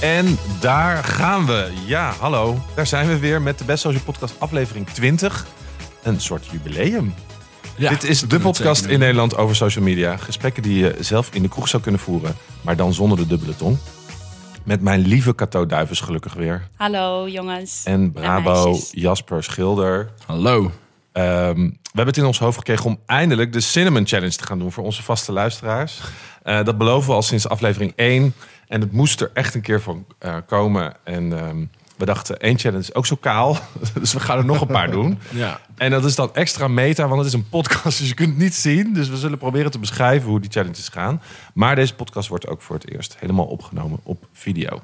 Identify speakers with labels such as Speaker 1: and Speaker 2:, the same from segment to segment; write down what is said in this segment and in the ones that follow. Speaker 1: En daar gaan we. Ja, hallo. Daar zijn we weer met de Best Social Podcast aflevering 20. Een soort jubileum. Dit is de podcast in Nederland over social media. Gesprekken die je zelf in de kroeg zou kunnen voeren, maar dan zonder de dubbele tong. Met mijn lieve Cato Duivens gelukkig weer.
Speaker 2: Hallo jongens.
Speaker 1: En Brabo,
Speaker 2: meisjes.
Speaker 1: Jasper Schilder.
Speaker 3: Hallo.
Speaker 1: Ehm, we hebben het in ons hoofd gekregen om eindelijk de Cinnamon Challenge te gaan doen voor onze vaste luisteraars. Eh, dat beloven we al sinds aflevering 1. En het moest er echt een keer van eh, komen. En ehm, we dachten, één challenge is ook zo kaal. dus we gaan er nog een paar doen.
Speaker 3: Ja.
Speaker 1: En dat is dan extra meta, want het is een podcast, dus je kunt het niet zien. Dus we zullen proberen te beschrijven hoe die challenges gaan. Maar deze podcast wordt ook voor het eerst helemaal opgenomen op video.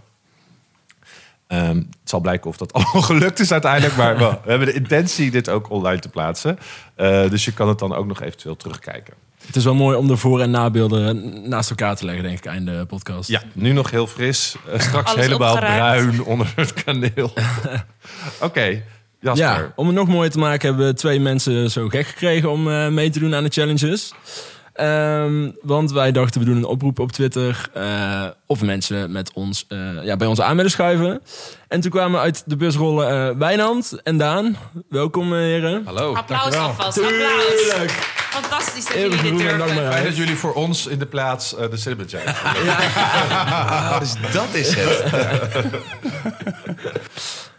Speaker 1: Ehm, het zal blijken of dat allemaal gelukt is uiteindelijk. Maar wel, we hebben de intentie dit ook online te plaatsen. Eh, dus je kan het dan ook nog eventueel terugkijken.
Speaker 3: Het is wel mooi om de voor- en nabeelden naast elkaar te leggen, denk ik, einde podcast.
Speaker 1: Ja, nu nog heel fris. eh, straks
Speaker 2: Alles
Speaker 1: helemaal
Speaker 2: opgeruimd.
Speaker 1: bruin onder het kaneel. Oké, Jasper.
Speaker 3: Ja, om het nog mooier te maken hebben we twee mensen zo gek gekregen om eh, mee te doen aan de challenges. Ehm, want wij dachten we doen een oproep op Twitter eh, of mensen met ons, eh, ja, bij ons aan willen schuiven. En toen kwamen uit de busrollen eh Wijnand en Daan. Welkom eh, heren.
Speaker 4: Hallo,
Speaker 2: applaus
Speaker 4: dankjewel.
Speaker 2: alvast. Applaus. Fantastisch dat
Speaker 3: Eeuwig
Speaker 2: jullie dit
Speaker 3: roer en dank maar
Speaker 2: durven.
Speaker 3: aan.
Speaker 1: Fijn dat jullie voor ons in de plaats eh, de Cinnamon Challenge hebben.
Speaker 4: Ah, dus dat is het.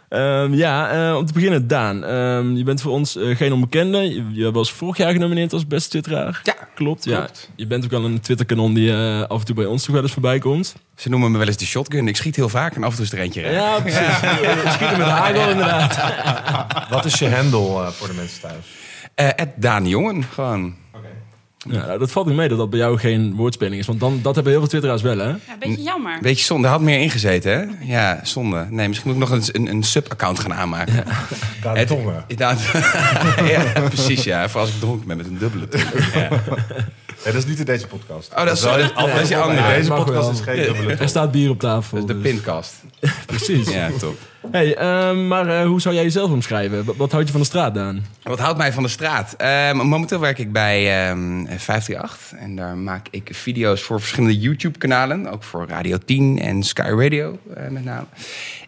Speaker 3: Ehm, ja, eh, om te beginnen, Daan. Ehm, je bent voor ons eh, geen onbekende. Je, je was vorig jaar genomineerd als beste twitteraar.
Speaker 4: Ja,
Speaker 3: klopt.
Speaker 4: klopt.
Speaker 3: Ja. Je bent ook al een Twitterkanon die eh, af en toe bij ons toch wel eens voorbij komt.
Speaker 4: Ze noemen me wel eens de shotgun. Ik schiet heel vaak en af en toe is er eentje raak.
Speaker 3: Ja, precies. Eh, Schieten met hagel, inderdaad.
Speaker 1: Wat is je handle eh, voor de mensen thuis?
Speaker 4: Eh, Ed Daan Jongen, gewoon.
Speaker 3: Ja, nou, dat valt niet mee dat dat bij jou geen woordspeling is. Want dan, dat hebben heel veel twitteraars wel, hè?
Speaker 2: Ja, een beetje jammer.
Speaker 4: Beetje zonde, had meer ingezeten, hè? Ja, zonde. Nee, misschien moet ik nog eens een, een sub-account gaan aanmaken.
Speaker 1: Daan
Speaker 4: Het-
Speaker 1: Tongen.
Speaker 4: Daan- ja, precies, ja. Voor als ik dronken ben met een dubbele tong.
Speaker 1: dat is niet in deze podcast.
Speaker 4: Oh, dat is- dat is- dat is die andere.
Speaker 1: Nee, Deze
Speaker 3: Mag
Speaker 1: podcast
Speaker 3: wel.
Speaker 1: is geen dubbele
Speaker 3: Er
Speaker 1: tong.
Speaker 3: staat bier op tafel.
Speaker 4: De
Speaker 3: dus.
Speaker 4: pincast.
Speaker 3: Precies.
Speaker 4: Ja, top.
Speaker 3: Hey, ehm, maar eh, hoe zou jij jezelf omschrijven? Wat, wat houd je van de straat, Daan?
Speaker 4: Wat houdt mij van de straat? Ehm, momenteel werk ik bij ehm 538 en daar maak ik video's voor verschillende YouTube-kanalen. Ook voor Radio 10 en Sky Radio eh, met name.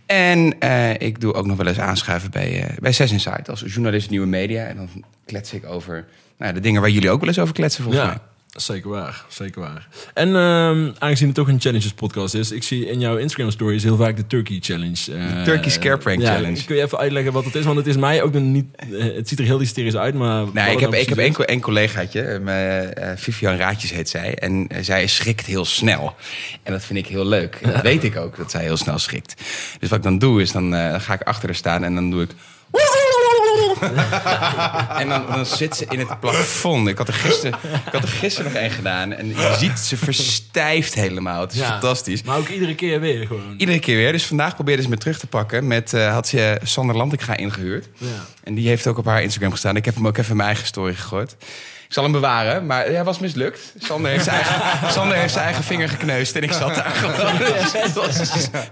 Speaker 4: En eh, ik doe ook nog wel eens aanschuiven bij, eh, bij Zes Insight als journalist nieuwe media. En dan klets ik over nou, ja, de dingen waar jullie ook wel eens over kletsen volgens mij.
Speaker 3: zeker waar. Zeker waar. En ehm, aangezien het toch een challenges podcast is, ik zie in jouw Instagram stories heel vaak de Turkey Challenge. eh,
Speaker 4: De Turkey Scare Prank
Speaker 3: ja,
Speaker 4: Challenge.
Speaker 3: Kun je even uitleggen wat het is? Want het is mij ook nog niet. eh, het ziet er heel hysterisch uit, maar. wat
Speaker 4: Nee,
Speaker 3: het
Speaker 4: ik heb,
Speaker 3: nou
Speaker 4: ik heb
Speaker 3: precies
Speaker 4: een, een collegaatje, eh, mijn, eh, Vivian Raadjes heet zij. En eh, zij schrikt heel snel. En dat vind ik heel leuk. En dat weet ik ook, dat zij heel snel schrikt. Dus wat ik dan doe, is dan eh, ga ik achter haar staan en dan doe ik... en dan, dan zit ze in het plafond. Ik had, er gisteren, ik had er gisteren nog één gedaan. En je ziet, ze verstijft helemaal. Het is
Speaker 3: Ja.
Speaker 4: fantastisch.
Speaker 3: is. Maar ook iedere keer weer gewoon.
Speaker 4: Iedere keer weer. Dus vandaag probeerde ze me terug te pakken. Met, eh, had ze Sander Landekga ingehuurd.
Speaker 3: Ja.
Speaker 4: En die heeft ook op haar Instagram gestaan. Ik heb hem ook even in mijn eigen story gegooid. Ik zal hem bewaren, maar hij was mislukt. Sander heeft zijn eigen, Sander heeft zijn eigen vinger gekneusd en ik zat daar gewoon. Dus het was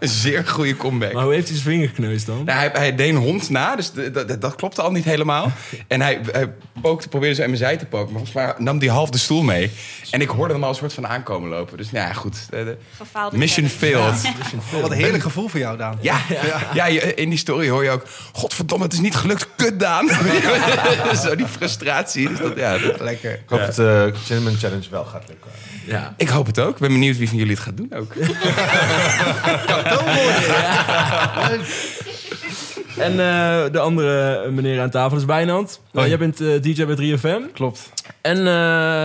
Speaker 4: een zeer goede comeback.
Speaker 3: Maar hoe heeft hij zijn vinger gekneusd dan?
Speaker 4: Nou, hij, hij deed een hond na, dus d- d- d- dat klopte al niet helemaal. En hij, hij pookte, probeerde zo in mijn zij te poken, maar volgens mij nam die half de stoel mee. En ik hoorde hem al een soort van aankomen lopen. Dus nou ja, goed. Eh, de-
Speaker 2: Gefaalde
Speaker 4: Mission
Speaker 2: challenge.
Speaker 4: failed.
Speaker 5: Wat een heerlijk gevoel voor jou, Daan.
Speaker 4: Ja, ja. je- in die story hoor je ook... Godverdomme, het is niet gelukt, kut Daan. Zo die frustratie. Dus dat, ja, dat-
Speaker 5: Lekker.
Speaker 1: Ik hoop dat de Cinnamon Challenge wel gaat lukken.
Speaker 3: Ja.
Speaker 4: Ik hoop het ook. Ik ben benieuwd wie van jullie het gaat doen ook.
Speaker 3: En eh, de andere meneer aan tafel is Wijnand. Nou, jij bent eh, DJ bij 3FM.
Speaker 5: Klopt.
Speaker 3: En eh,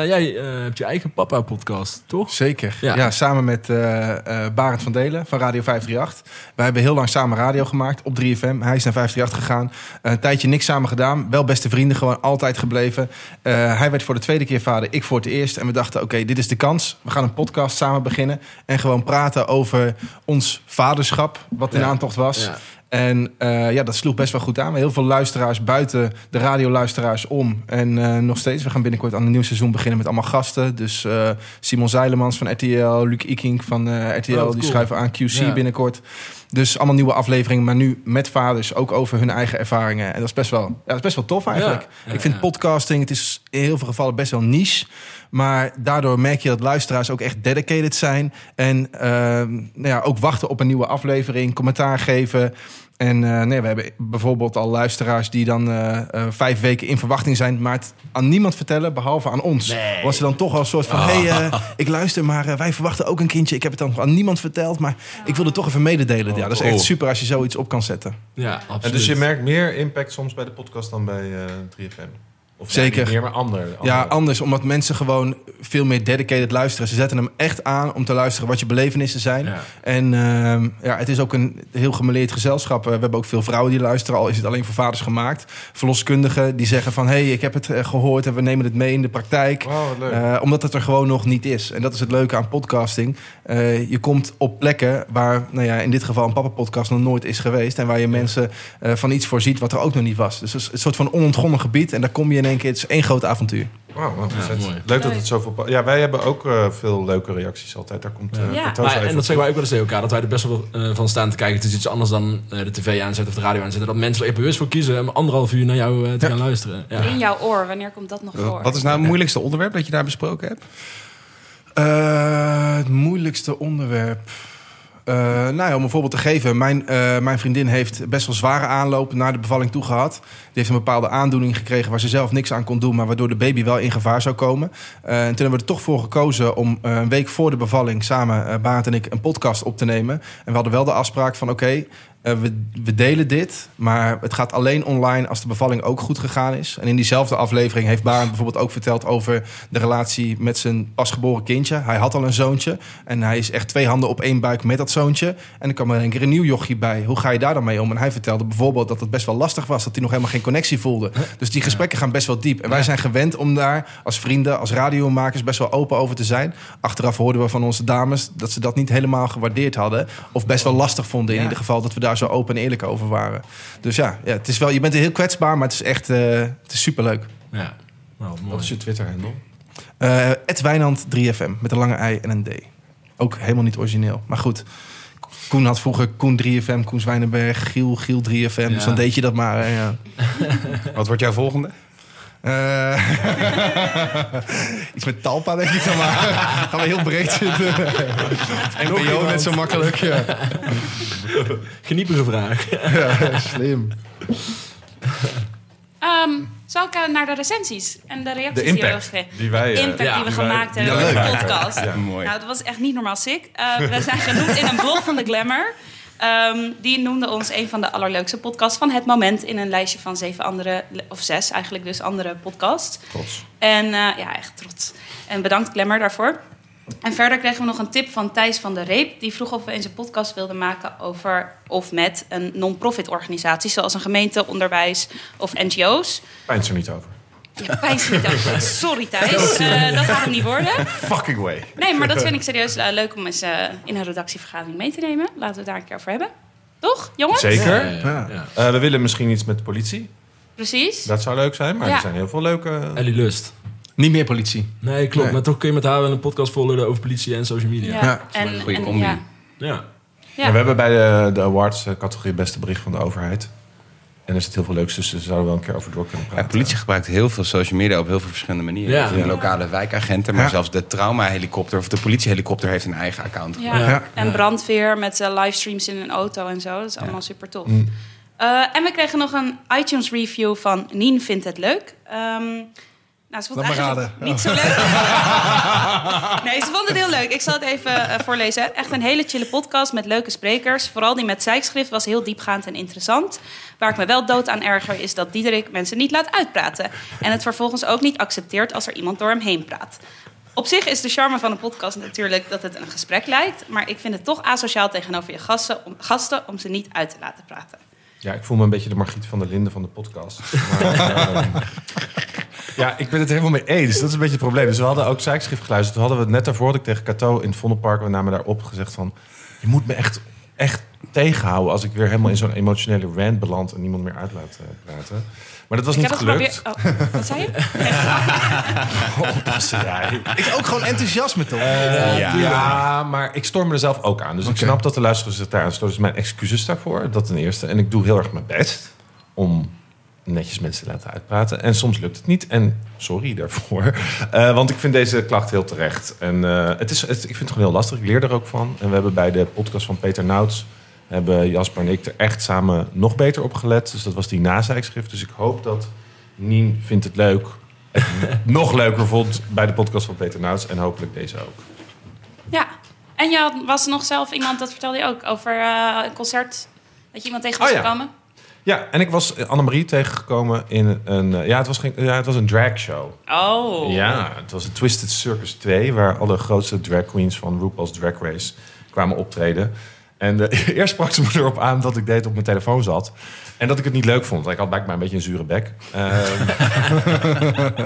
Speaker 3: jij eh, hebt je eigen papa-podcast, toch?
Speaker 5: Zeker.
Speaker 3: Ja.
Speaker 5: Ja, samen met eh, eh, Barend van Delen van Radio 538. Wij hebben heel lang samen radio gemaakt op 3FM. Hij is naar 538 gegaan. Eh, een tijdje niks samen gedaan. Wel beste vrienden, gewoon altijd gebleven. Eh, hij werd voor de tweede keer vader, ik voor het eerst. En we dachten, oké, dit is de kans. We gaan een podcast samen beginnen. En gewoon praten over ons vaderschap, wat in
Speaker 3: Ja.
Speaker 5: aantocht was.
Speaker 3: Ja.
Speaker 5: En eh, ja, dat sloeg best wel goed aan. Heel veel luisteraars buiten de radioluisteraars om. En eh, nog steeds, we gaan binnenkort aan een nieuw seizoen beginnen met allemaal gasten. Dus eh, Simon Zeilemans van RTL, Luc Ikink van eh, RTL,
Speaker 3: Oh, wat cool.
Speaker 5: die schuiven aan QC
Speaker 3: Ja.
Speaker 5: binnenkort. Dus allemaal nieuwe afleveringen, maar nu met vaders, ook over hun eigen ervaringen. En dat is best wel, ja, dat is best wel tof eigenlijk.
Speaker 3: Ja.
Speaker 5: Ik vind
Speaker 3: Ja.
Speaker 5: podcasting, het is in heel veel gevallen best wel niche. Maar daardoor merk je dat luisteraars ook echt dedicated zijn. En ehm, nou ja, ook wachten op een nieuwe aflevering, commentaar geven. En eh, nee, we hebben bijvoorbeeld al luisteraars die dan eh, eh, vijf weken in verwachting zijn, maar het aan niemand vertellen behalve aan ons. Was ze dan toch al een soort van: hé,
Speaker 3: Ah.
Speaker 5: hey, eh, ik luister, maar eh, wij verwachten ook een kindje. Ik heb het dan aan niemand verteld, maar ik wilde het toch even mededelen. Ja, dat is echt
Speaker 1: cool.
Speaker 5: super als je zoiets op kan zetten.
Speaker 3: Ja, absoluut.
Speaker 1: En dus je merkt meer impact soms bij de podcast dan bij eh, 3FM. Of ja,
Speaker 5: Zeker.
Speaker 1: niet meer, maar ander. ander.
Speaker 5: Ja, anders, omdat mensen gewoon veel meer dedicated luisteren. Ze zetten hem echt aan om te luisteren wat je belevenissen zijn.
Speaker 3: Ja.
Speaker 5: En ehm, ja, het is ook een heel gemeleerd gezelschap. Eh, We hebben ook veel vrouwen die luisteren, al is het alleen voor vaders gemaakt. Verloskundigen die zeggen van, hé, hey, ik heb het eh, gehoord en we nemen het mee in de praktijk.
Speaker 1: Wauw, wat Oh, leuk.
Speaker 5: Eh, omdat het er gewoon nog niet is. En dat is het leuke aan podcasting. Eh, je komt op plekken waar, nou ja, in dit geval een papa-podcast nog nooit is geweest. En waar je mensen eh, van iets voorziet wat er ook nog niet was. Dus het is een soort van onontgonnen gebied. En daar kom je in één keer, het is één groot avontuur.
Speaker 1: Wauw, wat
Speaker 3: Ja,
Speaker 1: ontzettend.
Speaker 3: mooi.
Speaker 1: Leuk dat het zoveel... pa- Ja, wij hebben ook eh, veel leuke reacties altijd. Daar komt eh
Speaker 2: Ja.
Speaker 1: Cortez
Speaker 3: Maar-
Speaker 1: even
Speaker 3: en dat
Speaker 1: op
Speaker 3: zeggen wij ook wel eens tegen elkaar, dat wij er best wel eh, van staan te kijken. Het is iets anders dan eh, de tv aanzetten of de radio aanzetten. Dat mensen er echt bewust voor kiezen om anderhalf uur naar jou eh, te gaan luisteren. Ja.
Speaker 2: In jouw oor, wanneer komt dat nog voor?
Speaker 4: Wat is nou het moeilijkste onderwerp dat je daar besproken hebt?
Speaker 5: Eh, het moeilijkste onderwerp. Eh, nou ja, om een voorbeeld te geven. Mijn, eh, mijn vriendin heeft best wel zware aanloop naar de bevalling toe gehad. Die heeft een bepaalde aandoening gekregen waar ze zelf niks aan kon doen... maar waardoor de baby wel in gevaar zou komen. Eh, en toen hebben we er toch voor gekozen om eh, een week voor de bevalling... samen, eh Baart en ik, een podcast op te nemen. En we hadden wel de afspraak van oké, eh, we, we delen dit... maar het gaat alleen online als de bevalling ook goed gegaan is. En in diezelfde aflevering heeft Barend bijvoorbeeld ook verteld... over de relatie met zijn pasgeboren kindje. Hij had al een zoontje en hij is echt twee handen op één buik met dat zoontje. En er kwam er een keer een nieuw jochie bij. Hoe ga je daar dan mee om? En hij vertelde bijvoorbeeld dat het best wel lastig was... dat hij nog helemaal geen connectie voelde. Dus die gesprekken gaan best wel diep. En wij zijn gewend om daar als vrienden, als radiomakers... best wel open over te zijn. Achteraf hoorden we van onze dames dat ze dat niet helemaal gewaardeerd hadden. Of best wel lastig vonden in
Speaker 4: Ja.
Speaker 5: ieder geval... dat we daar zo open en eerlijk over waren. Dus ja, ja het is wel, je bent heel kwetsbaar, maar het is echt eh, het is superleuk.
Speaker 3: Ja. Nou, mooi.
Speaker 1: Wat is je Twitter-handle?
Speaker 5: Eh Ed Wijnand 3FM met een lange I en een D. Ook helemaal niet origineel. Maar goed, Koen had vroeger Koen 3FM, Koen Zwijnenberg, Giel, Giel 3FM. Dus
Speaker 3: Ja.
Speaker 5: dan deed je dat maar. hè, Ja.
Speaker 4: Wat wordt jouw volgende?
Speaker 5: Eh, iets met Talpa denk ik dan maar. Gaan we heel breed zitten. NPO net zo makkelijk. Ja.
Speaker 3: Geniepige vraag.
Speaker 5: Ja, slim.
Speaker 2: Ehm, zal ik eh, naar de recensies en de reacties
Speaker 1: De
Speaker 2: die we
Speaker 1: impact
Speaker 2: hebben gekregen?
Speaker 1: die wij...
Speaker 2: De
Speaker 1: eh,
Speaker 2: impact
Speaker 3: ja,
Speaker 2: die we
Speaker 1: die
Speaker 2: gemaakt
Speaker 1: wij-
Speaker 2: hebben
Speaker 1: die
Speaker 2: met
Speaker 1: wij
Speaker 2: de
Speaker 1: maken.
Speaker 2: podcast.
Speaker 1: Ja.
Speaker 4: Mooi.
Speaker 2: Nou, dat was echt niet normaal sick. Eh, we zijn genoemd in een blog van de Glamour. Ehm, die noemde ons een van de allerleukste podcasts van het moment in een lijstje van zeven andere, of zes eigenlijk dus andere podcasts.
Speaker 1: Trots.
Speaker 2: En eh, ja, echt trots. En bedankt Glamour daarvoor. En verder kregen we nog een tip van Thijs van der Reep. Die vroeg of we eens een podcast wilden maken over of met een non-profit organisatie. Zoals een gemeente, onderwijs of NGO's.
Speaker 1: Pijnt er niet over.
Speaker 2: Ja, Thijs niet over. Sorry Thijs, Eh, dat gaat hem niet worden.
Speaker 1: Fucking way.
Speaker 2: Nee, maar dat vind ik serieus eh, leuk om eens eh, in een redactievergadering mee te nemen. Laten we het daar een keer over hebben. Toch, jongens?
Speaker 1: Zeker.
Speaker 3: Ja, ja, ja.
Speaker 1: Eh, we willen misschien iets met de politie.
Speaker 2: Precies.
Speaker 1: Dat zou leuk zijn, maar
Speaker 2: Ja.
Speaker 1: er zijn heel veel leuke...
Speaker 3: Ellie Lust.
Speaker 5: Niet meer politie.
Speaker 3: Nee, klopt.
Speaker 5: Nee.
Speaker 3: Maar toch kun je met haar wel een podcast volgen over politie en social media. Ja.
Speaker 5: Ja, dat
Speaker 2: en,
Speaker 4: een goede
Speaker 2: en-
Speaker 4: combi.
Speaker 2: Ja. Ja.
Speaker 1: Ja, we hebben bij de, de awards eh, categorie beste bericht van de overheid. En er zit heel veel leuks tussen, dus daar zouden we wel een keer over door kunnen
Speaker 4: Ja, de
Speaker 1: praten.
Speaker 4: politie gebruikt heel veel social media op heel veel verschillende manieren.
Speaker 3: Ja.
Speaker 4: Dus de
Speaker 3: Ja.
Speaker 4: lokale wijkagenten, maar
Speaker 5: Ja.
Speaker 4: zelfs de traumahelikopter of de politiehelikopter heeft een eigen account.
Speaker 2: Ja.
Speaker 3: Ja.
Speaker 2: En brandweer met eh, livestreams in een auto en zo. Dat is allemaal super tof.
Speaker 5: Mm.
Speaker 2: Eh, en we kregen nog een iTunes review van Nien vindt het leuk. Ehm nou, ze vond
Speaker 5: Laat
Speaker 2: het
Speaker 5: maar
Speaker 2: eigenlijk niet zo leuk. nee, ze vond het heel leuk. Ik zal het even eh, voorlezen. Echt een hele chille podcast met leuke sprekers. Vooral die met zeikschrift was heel diepgaand en interessant. Waar ik me wel dood aan erger is dat Diederik mensen niet laat uitpraten. En het vervolgens ook niet accepteert als er iemand door hem heen praat. Op zich is de charme van een podcast natuurlijk dat het een gesprek lijkt. Maar ik vind het toch asociaal tegenover je gasten om, gasten om ze niet uit te laten praten.
Speaker 1: Ja, ik voel me een beetje de Margriet van der Linden van de podcast. Maar, ehm, ja, ik ben het helemaal mee eens. Dat is een beetje het probleem. Dus we hadden ook zijkschrift geluisterd. Toen hadden we het net daarvoor had ik tegen Cato in het Vondelpark... we namen daar op gezegd van... je moet me echt, echt tegenhouden... als ik weer helemaal in zo'n emotionele rant beland... en niemand meer uit laat eh, praten. Maar dat was
Speaker 2: ik
Speaker 1: niet
Speaker 2: heb
Speaker 1: gelukt.
Speaker 2: het geprobeerd. Oh, wat zei je?
Speaker 1: Oppassen jij.
Speaker 5: Ik ook gewoon enthousiasme toch?
Speaker 1: ja. maar ik storm me er zelf ook aan. Dus ik snap dat de luisteraars zich daar aan storen. Dus mijn excuses daarvoor, dat ten eerste. En ik doe heel erg mijn best om netjes mensen laten uitpraten. En soms lukt het niet. En sorry daarvoor. Eh, want ik vind deze klacht heel terecht. En eh, het is, het, ik vind het gewoon heel lastig. Ik leer er ook van. En we hebben bij de podcast van Peter Nouts... hebben Jasper en ik er echt samen nog beter op gelet. Dus dat was die nazeikschrift. Dus ik hoop dat Nien vindt het leuk... het nog leuker vond bij de podcast van Peter Nouts. En hopelijk deze ook.
Speaker 2: Ja. En je had- was nog zelf iemand, dat vertelde je ook, over eh, een concert. Dat je iemand tegen was
Speaker 1: Oh, ja.
Speaker 2: gekomen.
Speaker 1: Ja, en ik was eh, Annemarie tegengekomen in een... eh, ja, het was, geen, ja, het was een dragshow.
Speaker 2: Oh.
Speaker 1: Ja, het was een Twisted Circus 2... waar alle grootste drag queens van RuPaul's Drag Race kwamen optreden. En eh, eerst sprak ze me erop aan dat ik deed op mijn telefoon zat. En dat ik het niet leuk vond. Ik had blijkbaar een beetje een zure bek. Ehm,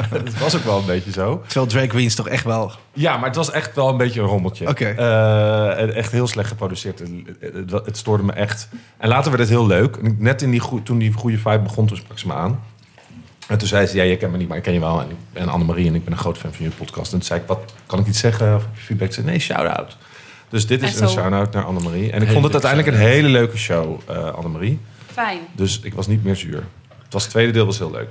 Speaker 1: dat was ook wel een beetje zo.
Speaker 5: Terwijl drag queens toch echt wel...
Speaker 1: Ja, maar het was echt wel een beetje een rommeltje.
Speaker 5: Oké.
Speaker 1: Eh, en echt heel slecht geproduceerd. Het, het- het stoorde me echt. En later werd het heel leuk. En ik- Net in die goe- toen die goede vibe begon, toen sprak ze me aan. En toen zei ze, ja, je kent me niet, maar ik ken je wel. En ik ben Annemarie en ik ben een groot fan van je podcast. En toen zei ik, wat, kan ik iets zeggen? Of heb je feedback? Ze zei, nee, shout-out. Dus dit is
Speaker 2: En
Speaker 1: een
Speaker 2: zo.
Speaker 1: shout-out naar Annemarie. En ik
Speaker 3: Hele
Speaker 1: vond het
Speaker 3: leuke
Speaker 1: uiteindelijk een hele leuke show, eh Annemarie.
Speaker 2: Fijn.
Speaker 1: Dus ik was niet meer zuur. Het was het tweede deel was heel leuk.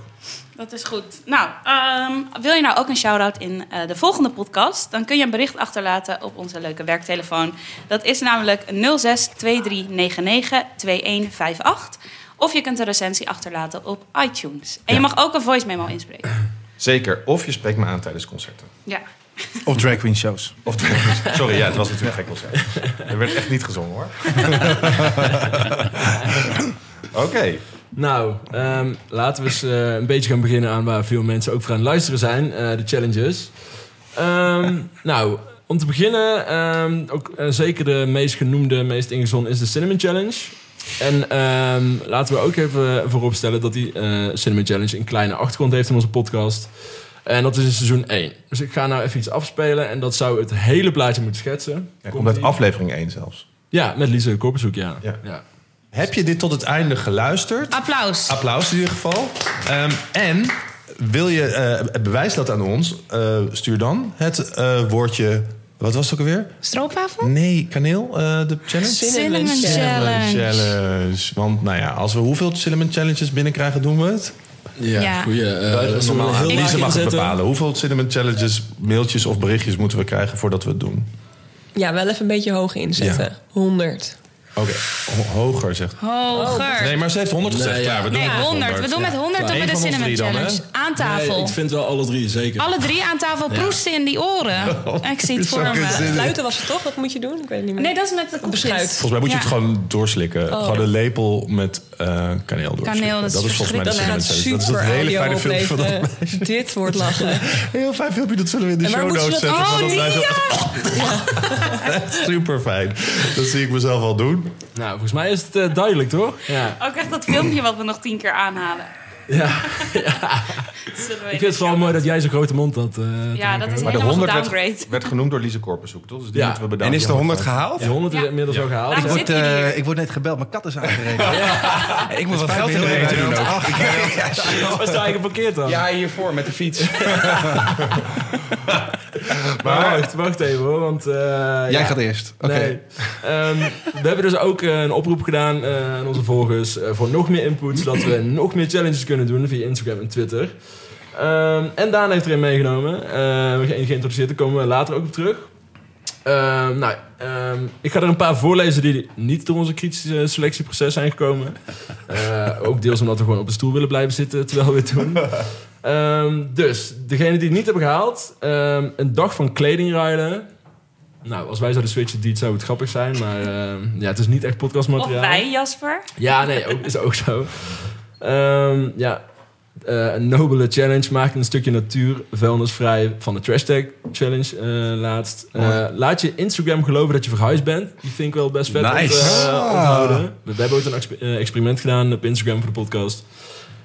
Speaker 2: Dat is goed. Nou, ehm, wil je nou ook een shout-out in eh, de volgende podcast? Dan kun je een bericht achterlaten op onze leuke werktelefoon. Dat is namelijk 0623992158. Of je kunt een recensie achterlaten op iTunes. En je mag ook een voice memo inspreken.
Speaker 1: Zeker. Of je spreekt me aan tijdens concerten.
Speaker 2: Ja.
Speaker 5: Of drag queen shows.
Speaker 1: Of Sorry, ja, het was natuurlijk gek concert. Er werd echt niet gezongen hoor. Oké.
Speaker 3: Nou, ehm, laten we eens eh, een beetje gaan beginnen aan waar veel mensen ook voor aan het luisteren zijn. eh, de challenges. Ehm, nou, om te beginnen, ehm, ook eh, zeker de meest genoemde, meest ingezonden is de Cinnamon Challenge. En ehm, laten we ook even vooropstellen dat die eh, Cinnamon Challenge een kleine achtergrond heeft in onze podcast. En dat is in seizoen 1. Dus ik ga nou even iets afspelen en dat zou het hele plaatje moeten schetsen.
Speaker 1: Ja, komt
Speaker 3: Komt-ie?
Speaker 1: uit aflevering 1 zelfs.
Speaker 3: Ja, met Lise Korpershoek, ja.
Speaker 1: Ja.
Speaker 3: ja.
Speaker 1: Heb je dit tot het einde geluisterd?
Speaker 2: Applaus.
Speaker 1: Applaus in ieder geval. Ehm, en wil je, eh, bewijs dat aan ons, eh, stuur dan het eh, woordje, wat was het ook alweer?
Speaker 2: Stroopwafel?
Speaker 1: Nee, kaneel, eh, de challenge?
Speaker 2: Cinnamon Challenge.
Speaker 1: Challenge. Want nou ja, als we hoeveel cinnamon challenges binnenkrijgen, doen we het.
Speaker 3: Ja,
Speaker 2: Ja.
Speaker 3: goeie. eh,
Speaker 1: Normaal
Speaker 3: zullen we een heel
Speaker 1: Lisa
Speaker 3: laagje
Speaker 1: mag het
Speaker 3: zetten?
Speaker 1: bepalen. Hoeveel cinnamon challenges, mailtjes of berichtjes moeten we krijgen voordat we het doen?
Speaker 6: Ja, wel even een beetje hoog inzetten.
Speaker 1: Ja.
Speaker 6: 100.
Speaker 1: Oké, ho- hoger zegt.
Speaker 2: Hoger.
Speaker 1: Nee, maar ze heeft 100 gezegd.
Speaker 3: Nee, ja.
Speaker 1: Klaar, we doen
Speaker 2: Nee,
Speaker 1: het met
Speaker 2: 100. We doen met 100 doen
Speaker 1: Eén
Speaker 2: we de
Speaker 1: van ons
Speaker 2: Cinnamon
Speaker 1: drie dan, hè?
Speaker 2: Challenge. Aan
Speaker 3: Nee,
Speaker 2: tafel.
Speaker 3: ik vind wel alle drie, zeker.
Speaker 2: Alle drie aan tafel proesten in die oren. Ik zie het voor me.
Speaker 6: Fluiten was het toch? Wat moet je doen? Ik weet het niet meer.
Speaker 1: Nou,
Speaker 2: Nee, dat is met de koekjes.
Speaker 6: Beschuit.
Speaker 1: Volgens mij moet je
Speaker 2: Ja. Oh.
Speaker 1: het gewoon doorslikken. Gewoon een lepel met eh kaneel doorslikken.
Speaker 2: Kaneel, dat is
Speaker 1: volgens mij de
Speaker 6: dat
Speaker 1: cinnamon
Speaker 6: gaat
Speaker 1: challenge.
Speaker 6: super
Speaker 1: Dat is het hele
Speaker 6: audio
Speaker 1: fijne filmpje van dat.
Speaker 6: opleveren. Dit wordt lachen.
Speaker 1: Heel fijn filmpje, dat zullen we in de
Speaker 6: En waar
Speaker 1: show
Speaker 6: moeten
Speaker 1: notes
Speaker 6: ze dat-
Speaker 1: zetten.
Speaker 2: Oh,
Speaker 1: zodat
Speaker 2: die,
Speaker 1: wij zo- Super fijn. Dat zie ik mezelf al doen.
Speaker 3: Nou, volgens mij is het eh, duidelijk, toch? Ja.
Speaker 2: Ook echt dat filmpje wat we nog tien keer aanhalen.
Speaker 3: ja.
Speaker 2: Zullen we
Speaker 3: Ik vind het vooral mooi dat jij zo'n grote mond had. eh,
Speaker 2: Ja,
Speaker 3: Taco.
Speaker 2: dat is
Speaker 1: Maar de
Speaker 2: helemaal
Speaker 1: 100
Speaker 2: gedowngrade.
Speaker 1: werd, werd genoemd door Lise Korpershoek, toch? Dus die
Speaker 3: Ja.
Speaker 1: moeten we
Speaker 4: En
Speaker 1: bedanken.
Speaker 4: is de 100 gehaald?
Speaker 3: Die 100 is
Speaker 2: Ja.
Speaker 3: inmiddels al
Speaker 2: Daarom
Speaker 3: gehaald.
Speaker 2: zit-
Speaker 3: hè?
Speaker 5: Wordt,
Speaker 2: Zitten jullie
Speaker 5: eh,
Speaker 2: hier?
Speaker 5: ik word net gebeld, mijn kat is aangereden.
Speaker 4: Ik moet wat geld in
Speaker 5: in
Speaker 4: de
Speaker 5: de
Speaker 4: rekening
Speaker 5: rekening
Speaker 4: doen.
Speaker 3: Waar sta je geparkeerd dan?
Speaker 4: Ja, hiervoor met de fiets.
Speaker 3: Maar wacht, wacht even hoor, want... eh,
Speaker 5: Jij
Speaker 3: ja.
Speaker 5: gaat eerst. Oké.
Speaker 3: Nee. Ehm, we hebben dus ook eh, een oproep gedaan eh, aan onze volgers eh, voor nog meer input, zodat we nog meer challenges kunnen doen via Instagram en Twitter. Ehm, en Daan heeft erin meegenomen. Eh, we zijn geïntroduceerd, daar komen we later ook op terug. Ehm, nou, ehm, ik ga er een paar voorlezen die niet door onze kritische selectieproces zijn gekomen. Eh, ook deels omdat we gewoon op de stoel willen blijven zitten terwijl we het doen. Ehm, dus, degene die het niet hebben gehaald, ehm, een dag van kleding ruilen. Nou, als wij zouden switchen, die zou het grappig zijn, maar ehm, ja, het is niet echt
Speaker 2: Of
Speaker 3: podcastmateriaal.
Speaker 2: wij, Jasper.
Speaker 3: Ja, nee, ook, is ook zo. Ehm, ja, Eh, een nobele challenge. Maak een stukje natuur vuilnisvrij van de Trash Tag Challenge eh, laatst. Eh, laat je Instagram geloven dat je verhuisd bent. Die vind ik wel best vet om te,
Speaker 4: Nice.
Speaker 3: eh,
Speaker 5: Ah.
Speaker 3: onthouden. We, we hebben ook een exp- eh, experiment gedaan op Instagram voor de podcast.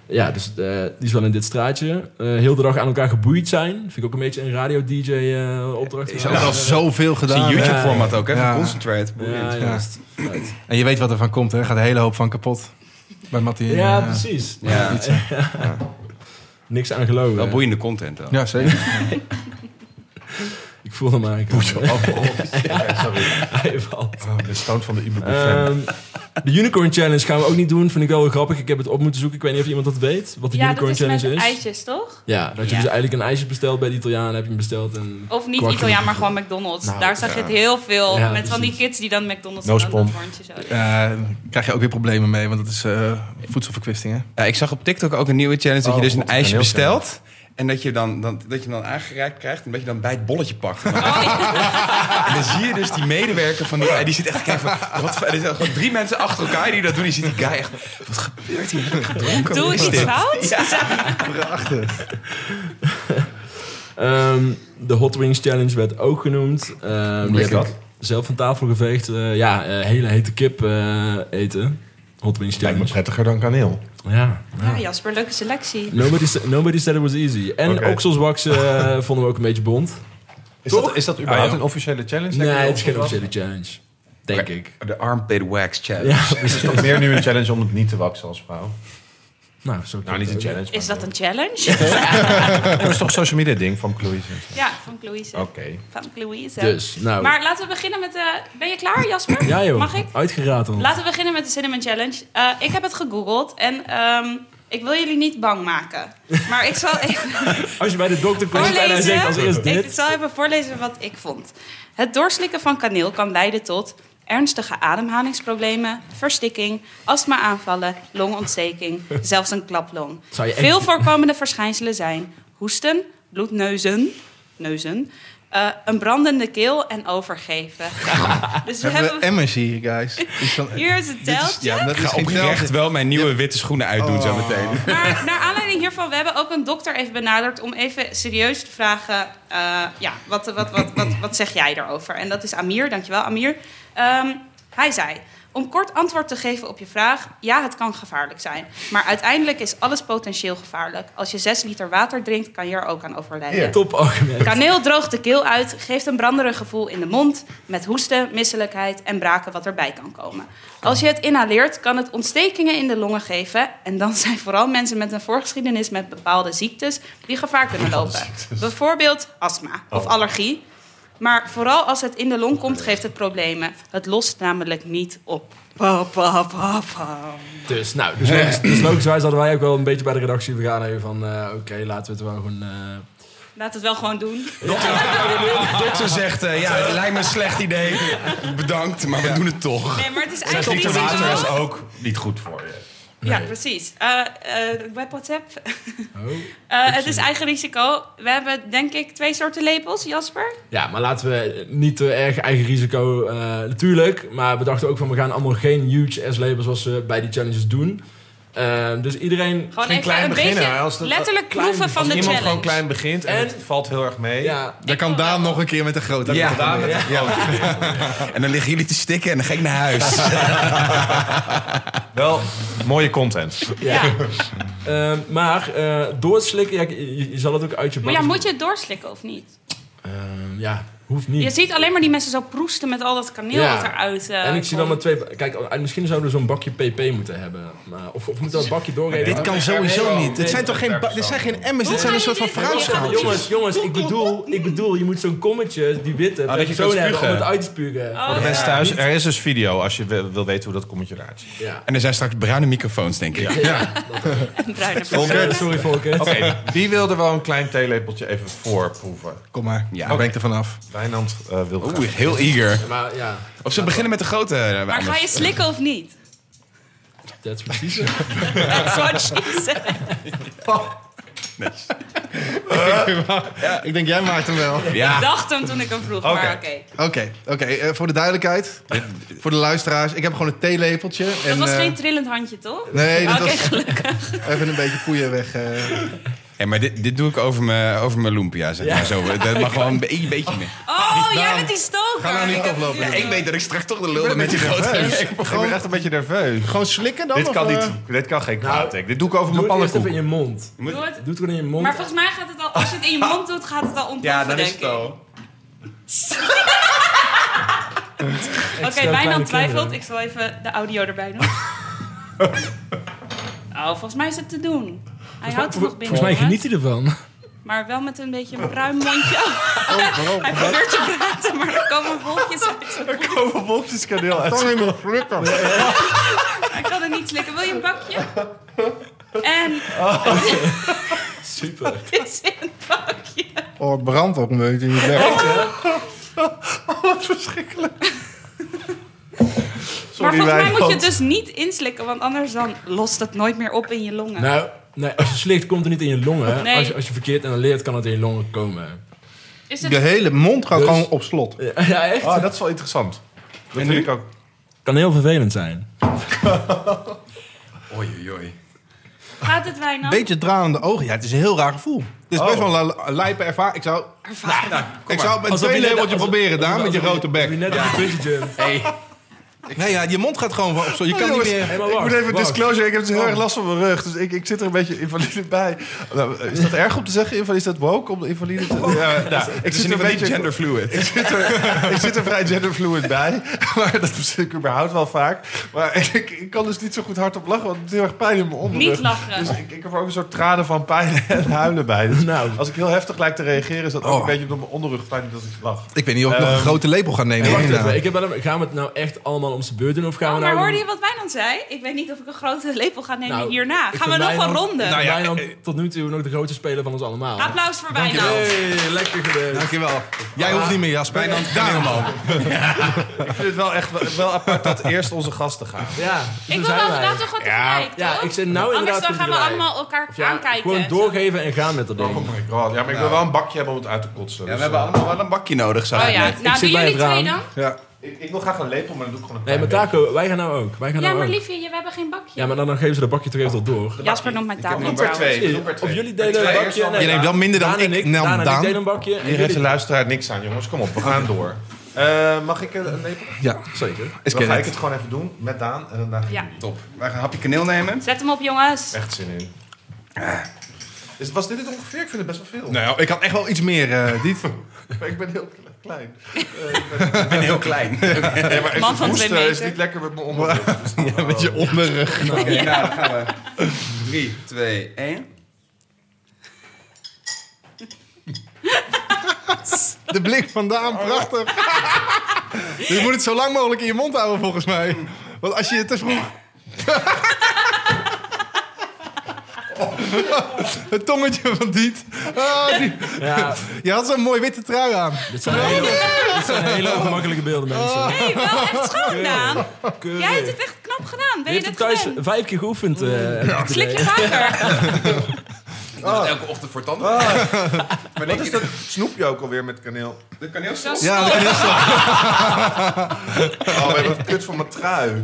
Speaker 3: Ja, dus eh, die is wel in dit straatje. Eh, heel de dag aan elkaar geboeid zijn. Vind ik ook een beetje een radio-dj-opdracht.
Speaker 5: Is ook al zoveel gedaan. hè?
Speaker 4: YouTube-format ook, hè?
Speaker 5: Ja.
Speaker 4: Van Concentrate.
Speaker 3: ja, juist. Right.
Speaker 5: En je weet wat er van komt, hè? Gaat een hele hoop van kapot. Bij Mattie.
Speaker 3: ja,
Speaker 5: eh,
Speaker 3: precies.
Speaker 4: Ja.
Speaker 3: Niks aan geloven.
Speaker 4: Wel boeiende content dan.
Speaker 5: Ja, zeker.
Speaker 1: Je
Speaker 3: Ik voelde me eigenlijk...
Speaker 1: Poetje. Oh, god. Ja, sorry.
Speaker 3: Hij valt.
Speaker 1: Oh, de stand van de ibuprofen.
Speaker 3: Ehm, de Unicorn Challenge gaan we ook niet doen. Vind ik wel heel grappig. Ik heb het op moeten zoeken. Ik weet niet of iemand dat weet. Wat de
Speaker 2: Ja, dat
Speaker 3: Unicorn
Speaker 2: is met
Speaker 3: Challenge is.
Speaker 2: eitjes, toch?
Speaker 3: Ja, dat je
Speaker 2: Ja.
Speaker 3: dus eigenlijk een ijsje bestelt bij de Italiaan. Heb je hem besteld. En...
Speaker 2: Of niet
Speaker 3: Kwartje.
Speaker 2: Italiaan, maar gewoon McDonald's.
Speaker 1: Nou,
Speaker 2: Daar zag je het heel veel.
Speaker 3: Ja,
Speaker 2: met van die
Speaker 3: precies.
Speaker 2: kids die dan McDonald's
Speaker 1: No
Speaker 2: en dan
Speaker 1: spon.
Speaker 2: dat hoorntje zo.
Speaker 5: Eh, krijg je ook weer problemen mee, want dat is eh, voedselverkwisting, hè?
Speaker 4: Ja, Eh, ik zag op TikTok ook een nieuwe challenge dat
Speaker 1: Oh,
Speaker 4: je dus een
Speaker 1: God,
Speaker 4: ijsje
Speaker 1: heel
Speaker 4: bestelt. En dat je, dan, dan, dat je hem dan aangereikt krijgt en dat je dan bij het bolletje pakt. En dan zie je dus die medewerker van die guy, die zit echt te kijken van... Wat, voor- er zijn gewoon drie mensen achter elkaar die dat doen. Die ziet die guy echt, wat gebeurt hier? Heb ik gedronken?
Speaker 2: Doe
Speaker 4: Wat
Speaker 2: ik
Speaker 4: is
Speaker 2: iets
Speaker 4: dit?
Speaker 2: fout?
Speaker 3: Ehm, de Hot Wings Challenge werd ook genoemd. Ehm, die
Speaker 4: is
Speaker 3: heb ik
Speaker 4: dat?
Speaker 3: zelf van tafel geveegd. Eh, ja, eh, hele hete kip eh, eten. Hot Wings
Speaker 1: Lijkt me
Speaker 3: Challenge.
Speaker 1: prettiger dan kaneel.
Speaker 3: Ja.
Speaker 2: Ja, Ah, Jasper, leuke selectie.
Speaker 3: Nobody, sa- nobody said it was easy. En
Speaker 1: Oké.
Speaker 3: okselswaksen eh, vonden we ook een beetje bond.
Speaker 1: Is
Speaker 3: Toch?
Speaker 1: dat, is dat überhaupt
Speaker 4: Ah, ja.
Speaker 1: een officiële challenge?
Speaker 3: Nee,
Speaker 1: Lekker
Speaker 3: het is geen
Speaker 1: opgewassen?
Speaker 3: officiële challenge. Denk ik.
Speaker 4: De armpit wax challenge.
Speaker 3: Ja,
Speaker 1: Het is toch meer nu een challenge om het niet te waksen als vrouw?
Speaker 3: nou, zo
Speaker 1: Nou, niet een challenge.
Speaker 2: Is
Speaker 1: maar-
Speaker 2: dat een challenge?
Speaker 1: Dat is toch een social media ding van Cloise?
Speaker 2: Ja, van Louise.
Speaker 1: Oké.
Speaker 2: Van Louise.
Speaker 3: Oh. Dus, nou.
Speaker 2: Maar laten we beginnen met de... Ben je klaar, Jasper?
Speaker 3: ja joh,
Speaker 2: Mag ik?
Speaker 3: uitgerateld.
Speaker 2: Laten we beginnen met de Cinnamon Challenge. Eh, ik heb het gegoogeld en ehm, ik wil jullie niet bang maken. Maar ik zal even
Speaker 3: Als je bij de dokter komt en hij
Speaker 2: voorlezen.
Speaker 3: zegt als eerst dit.
Speaker 2: Ik zal even voorlezen wat ik vond. Het doorslikken van kaneel kan leiden tot ernstige ademhalingsproblemen, verstikking, astma-aanvallen, longontsteking, zelfs een klaplong.
Speaker 3: Zou je echt-
Speaker 2: Veel voorkomende verschijnselen zijn hoesten, bloedneuzen, neuzen, eh, een brandende keel en overgeven. dus we
Speaker 5: Hebben we
Speaker 2: hebben...
Speaker 5: emmers hier, guys? Iets van-
Speaker 2: Hier is het
Speaker 5: Dit
Speaker 2: teltje.
Speaker 5: is- ja, dat
Speaker 4: Ik
Speaker 5: is
Speaker 4: ga
Speaker 5: geen
Speaker 4: oprecht
Speaker 5: teltje.
Speaker 4: wel mijn nieuwe witte schoenen uitdoen zo meteen.
Speaker 2: Maar naar aanleiding hiervan, we hebben ook een dokter even benaderd om even serieus te vragen. eh, ja, wat, wat, wat, wat, wat zeg jij daarover? En dat is Amir, dankjewel Amir. Ehm, hij zei. Om kort antwoord te geven op je vraag, ja, het kan gevaarlijk zijn. Maar uiteindelijk is alles potentieel gevaarlijk. Als je 6 liter water drinkt, kan je er ook aan overlijden.
Speaker 3: Top argument.
Speaker 2: Kaneel droogt de keel uit, geeft een branderig gevoel in de mond... met hoesten, misselijkheid en braken wat erbij kan komen. Als je het inhaleert, kan het ontstekingen in de longen geven... en dan zijn vooral mensen met een voorgeschiedenis met bepaalde ziektes... die gevaar kunnen lopen. Bijvoorbeeld astma of allergie. Maar vooral als het in de long komt, geeft het problemen. Het lost namelijk niet op. Pa, pa, pa, pa.
Speaker 3: Dus, nou, dus, logisch, dus logischerwijs hadden wij ook wel een beetje bij de redactie vergaderd van... eh, Oké, laten we het wel gewoon... eh,
Speaker 2: Laat het wel gewoon doen.
Speaker 4: De dokter zegt, eh, ja, het lijkt me een slecht idee. Bedankt, maar we doen het toch.
Speaker 2: Nee, maar het is
Speaker 1: Zes
Speaker 2: eigenlijk
Speaker 1: liter
Speaker 2: niet
Speaker 1: water is
Speaker 2: zo...
Speaker 1: ook niet goed voor je.
Speaker 2: Ja, precies. Eh eh, web WhatsApp,
Speaker 3: oh.
Speaker 2: Eh, het is eigen risico. We hebben denk ik twee soorten lepels, Jasper.
Speaker 3: Ja, maar laten we niet te erg eigen risico... eh, natuurlijk, maar we dachten ook van... We gaan allemaal geen huge S-labels zoals ze bij die challenges doen. Eh, dus iedereen...
Speaker 2: Gewoon
Speaker 1: Geen
Speaker 2: even
Speaker 1: klein
Speaker 2: een
Speaker 1: beginnen,
Speaker 2: beetje
Speaker 1: als dat-
Speaker 2: letterlijk
Speaker 3: klein-
Speaker 2: kloeven van
Speaker 1: Als
Speaker 2: de
Speaker 1: iemand
Speaker 2: challenge.
Speaker 1: gewoon klein begint en,
Speaker 3: En-
Speaker 1: het valt heel erg mee.
Speaker 3: Ja,
Speaker 5: Dan kan Daan nog een keer met de grote.
Speaker 4: Ja.
Speaker 5: Daan met de-
Speaker 4: En dan liggen jullie te stikken en dan ga ik naar huis.
Speaker 1: Wel mooie content.
Speaker 3: ja. Eh, maar eh, door het slikken... Ja, je, je- je zal het ook uit je
Speaker 2: Maar
Speaker 3: bak...
Speaker 2: ja, moet je het doorslikken of niet?
Speaker 3: Eh, ja, hoeft niet.
Speaker 2: Je ziet alleen maar die mensen zo proesten met al dat kaneel
Speaker 3: Ja.
Speaker 2: wat eruit eh,
Speaker 3: en ik zie wel
Speaker 2: komt.
Speaker 3: maar twee... Kijk, oh, misschien zouden we zo'n bakje PP moeten hebben. Maar, of, of moeten we dat bakje doorgeven?
Speaker 5: Dit kan sowieso niet. Dit
Speaker 3: Nee.
Speaker 5: zijn toch geen, ba- dit zijn geen emmers,
Speaker 2: Hoe
Speaker 5: dit zijn een
Speaker 2: ga
Speaker 5: soort
Speaker 2: je
Speaker 5: van
Speaker 2: dit- Ja,
Speaker 5: fruitschaal.
Speaker 3: Jongens, jongens, ik bedoel, ik bedoel, je moet zo'n kommetje, die witte,
Speaker 1: dat je
Speaker 3: zo
Speaker 1: kunt
Speaker 3: hebben om
Speaker 1: spugen.
Speaker 3: het uit te spugen.
Speaker 2: Oh,
Speaker 1: Voor de
Speaker 2: ja.
Speaker 1: mensen thuis, er is dus video als je wil wil weten hoe dat kommetje eruit ziet.
Speaker 3: Ja.
Speaker 4: En er zijn straks bruine microfoons, denk ik.
Speaker 2: En
Speaker 3: Sorry,
Speaker 2: bruine personen.
Speaker 3: Oh, Sorry, Volker.
Speaker 1: Oké, wie wil er wel een klein theelepeltje even voorproeven?
Speaker 5: Kom maar,
Speaker 4: Ja.
Speaker 5: daar ben ik er vanaf.
Speaker 1: Wijnand eh, wil graag.
Speaker 4: Oeh, heel eager.
Speaker 3: Maar ja,
Speaker 4: Of ze beginnen met de grote. eh,
Speaker 2: Maar ga
Speaker 4: anders.
Speaker 2: je slikken of niet?
Speaker 3: dat is precies
Speaker 2: That's what she said.
Speaker 5: Ik denk, jij maakt hem wel. Oké,
Speaker 2: Ik
Speaker 4: Ja,
Speaker 2: dacht hem toen ik hem vroeg, maar
Speaker 1: Oké.
Speaker 2: oké.
Speaker 5: oké. eh, voor de duidelijkheid, voor de luisteraars. Ik heb gewoon een theelepeltje.
Speaker 2: Dat
Speaker 5: en,
Speaker 2: was
Speaker 5: eh,
Speaker 2: geen trillend handje, toch?
Speaker 5: Nee, dat
Speaker 2: Oké,
Speaker 5: was even een beetje poeien weg. eh.
Speaker 4: Ja, maar dit, dit doe ik over mijn, over mijn lumpia, zeg maar zo. Dat mag gewoon een be- een beetje meer.
Speaker 2: Oh, jij bent die stoker.
Speaker 5: Ga nou niet
Speaker 2: Ik heb-
Speaker 5: aflopen.
Speaker 4: Ja, ik weet dat ik straks toch de lul
Speaker 5: ben
Speaker 4: ben met die grote.
Speaker 1: Ik ben echt een beetje nerveus.
Speaker 5: Gewoon slikken dan?
Speaker 1: Dit
Speaker 5: of,
Speaker 1: kan,
Speaker 5: eh,
Speaker 1: niet, dit kan geen kwaad.
Speaker 3: Nou,
Speaker 1: Dick. dit doe ik over
Speaker 3: Doe
Speaker 1: mijn
Speaker 3: het eerst even in
Speaker 1: pannenkoek.
Speaker 3: je mond.
Speaker 2: Doe het.
Speaker 3: Doe het gewoon in je mond.
Speaker 2: Maar volgens mij gaat het al, als je het in je mond doet, gaat het al ontploffen,
Speaker 4: Ja, dan is
Speaker 2: denk
Speaker 4: het
Speaker 2: ik.
Speaker 4: al.
Speaker 2: Oké,
Speaker 3: Extra kleine
Speaker 2: Wijnand twijfelt.
Speaker 3: kinderen.
Speaker 2: Ik zal even de audio erbij doen. oh, volgens mij is het te doen. Hij houdt het nog binnen.
Speaker 3: Volgens mij
Speaker 2: jongens.
Speaker 3: geniet hij ervan.
Speaker 2: Maar wel met een beetje een bruin mondje. Oh, Hij probeert te praten, maar er komen wolkjes uit.
Speaker 1: Er komen wolkjes kaneel uit.
Speaker 2: Hij kan het niet slikken. Wil je een bakje? En
Speaker 3: Super.
Speaker 2: het is een bakje.
Speaker 5: Oh, het brandt ook een beetje in je bek.
Speaker 2: maar volgens mij moet je
Speaker 1: Wijnand.
Speaker 2: het dus niet inslikken, want anders dan lost het nooit meer op in je longen.
Speaker 3: Nou, nee, als je slikt, komt het niet in je longen.
Speaker 2: Nee.
Speaker 3: Als, je, als je verkeerd inhaleert, kan het in je longen komen.
Speaker 2: Is
Speaker 5: Je
Speaker 2: het...
Speaker 5: hele mond gaat
Speaker 3: Dus-
Speaker 5: gewoon op slot.
Speaker 3: Ja, echt?
Speaker 1: Ah, dat is wel interessant. Dat vind ik ook.
Speaker 3: Kan heel vervelend zijn.
Speaker 4: Oei, oei, oei.
Speaker 2: Gaat het, Wijnand?
Speaker 5: Beetje tranende ogen. Ja, het is een heel raar gevoel. Het is best wel een li- lijpe ervaring. Ik zou, ik zou het
Speaker 3: Alsof
Speaker 5: met
Speaker 3: je
Speaker 5: twee
Speaker 3: net-
Speaker 5: labeltje
Speaker 3: alsof-
Speaker 5: proberen, Daan,
Speaker 3: alsof-
Speaker 5: met je
Speaker 3: alsof
Speaker 5: grote
Speaker 3: Heb je
Speaker 5: bek.
Speaker 3: net op de bungee jump.
Speaker 5: Nee, ja, je mond gaat gewoon van op slot. Je kan niet meer...
Speaker 3: Hey, maar
Speaker 1: Oh, Ik
Speaker 3: wacht,
Speaker 1: moet even een
Speaker 3: wacht.
Speaker 1: disclosure. Ik heb dus heel erg last van mijn rug. Dus ik, ik zit er een beetje invalide bij. Nou, is dat erg om te zeggen? Invalide, is dat woke om de invalide te... Ja, nou, ik, zit er een beetje, ik, zit er, ik zit er vrij genderfluid bij. Maar dat bestel ik überhaupt wel vaak. Maar ik, ik kan dus niet zo goed hardop lachen. Want het is heel erg pijn in mijn onderrug.
Speaker 3: Nou,
Speaker 2: Niet lachen. Oh,
Speaker 1: Dus ik, ik heb er ook een soort tranen van pijn en huilen bij. Dus
Speaker 3: Nou.
Speaker 1: als ik heel heftig lijk te reageren... is dat ook
Speaker 5: Oh.
Speaker 1: een beetje omdat mijn onderrug pijn doet als ik lach.
Speaker 5: Ik weet niet of ik nog een
Speaker 1: Ehm,
Speaker 5: grote lepel ga nemen.
Speaker 3: Hey, wacht
Speaker 5: Ja.
Speaker 3: even. Ik heb wel een- gaan we het nou echt allemaal om zijn beurt doen? Of gaan
Speaker 2: Oh,
Speaker 3: we
Speaker 2: maar
Speaker 3: nou...
Speaker 2: hoorde je wat Wijnand zei? Ik weet niet of ik een grote lepel ga nemen
Speaker 3: Nou,
Speaker 2: hierna.
Speaker 3: ik
Speaker 2: Gaan we
Speaker 3: vind
Speaker 2: nog een
Speaker 3: Wijnand-
Speaker 2: ronde?
Speaker 3: Nou ja, Wijnand,
Speaker 5: eh,
Speaker 3: tot nu toe nog de grootste speler van ons allemaal.
Speaker 2: Applaus voor Wijnand.
Speaker 3: Hey, lekker gebeurd.
Speaker 5: Dankjewel. Jij hoeft niet meer, Jasper. Daarom al.
Speaker 1: Ik vind het wel echt wel, wel apart dat eerst onze gasten gaan.
Speaker 3: Ja, zo
Speaker 2: Ik wil
Speaker 3: zijn
Speaker 2: wel
Speaker 3: wij.
Speaker 2: inderdaad toch wat tegelijk,
Speaker 3: Ja,
Speaker 2: toch?
Speaker 3: ik zit nou
Speaker 2: Anders
Speaker 3: inderdaad...
Speaker 2: dan gaan we
Speaker 3: tegelijk.
Speaker 2: allemaal elkaar
Speaker 3: Of ja,
Speaker 2: aankijken.
Speaker 3: Gewoon doorgeven en gaan met dat ding.
Speaker 1: Oh my god. Ja, maar ik wil wel een bakje hebben om het uit te kotsen.
Speaker 4: Ja,
Speaker 1: Dus,
Speaker 4: we hebben
Speaker 1: eh,
Speaker 4: allemaal wel een bakje nodig, zag
Speaker 2: Oh
Speaker 4: ik
Speaker 2: ja,
Speaker 4: net.
Speaker 2: nou
Speaker 3: zit
Speaker 2: doen
Speaker 3: bij
Speaker 2: jullie
Speaker 3: het
Speaker 2: twee dan?
Speaker 3: raam.
Speaker 5: Ja.
Speaker 1: Ik, ik wil graag een lepel, maar dan doe ik gewoon een
Speaker 3: Nee, maar
Speaker 1: klein beetje.
Speaker 3: Taco, wij gaan nou ook. Wij gaan
Speaker 2: Ja,
Speaker 3: nou
Speaker 2: maar
Speaker 3: ook.
Speaker 2: liefje, je- we hebben geen bakje.
Speaker 3: Ja, maar dan, dan geven ze dat bakje toch even tot door.
Speaker 2: Jasper noemt mijn taal
Speaker 1: Ik
Speaker 2: niet
Speaker 1: heb er
Speaker 2: trouwens.
Speaker 1: twee. Ik heb er
Speaker 3: Of
Speaker 1: twee.
Speaker 3: jullie delen een
Speaker 1: Twee
Speaker 3: bakje.
Speaker 1: eerst
Speaker 5: Je neemt wel minder dan
Speaker 3: Daan en
Speaker 5: ik. Nou,
Speaker 3: Daan en ik
Speaker 5: Daan.
Speaker 3: delen een bakje. En
Speaker 1: Hier heeft de
Speaker 3: jullie-
Speaker 1: luisteraar niks aan, jongens. Kom op, we gaan door. Eh, mag ik een lepel?
Speaker 5: Ja,
Speaker 3: Zeker.
Speaker 1: Dan
Speaker 5: is
Speaker 1: ga ik
Speaker 5: kennis.
Speaker 1: het gewoon even doen met Daan en dan gaan
Speaker 2: Ja.
Speaker 1: jullie.
Speaker 4: Top. Wij gaan een hapje kaneel nemen.
Speaker 2: Zet hem op, jongens.
Speaker 1: Echt zin in. Is, was dit het ongeveer? Ik vind het best wel veel.
Speaker 5: Nou, ik had echt wel iets meer, eh, dit.
Speaker 1: Maar ik ben heel kle- klein.
Speaker 4: Ik ben heel klein.
Speaker 1: Nee, maar
Speaker 2: Man van
Speaker 1: hoesten
Speaker 2: twee meter.
Speaker 1: is niet lekker met mijn onderrug. Dus-
Speaker 5: je onderrug.
Speaker 4: Oké, nou, dan gaan we. 3, 2, 1.
Speaker 5: De blik van Daan, prachtig. Dus je moet het zo lang mogelijk in je mond houden, volgens mij. Want als je het te vroeg... Het tongetje van Diet. Ah, die-
Speaker 3: Ja,
Speaker 5: Je had zo'n mooi witte trui aan.
Speaker 3: dit zijn hele, dit zijn hele ongemakkelijke beelden, mensen.
Speaker 2: Hé, wel echt schoon, Daan.
Speaker 3: Keurig.
Speaker 2: Jij hebt het echt knap gedaan. Ben
Speaker 3: Je hebt
Speaker 2: je
Speaker 3: het
Speaker 2: dat
Speaker 3: thuis
Speaker 2: gewend?
Speaker 3: vijf keer geoefend. eh, heb ik het
Speaker 2: Slik
Speaker 3: idee.
Speaker 2: je vaker.
Speaker 4: Elke ochtend voor tanden. Maar
Speaker 1: Wat
Speaker 4: denk
Speaker 1: is
Speaker 4: je
Speaker 1: dat snoepje ook alweer met kaneel?
Speaker 4: De kaneelstop?
Speaker 2: Dat is
Speaker 5: Ja,
Speaker 2: stom.
Speaker 5: dat kan heel
Speaker 1: Oh, en het kut van mijn trui.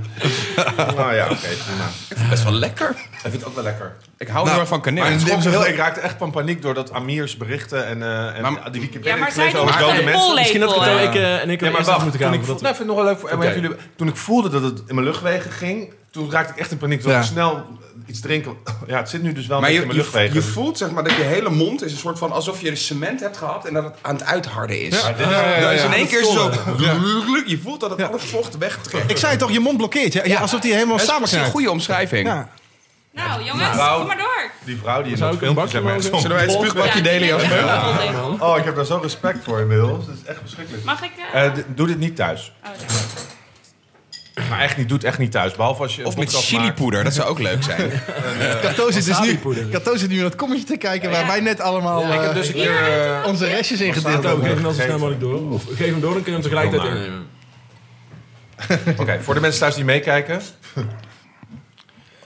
Speaker 1: Nou ja, oké, prima.
Speaker 4: Best wel lekker.
Speaker 1: Ik vind het ook wel lekker.
Speaker 4: Ik hou heel erg van kaneel.
Speaker 1: Maar het
Speaker 5: dit
Speaker 1: schrok
Speaker 5: is
Speaker 1: me
Speaker 5: wel-
Speaker 1: heel- ik raakte echt van paniek doordat Amirs berichten en, eh en
Speaker 4: Maar-
Speaker 1: die
Speaker 2: Ja,
Speaker 1: Wikipedia
Speaker 2: maar
Speaker 1: ik
Speaker 2: zij
Speaker 1: gelezen
Speaker 2: doen
Speaker 1: over
Speaker 2: het
Speaker 1: dode
Speaker 2: met een
Speaker 1: mensen.
Speaker 3: Misschien dat ik
Speaker 2: pollepel.
Speaker 3: het ook, ik, eh, en ik
Speaker 1: Ja, maar
Speaker 3: eerst af
Speaker 1: wacht,
Speaker 3: moeten
Speaker 1: toen ik,
Speaker 3: gaan.
Speaker 1: voelde,
Speaker 3: omdat we-
Speaker 1: nou, vind ik nog wel leuk voor-
Speaker 3: Oké.
Speaker 1: jullie, toen ik voelde dat het in mijn luchtwegen ging, toen raakte ik echt in paniek. Toen
Speaker 5: Ja.
Speaker 1: ik snel iets drinken. Ja, het zit nu dus wel
Speaker 4: Maar
Speaker 1: een beetje
Speaker 4: je,
Speaker 1: in mijn
Speaker 4: je,
Speaker 1: luchtwegen.
Speaker 4: je voelt zeg maar dat je hele mond is een soort van alsof je cement hebt gehad en dat het aan het uitharden is.
Speaker 1: Ja, dit is-
Speaker 4: Dat is in één keer zo. Je voelt dat het
Speaker 5: Ja.
Speaker 4: alle vocht wegtrekt.
Speaker 5: Ik zei toch, je mond blokkeert. Ja, alsof die helemaal
Speaker 4: Dat is een
Speaker 5: samenknijpt.
Speaker 4: goede omschrijving.
Speaker 5: Ja.
Speaker 2: Nou, jongens,
Speaker 1: Nou.
Speaker 2: kom maar door.
Speaker 1: Die vrouw die in
Speaker 3: Zou
Speaker 1: dat
Speaker 3: ik
Speaker 1: filmpje
Speaker 3: een bakje
Speaker 1: zeg maar,
Speaker 3: mogen?
Speaker 1: soms-
Speaker 4: Zullen wij het spuugbakje
Speaker 2: Ja,
Speaker 4: delen?
Speaker 2: die
Speaker 4: Jasper?
Speaker 2: neem ik ook wel ding.
Speaker 1: Oh, ik heb daar zo respect voor inmiddels. Dat is echt verschrikkelijk.
Speaker 2: Mag ik? eh,
Speaker 1: Eh, d- doe dit niet thuis.
Speaker 2: oh, ja.
Speaker 1: Maar echt niet, doe het echt niet thuis. Behalve als je een
Speaker 4: Of met
Speaker 1: podcast maakt.
Speaker 4: chilipoeder, dat Eh, zou ook leuk zijn.
Speaker 5: Kato zit, dus nu,
Speaker 3: Wasabi-poeder.
Speaker 5: Kato zit nu naar het kommetje te kijken waar
Speaker 2: Ja.
Speaker 5: wij net allemaal
Speaker 3: Ja, ik heb
Speaker 5: eh,
Speaker 3: dus een
Speaker 2: Hier,
Speaker 3: keer... eh,
Speaker 5: onze restjes in gedeeld
Speaker 3: Taco, geef
Speaker 5: hebben.
Speaker 3: hem dan zo snel mogelijk door. Of geef hem door, dan kun je hem tegelijkertijd
Speaker 1: Heel naar.
Speaker 3: innemen.
Speaker 1: Oké, voor de mensen thuis die meekijken.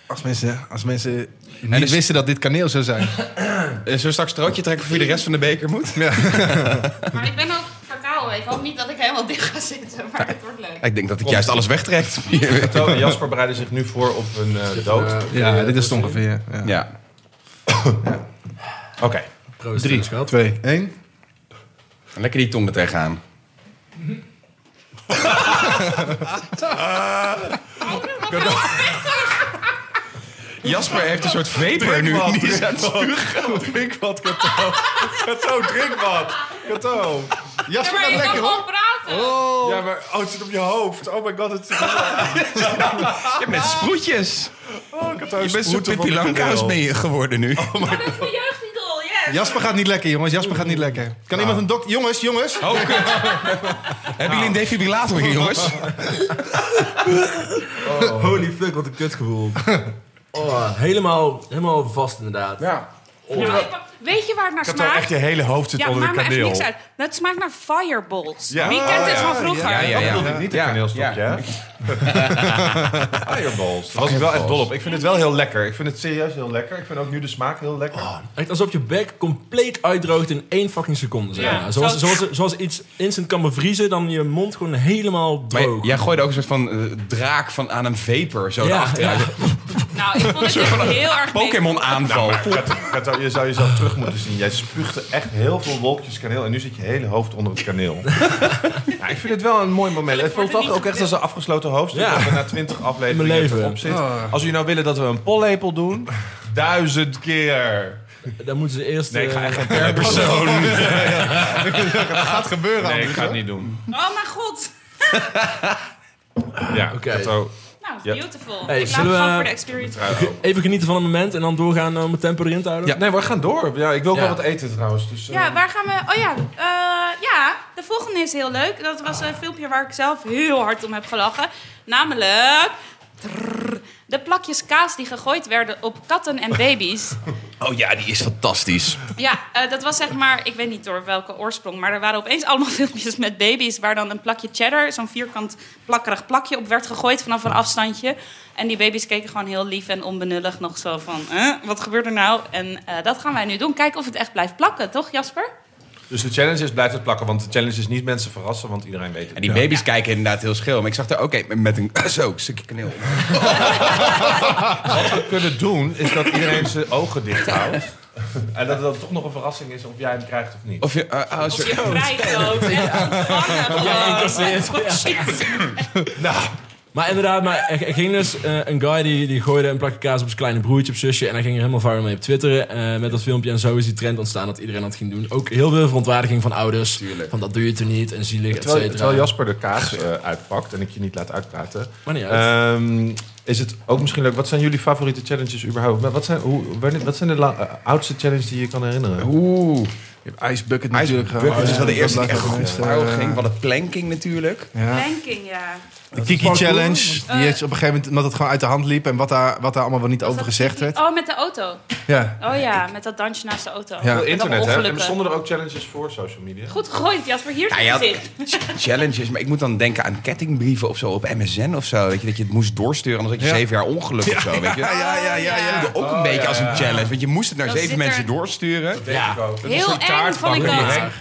Speaker 5: Als mensen, als mensen niet
Speaker 4: En dus-
Speaker 5: wisten dat dit kaneel zou zijn.
Speaker 4: Zullen we straks strootje trekken voor je de rest van de beker moet?
Speaker 2: Maar ik ben ook verkouden. Ik hoop niet dat ik helemaal dicht ga zitten, maar het wordt leuk.
Speaker 4: Ik denk dat ik juist alles wegtrekt.
Speaker 1: Zo, en Jasper bereidde zich nu voor op een eh, dood.
Speaker 3: Eh,
Speaker 5: Ja, dit is het ongeveer. Ja.
Speaker 4: Ja.
Speaker 1: Oké.
Speaker 3: Proost,
Speaker 5: Drie,
Speaker 3: dus, schat.
Speaker 5: twee, één.
Speaker 4: Lekker die tong er tegenaan. Jasper heeft een soort vapor nu.
Speaker 1: wat.
Speaker 4: Die is aan het spugen.
Speaker 1: Drink wat, Kato. Kato, drink wat. Kato.
Speaker 2: Ja,
Speaker 5: Jasper
Speaker 2: maar
Speaker 5: gaat
Speaker 2: je kan
Speaker 5: lekker hoor.
Speaker 2: gewoon praten.
Speaker 1: Ja, maar oh, het zit op je hoofd. Oh my god, het zit
Speaker 4: Ja, met sproetjes.
Speaker 1: Oh, Kato,
Speaker 4: Je bent zo'n
Speaker 1: sproeten van
Speaker 4: Pippi
Speaker 1: de
Speaker 4: Langkous
Speaker 1: kaneel.
Speaker 4: mee geworden nu.
Speaker 2: Dat is mijn jeugdidol, yes.
Speaker 5: Jasper gaat niet lekker, jongens. Jasper gaat niet lekker. Kan iemand een dokter... Jongens, jongens.
Speaker 4: Hebben jullie een defibrillator hier, jongens?
Speaker 3: Holy fuck, wat een kutgevoel. Oh, helemaal, helemaal vast inderdaad.
Speaker 5: Ja.
Speaker 2: Nou, Weet je waar het naar
Speaker 1: Ik had al echt
Speaker 2: smaakt?
Speaker 1: je hele hoofd zit
Speaker 2: Ja,
Speaker 1: onder de
Speaker 2: maakt me echt
Speaker 1: kaneel.
Speaker 2: niks uit. Het smaakt naar fireballs.
Speaker 1: Ja.
Speaker 2: Wie kent dit van vroeger?
Speaker 4: Ja, ja, ja.
Speaker 1: Dat bedoel ik niet, de
Speaker 4: Ja,
Speaker 1: kaneelstokje,
Speaker 4: ja.
Speaker 1: hè? Fireballs. Daar was ik wel echt dol op. Ik vind het wel heel lekker. Ik vind het serieus heel lekker. Ik vind ook nu de smaak heel lekker.
Speaker 3: Ah, Echt alsof je bek compleet uitdroogt in één fucking seconde. zeg
Speaker 2: Ja.
Speaker 3: maar. Zoals,
Speaker 2: Zo-
Speaker 3: zoals, zoals iets instant kan bevriezen, dan je mond gewoon helemaal
Speaker 4: Maar
Speaker 3: droog.
Speaker 4: jij gooide ook een soort van eh, draak van aan een vapor zo
Speaker 3: Ja,
Speaker 4: naar achteruit.
Speaker 2: Nou, ik vond het echt heel erg niks.
Speaker 4: Pokémon aanval.
Speaker 1: Kat- Kat, je zou jezelf terug moeten zien. Jij spuugde echt heel veel wolkjes kaneel. En nu zit je hele hoofd onder het kaneel. Ja, ik vind het wel een mooi moment. Het voelt
Speaker 2: wordt er
Speaker 1: toch
Speaker 2: niet
Speaker 1: ook echt als een afgesloten hoofdstuk.
Speaker 3: Ja.
Speaker 1: Dat we na twintig afleveringen
Speaker 3: Mijn leven.
Speaker 1: erop zitten. Als jullie nou willen dat we een pollepel doen. Duizend keer.
Speaker 3: Dan moeten ze eerst...
Speaker 1: Nee, ik ga
Speaker 3: eh,
Speaker 1: echt geen pollepel doen.
Speaker 5: Dat gaat gebeuren,
Speaker 1: Nee, ik
Speaker 5: Andries,
Speaker 1: ga het
Speaker 5: hoor.
Speaker 1: niet doen.
Speaker 2: Oh mijn god.
Speaker 1: Ja,
Speaker 3: Oké.
Speaker 1: Kato,
Speaker 2: Nou,
Speaker 1: Ja.
Speaker 2: beautiful.
Speaker 3: Hey,
Speaker 2: ik laat
Speaker 3: zullen
Speaker 2: het
Speaker 3: we-
Speaker 2: gewoon voor de experience.
Speaker 1: trouw.
Speaker 3: Even genieten van het moment en dan doorgaan eh, om het tempo erin te houden.
Speaker 1: Ja, nee, we gaan door. Ja, ik wil ook
Speaker 3: Ja.
Speaker 1: wel wat eten trouwens. Dus, eh,
Speaker 2: Ja, waar gaan we... Oh ja, eh, ja, de volgende is heel leuk. Dat was een filmpje waar ik zelf heel hard om heb gelachen. Namelijk... trrr, de plakjes kaas die gegooid werden op katten en baby's.
Speaker 4: Oh ja, die is fantastisch.
Speaker 2: Ja, eh, dat was zeg maar, ik weet niet door welke oorsprong, maar er waren opeens allemaal filmpjes met baby's waar dan een plakje cheddar, zo'n vierkant plakkerig plakje op werd gegooid vanaf een afstandje. En die baby's keken gewoon heel lief en onbenullig nog zo van, eh, wat gebeurt er nou? En eh, dat gaan wij nu doen. Kijken of het echt blijft plakken, toch Jasper?
Speaker 1: Dus de challenge is blijft het plakken. Want de challenge is niet mensen verrassen, want iedereen weet het.
Speaker 4: En die
Speaker 1: Ja.
Speaker 4: baby's kijken inderdaad heel schil. Maar ik zag er ook een met een zo, stukje kaneel.
Speaker 1: Wat we kunnen doen, is dat iedereen zijn ogen dicht houdt. En dat het dan toch nog een verrassing is of jij hem krijgt of niet.
Speaker 4: Of je, eh, oh,
Speaker 2: Of je
Speaker 4: sorry.
Speaker 2: vrijt ook.
Speaker 3: Ja, incasseert.
Speaker 1: Nou,
Speaker 3: Maar inderdaad, maar er, er ging dus eh, een guy die, die gooide een plakje kaas op zijn kleine broertje, op zusje. En hij ging er helemaal viral mee op Twitter eh, met dat filmpje. En zo is die trend ontstaan dat iedereen dat ging doen. Ook heel veel verontwaardiging van ouders. Van dat doe je toen niet en zielig, et
Speaker 1: terwijl,
Speaker 3: cetera.
Speaker 1: terwijl Jasper de kaas eh, uitpakt en ik je niet laat uitpraten.
Speaker 3: Maar niet uit.
Speaker 1: ehm, is het ook misschien leuk, wat zijn jullie favoriete challenges überhaupt? Maar Wat zijn, hoe, wanneer- wat zijn de la- eh, oudste challenges die je kan herinneren?
Speaker 4: Oeh.
Speaker 5: Je hebt Ice Bucket natuurlijk. eh,
Speaker 4: Natuurlijk. Bucket is wel de eerste die echt goed viral ging.
Speaker 5: ging.
Speaker 4: Wat een planking natuurlijk.
Speaker 5: Ja.
Speaker 2: Ranking, ja.
Speaker 5: De Kiki
Speaker 3: parkour.
Speaker 5: Challenge.
Speaker 2: Eh.
Speaker 5: Die is op een gegeven moment, omdat het gewoon uit de hand liep. En wat daar, wat daar allemaal wel niet over gezegd werd.
Speaker 2: Oh, met de auto.
Speaker 5: Ja.
Speaker 2: Oh ja, met dat dansje naast de auto.
Speaker 5: Ja.
Speaker 1: Veel
Speaker 2: Met allemaal
Speaker 1: internet, hè? En
Speaker 2: ongelukken.
Speaker 1: stonden er ook challenges voor social media?
Speaker 2: Goed gegooid, Jasper. Hier
Speaker 4: Nou Ja, ja.
Speaker 2: zit het.
Speaker 4: Challenges. Maar ik moet dan denken aan kettingbrieven of zo op MSN of zo. Weet je, dat je het moest doorsturen. Anders had je
Speaker 5: Ja.
Speaker 4: zeven jaar ongeluk of zo. Weet je.
Speaker 5: ja, ja, ja.
Speaker 4: Ik voelde ook een beetje als een challenge. Want je moest het naar
Speaker 2: Dat
Speaker 4: zeven
Speaker 2: zit er-
Speaker 4: mensen doorsturen.
Speaker 3: Ja.
Speaker 2: Heel eng vond ik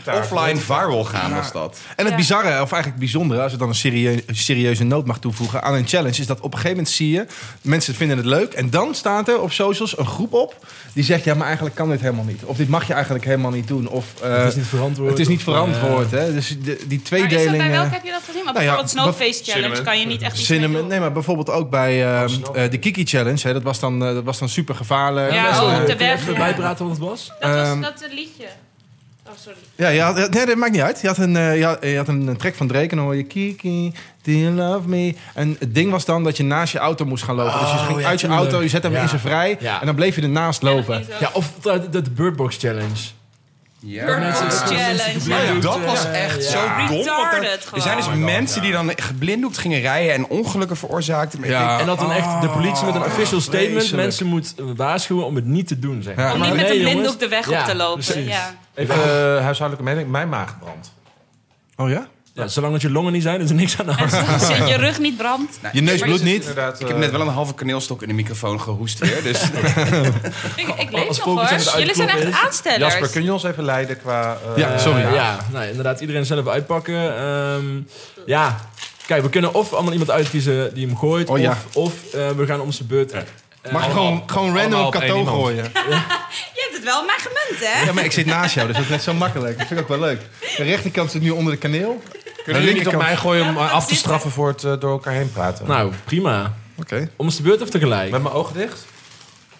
Speaker 2: dat.
Speaker 4: Offline viral gaan was dat.
Speaker 5: En het
Speaker 2: Ja.
Speaker 5: bizarre, of eigenlijk het bijzondere, als ik dan een serieu- een serieuze noot mag toevoegen aan een challenge, is dat op een gegeven moment zie je, mensen vinden het leuk. En dan staat er op socials een groep op die zegt: Ja, maar eigenlijk kan dit helemaal niet. Of dit mag je eigenlijk helemaal niet doen. Of eh,
Speaker 3: het is niet verantwoord.
Speaker 5: het is niet
Speaker 3: Of, eh,
Speaker 5: verantwoord. Hè? Dus de- die
Speaker 2: Maar is dat bij
Speaker 5: tweedeling.
Speaker 2: welke
Speaker 5: eh,
Speaker 2: heb je dat gezien? Want
Speaker 5: nou ja,
Speaker 2: bijvoorbeeld Snowface Challenge
Speaker 1: cinnamon.
Speaker 2: kan je niet echt iets mee
Speaker 5: Cinnamon,
Speaker 2: doen.
Speaker 5: nee, maar bijvoorbeeld ook bij ehm,
Speaker 1: snap.
Speaker 5: eh, de Kiki Challenge. Hè, dat, was dan, eh, dat was dan super gevaarlijk.
Speaker 2: Ja,
Speaker 5: Eh,
Speaker 2: oh, op de
Speaker 3: Kun je
Speaker 2: weg.
Speaker 3: Even
Speaker 2: ja.
Speaker 3: bijpraten wat het was?
Speaker 2: Dat was
Speaker 5: Ehm,
Speaker 2: dat eh, liedje. Oh, sorry.
Speaker 5: Ja, je had, nee, dat maakt niet uit. Je had een, eh, je had, je had een, een track van Drake en dan hoor je Kiki, do you love me? En het ding was dan dat je naast je auto moest gaan lopen. dus je ging
Speaker 3: ja,
Speaker 5: uit je
Speaker 3: tuurlijk.
Speaker 5: auto, je zet hem
Speaker 3: Ja.
Speaker 5: in zijn vrij
Speaker 3: Ja.
Speaker 5: en dan bleef je ernaast lopen.
Speaker 3: Ja, of dat de, de Bird Box Challenge.
Speaker 2: Bird Box Challenge.
Speaker 4: Ja,
Speaker 2: ja.
Speaker 4: dat was echt zo dom. want er-
Speaker 2: Retarded
Speaker 4: er zijn dus
Speaker 2: gewoon.
Speaker 4: mensen die dan geblinddoekt gingen rijden en ongelukken veroorzaakten. Maar ik
Speaker 5: Ja. Ah,
Speaker 4: denk, Oh.
Speaker 3: En dat dan echt de politie met een official statement
Speaker 5: vreselijk.
Speaker 3: mensen moet waarschuwen om het niet te doen. Zeg. maar.
Speaker 2: Om niet
Speaker 3: Maar
Speaker 2: met
Speaker 3: nee,
Speaker 2: een
Speaker 3: jongens.
Speaker 2: blinddoek de weg
Speaker 3: Ja,
Speaker 2: op te lopen.
Speaker 3: precies.
Speaker 2: Ja.
Speaker 1: Even eh, huishoudelijke mening. Mijn maag brandt.
Speaker 5: Oh ja?
Speaker 3: Ja, zolang dat je longen niet zijn, is er niks aan de hand.
Speaker 2: En zit je rug niet brandt.
Speaker 5: Je neus bloedt niet.
Speaker 1: Inderdaad,
Speaker 4: Ik heb
Speaker 1: eh,
Speaker 4: net wel een halve kaneelstok in de microfoon gehoest weer. Dus
Speaker 2: Ik, ik leef
Speaker 3: als
Speaker 2: nog
Speaker 3: focus aan het
Speaker 2: hoor. Jullie zijn echt
Speaker 3: uitkloppen is.
Speaker 2: aanstellers.
Speaker 1: Jasper, kun je ons even leiden qua... eh,
Speaker 5: Ja, sorry.
Speaker 3: Eh, ja, nou, inderdaad, iedereen zelf uitpakken. Ehm, ja, kijk, we kunnen of allemaal iemand uitkiezen die hem gooit,
Speaker 5: Oh, ja.
Speaker 3: of, of eh, we gaan om zijn beurt.
Speaker 5: Mag je gewoon, gewoon
Speaker 1: allemaal
Speaker 5: random
Speaker 1: op
Speaker 5: op
Speaker 1: één
Speaker 5: cadeau
Speaker 1: iemand.
Speaker 5: gooien?
Speaker 2: Je hebt het wel maar gemunt, hè?
Speaker 5: Ja, maar ik zit naast jou, dus dat is net zo makkelijk. Dat vind ik ook wel leuk. De rechterkant zit nu onder de kaneel.
Speaker 1: Kunnen jullie niet op mij gooien om eh,
Speaker 2: Ja,
Speaker 1: af te
Speaker 2: precies.
Speaker 1: straffen voor het eh, door elkaar heen praten?
Speaker 3: Nou, prima.
Speaker 5: Oké.
Speaker 3: Om zijn beurt of tegelijk?
Speaker 1: Met mijn ogen dicht?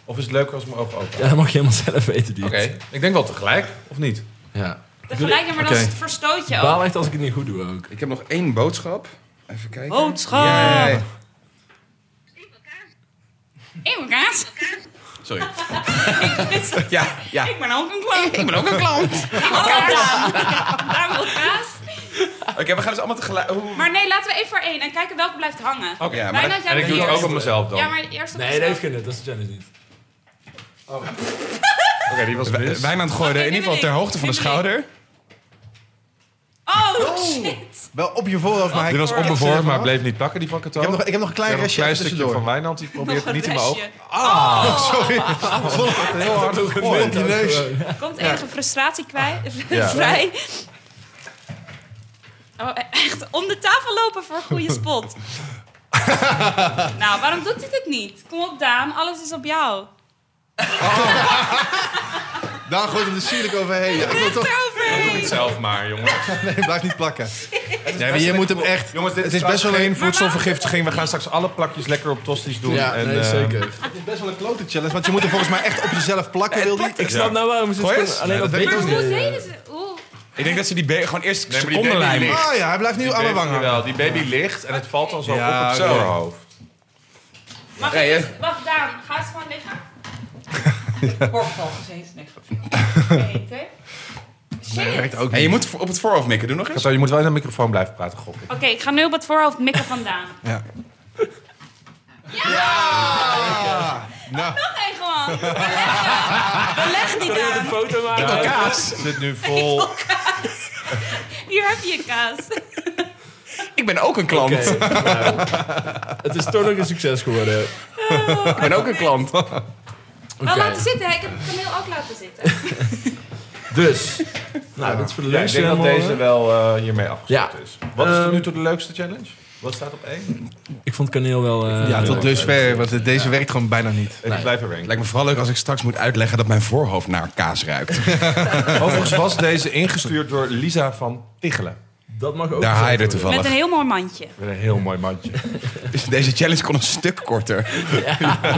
Speaker 1: Of is het leuker als mijn ogen open?
Speaker 3: Ja, dat mag je helemaal zelf weten, die.
Speaker 1: Oké. Ik denk wel tegelijk, of niet?
Speaker 3: Ja.
Speaker 2: Tegelijk, maar dan
Speaker 5: Oké.
Speaker 2: verstoot je
Speaker 3: Ik
Speaker 2: ook.
Speaker 3: baal echt als ik het niet goed doe ook.
Speaker 4: ik heb nog één boodschap. Even kijken.
Speaker 2: Boodschap.
Speaker 4: Ja.
Speaker 2: Eeuwkaas.
Speaker 4: Sorry.
Speaker 2: Ik
Speaker 4: Ja, ja.
Speaker 2: ben ook een klant. Oh,
Speaker 4: Ik ben ook een klant.
Speaker 2: Kaas. Daarom wil kaas.
Speaker 1: Oh.
Speaker 4: Oké, we gaan dus allemaal tegelijk... hoe-
Speaker 2: Maar nee, laten we even voor één en kijken welke blijft hangen.
Speaker 4: Oké, ja, maar
Speaker 2: Bijna
Speaker 4: dat-
Speaker 2: jij
Speaker 1: En ik
Speaker 2: bent
Speaker 1: doe het
Speaker 2: eerst.
Speaker 1: ook op mezelf dan.
Speaker 2: Ja, maar eerst op
Speaker 3: Nee, dat
Speaker 2: mezelf.
Speaker 3: heeft geen nut. Dat is de challenge niet.
Speaker 1: Oké, die was
Speaker 4: Dus Wij-
Speaker 1: mis.
Speaker 4: Wijnand gooide
Speaker 2: Oké,
Speaker 4: in
Speaker 2: nu
Speaker 4: ieder geval
Speaker 2: ben
Speaker 4: ter
Speaker 2: ik.
Speaker 4: hoogte van de
Speaker 2: Nu ben ik.
Speaker 4: schouder.
Speaker 2: Oh, shit.
Speaker 5: Wel op je voorhoofd, maar hij
Speaker 1: Die was
Speaker 5: kent ze
Speaker 1: onbevormd,
Speaker 5: ervan
Speaker 1: maar
Speaker 5: af.
Speaker 1: bleef niet plakken, die van Kato.
Speaker 5: Ik heb nog, ik heb nog een klein
Speaker 1: Ik heb nog
Speaker 5: restje even
Speaker 1: stukje
Speaker 5: tussendoor.
Speaker 1: van Wijnand, die probeert
Speaker 2: Nog
Speaker 1: niet in
Speaker 2: een
Speaker 1: mijn oog.
Speaker 2: restje.
Speaker 5: Sorry, heel hard gegooid op je neus.
Speaker 2: Komt enige frustratie kwij-
Speaker 5: Ah,
Speaker 1: Ja.
Speaker 2: vrij. Oh, e- echt om de tafel lopen voor een goede spot. nou, waarom doet hij dit niet? Kom op, Daan, alles is op jou.
Speaker 5: Daar gooit hem de sierlijk overheen. Ja, ik wil toch...
Speaker 2: Eroverheen.
Speaker 1: Zelf maar, jongen.
Speaker 5: Nee, blijf niet plakken. Nee, maar je moet hem echt...
Speaker 1: Jongens, dit
Speaker 5: Het is best wel een...
Speaker 1: geen voedselvergiftiging. We gaan straks alle plakjes lekker op tosties doen. en, eh,
Speaker 5: Het is best wel een klote challenge, want je moet hem volgens mij echt op jezelf plakken, wil die.
Speaker 3: Ik snap nou waarom ze het
Speaker 4: Gooi
Speaker 3: gewoon
Speaker 4: eens.
Speaker 3: alleen
Speaker 1: Nee,
Speaker 3: op
Speaker 1: dat weet
Speaker 2: Maar
Speaker 5: Ah,
Speaker 3: beter
Speaker 2: hoe
Speaker 3: doen.
Speaker 2: deden ze... Hoe?
Speaker 4: Ik denk dat ze die be- gewoon eerst
Speaker 1: Nee, maar die
Speaker 4: seconden
Speaker 1: deed
Speaker 4: lijn.
Speaker 1: niet.
Speaker 5: Ah ja, hij blijft nu aan mijn
Speaker 1: baby-
Speaker 5: wang hangen.
Speaker 1: jawel, die baby ligt en het valt dan zo
Speaker 5: Ja,
Speaker 1: op het
Speaker 5: oké.
Speaker 1: voorhoofd.
Speaker 2: Mag
Speaker 4: Ja, ja.
Speaker 2: ik... Wacht, Daan, ga eens gewoon liggen. Borgval gezeten. Nee, Eén, twee. Shit.
Speaker 5: ook
Speaker 4: En je moet op het voorhoofd mikken. Doe nog eens.
Speaker 1: Kato, je moet wel in de microfoon blijven praten, gok ik.
Speaker 2: Oké, ik ga nu op het voorhoofd mikken vandaan.
Speaker 5: Ja.
Speaker 2: Nog één gewoon. Beleg die Daan.
Speaker 3: Foto maken.
Speaker 1: kaas. Zit nu vol.
Speaker 2: Hier heb je je kaas.
Speaker 4: Ik ben ook een klant.
Speaker 3: Oké, nou, het is toch nog een succes geworden.
Speaker 4: Ik ben ook een klant.
Speaker 3: Nou,
Speaker 2: Wel laten zitten, hè. ik heb het kameel ook laten zitten.
Speaker 3: Dus, nou, dat is voor de
Speaker 1: Ja, ik
Speaker 3: lunch.
Speaker 1: denk dat
Speaker 3: helemaal,
Speaker 1: deze
Speaker 3: hè.
Speaker 1: wel eh, hiermee afgesloten
Speaker 3: Ja.
Speaker 1: is. Wat is tot
Speaker 3: Ehm,
Speaker 1: nu toe de leukste challenge? Wat staat op één?
Speaker 3: Ik vond kaneel wel... eh,
Speaker 5: Ja,
Speaker 3: leuk.
Speaker 5: tot dusver, want deze werkt gewoon bijna niet.
Speaker 1: Ik blijf er ranken.
Speaker 4: Lijkt me vooral leuk als ik straks moet uitleggen dat mijn voorhoofd naar kaas ruikt.
Speaker 1: Overigens was deze ingestuurd door Lisa van Tichelen.
Speaker 3: Dat mag ook.
Speaker 4: Daar haal je er
Speaker 3: gezegd worden.
Speaker 2: Met een
Speaker 4: toevallig.
Speaker 2: heel mooi mandje.
Speaker 1: Met een heel mooi mandje.
Speaker 4: Dus Deze challenge kon een stuk korter.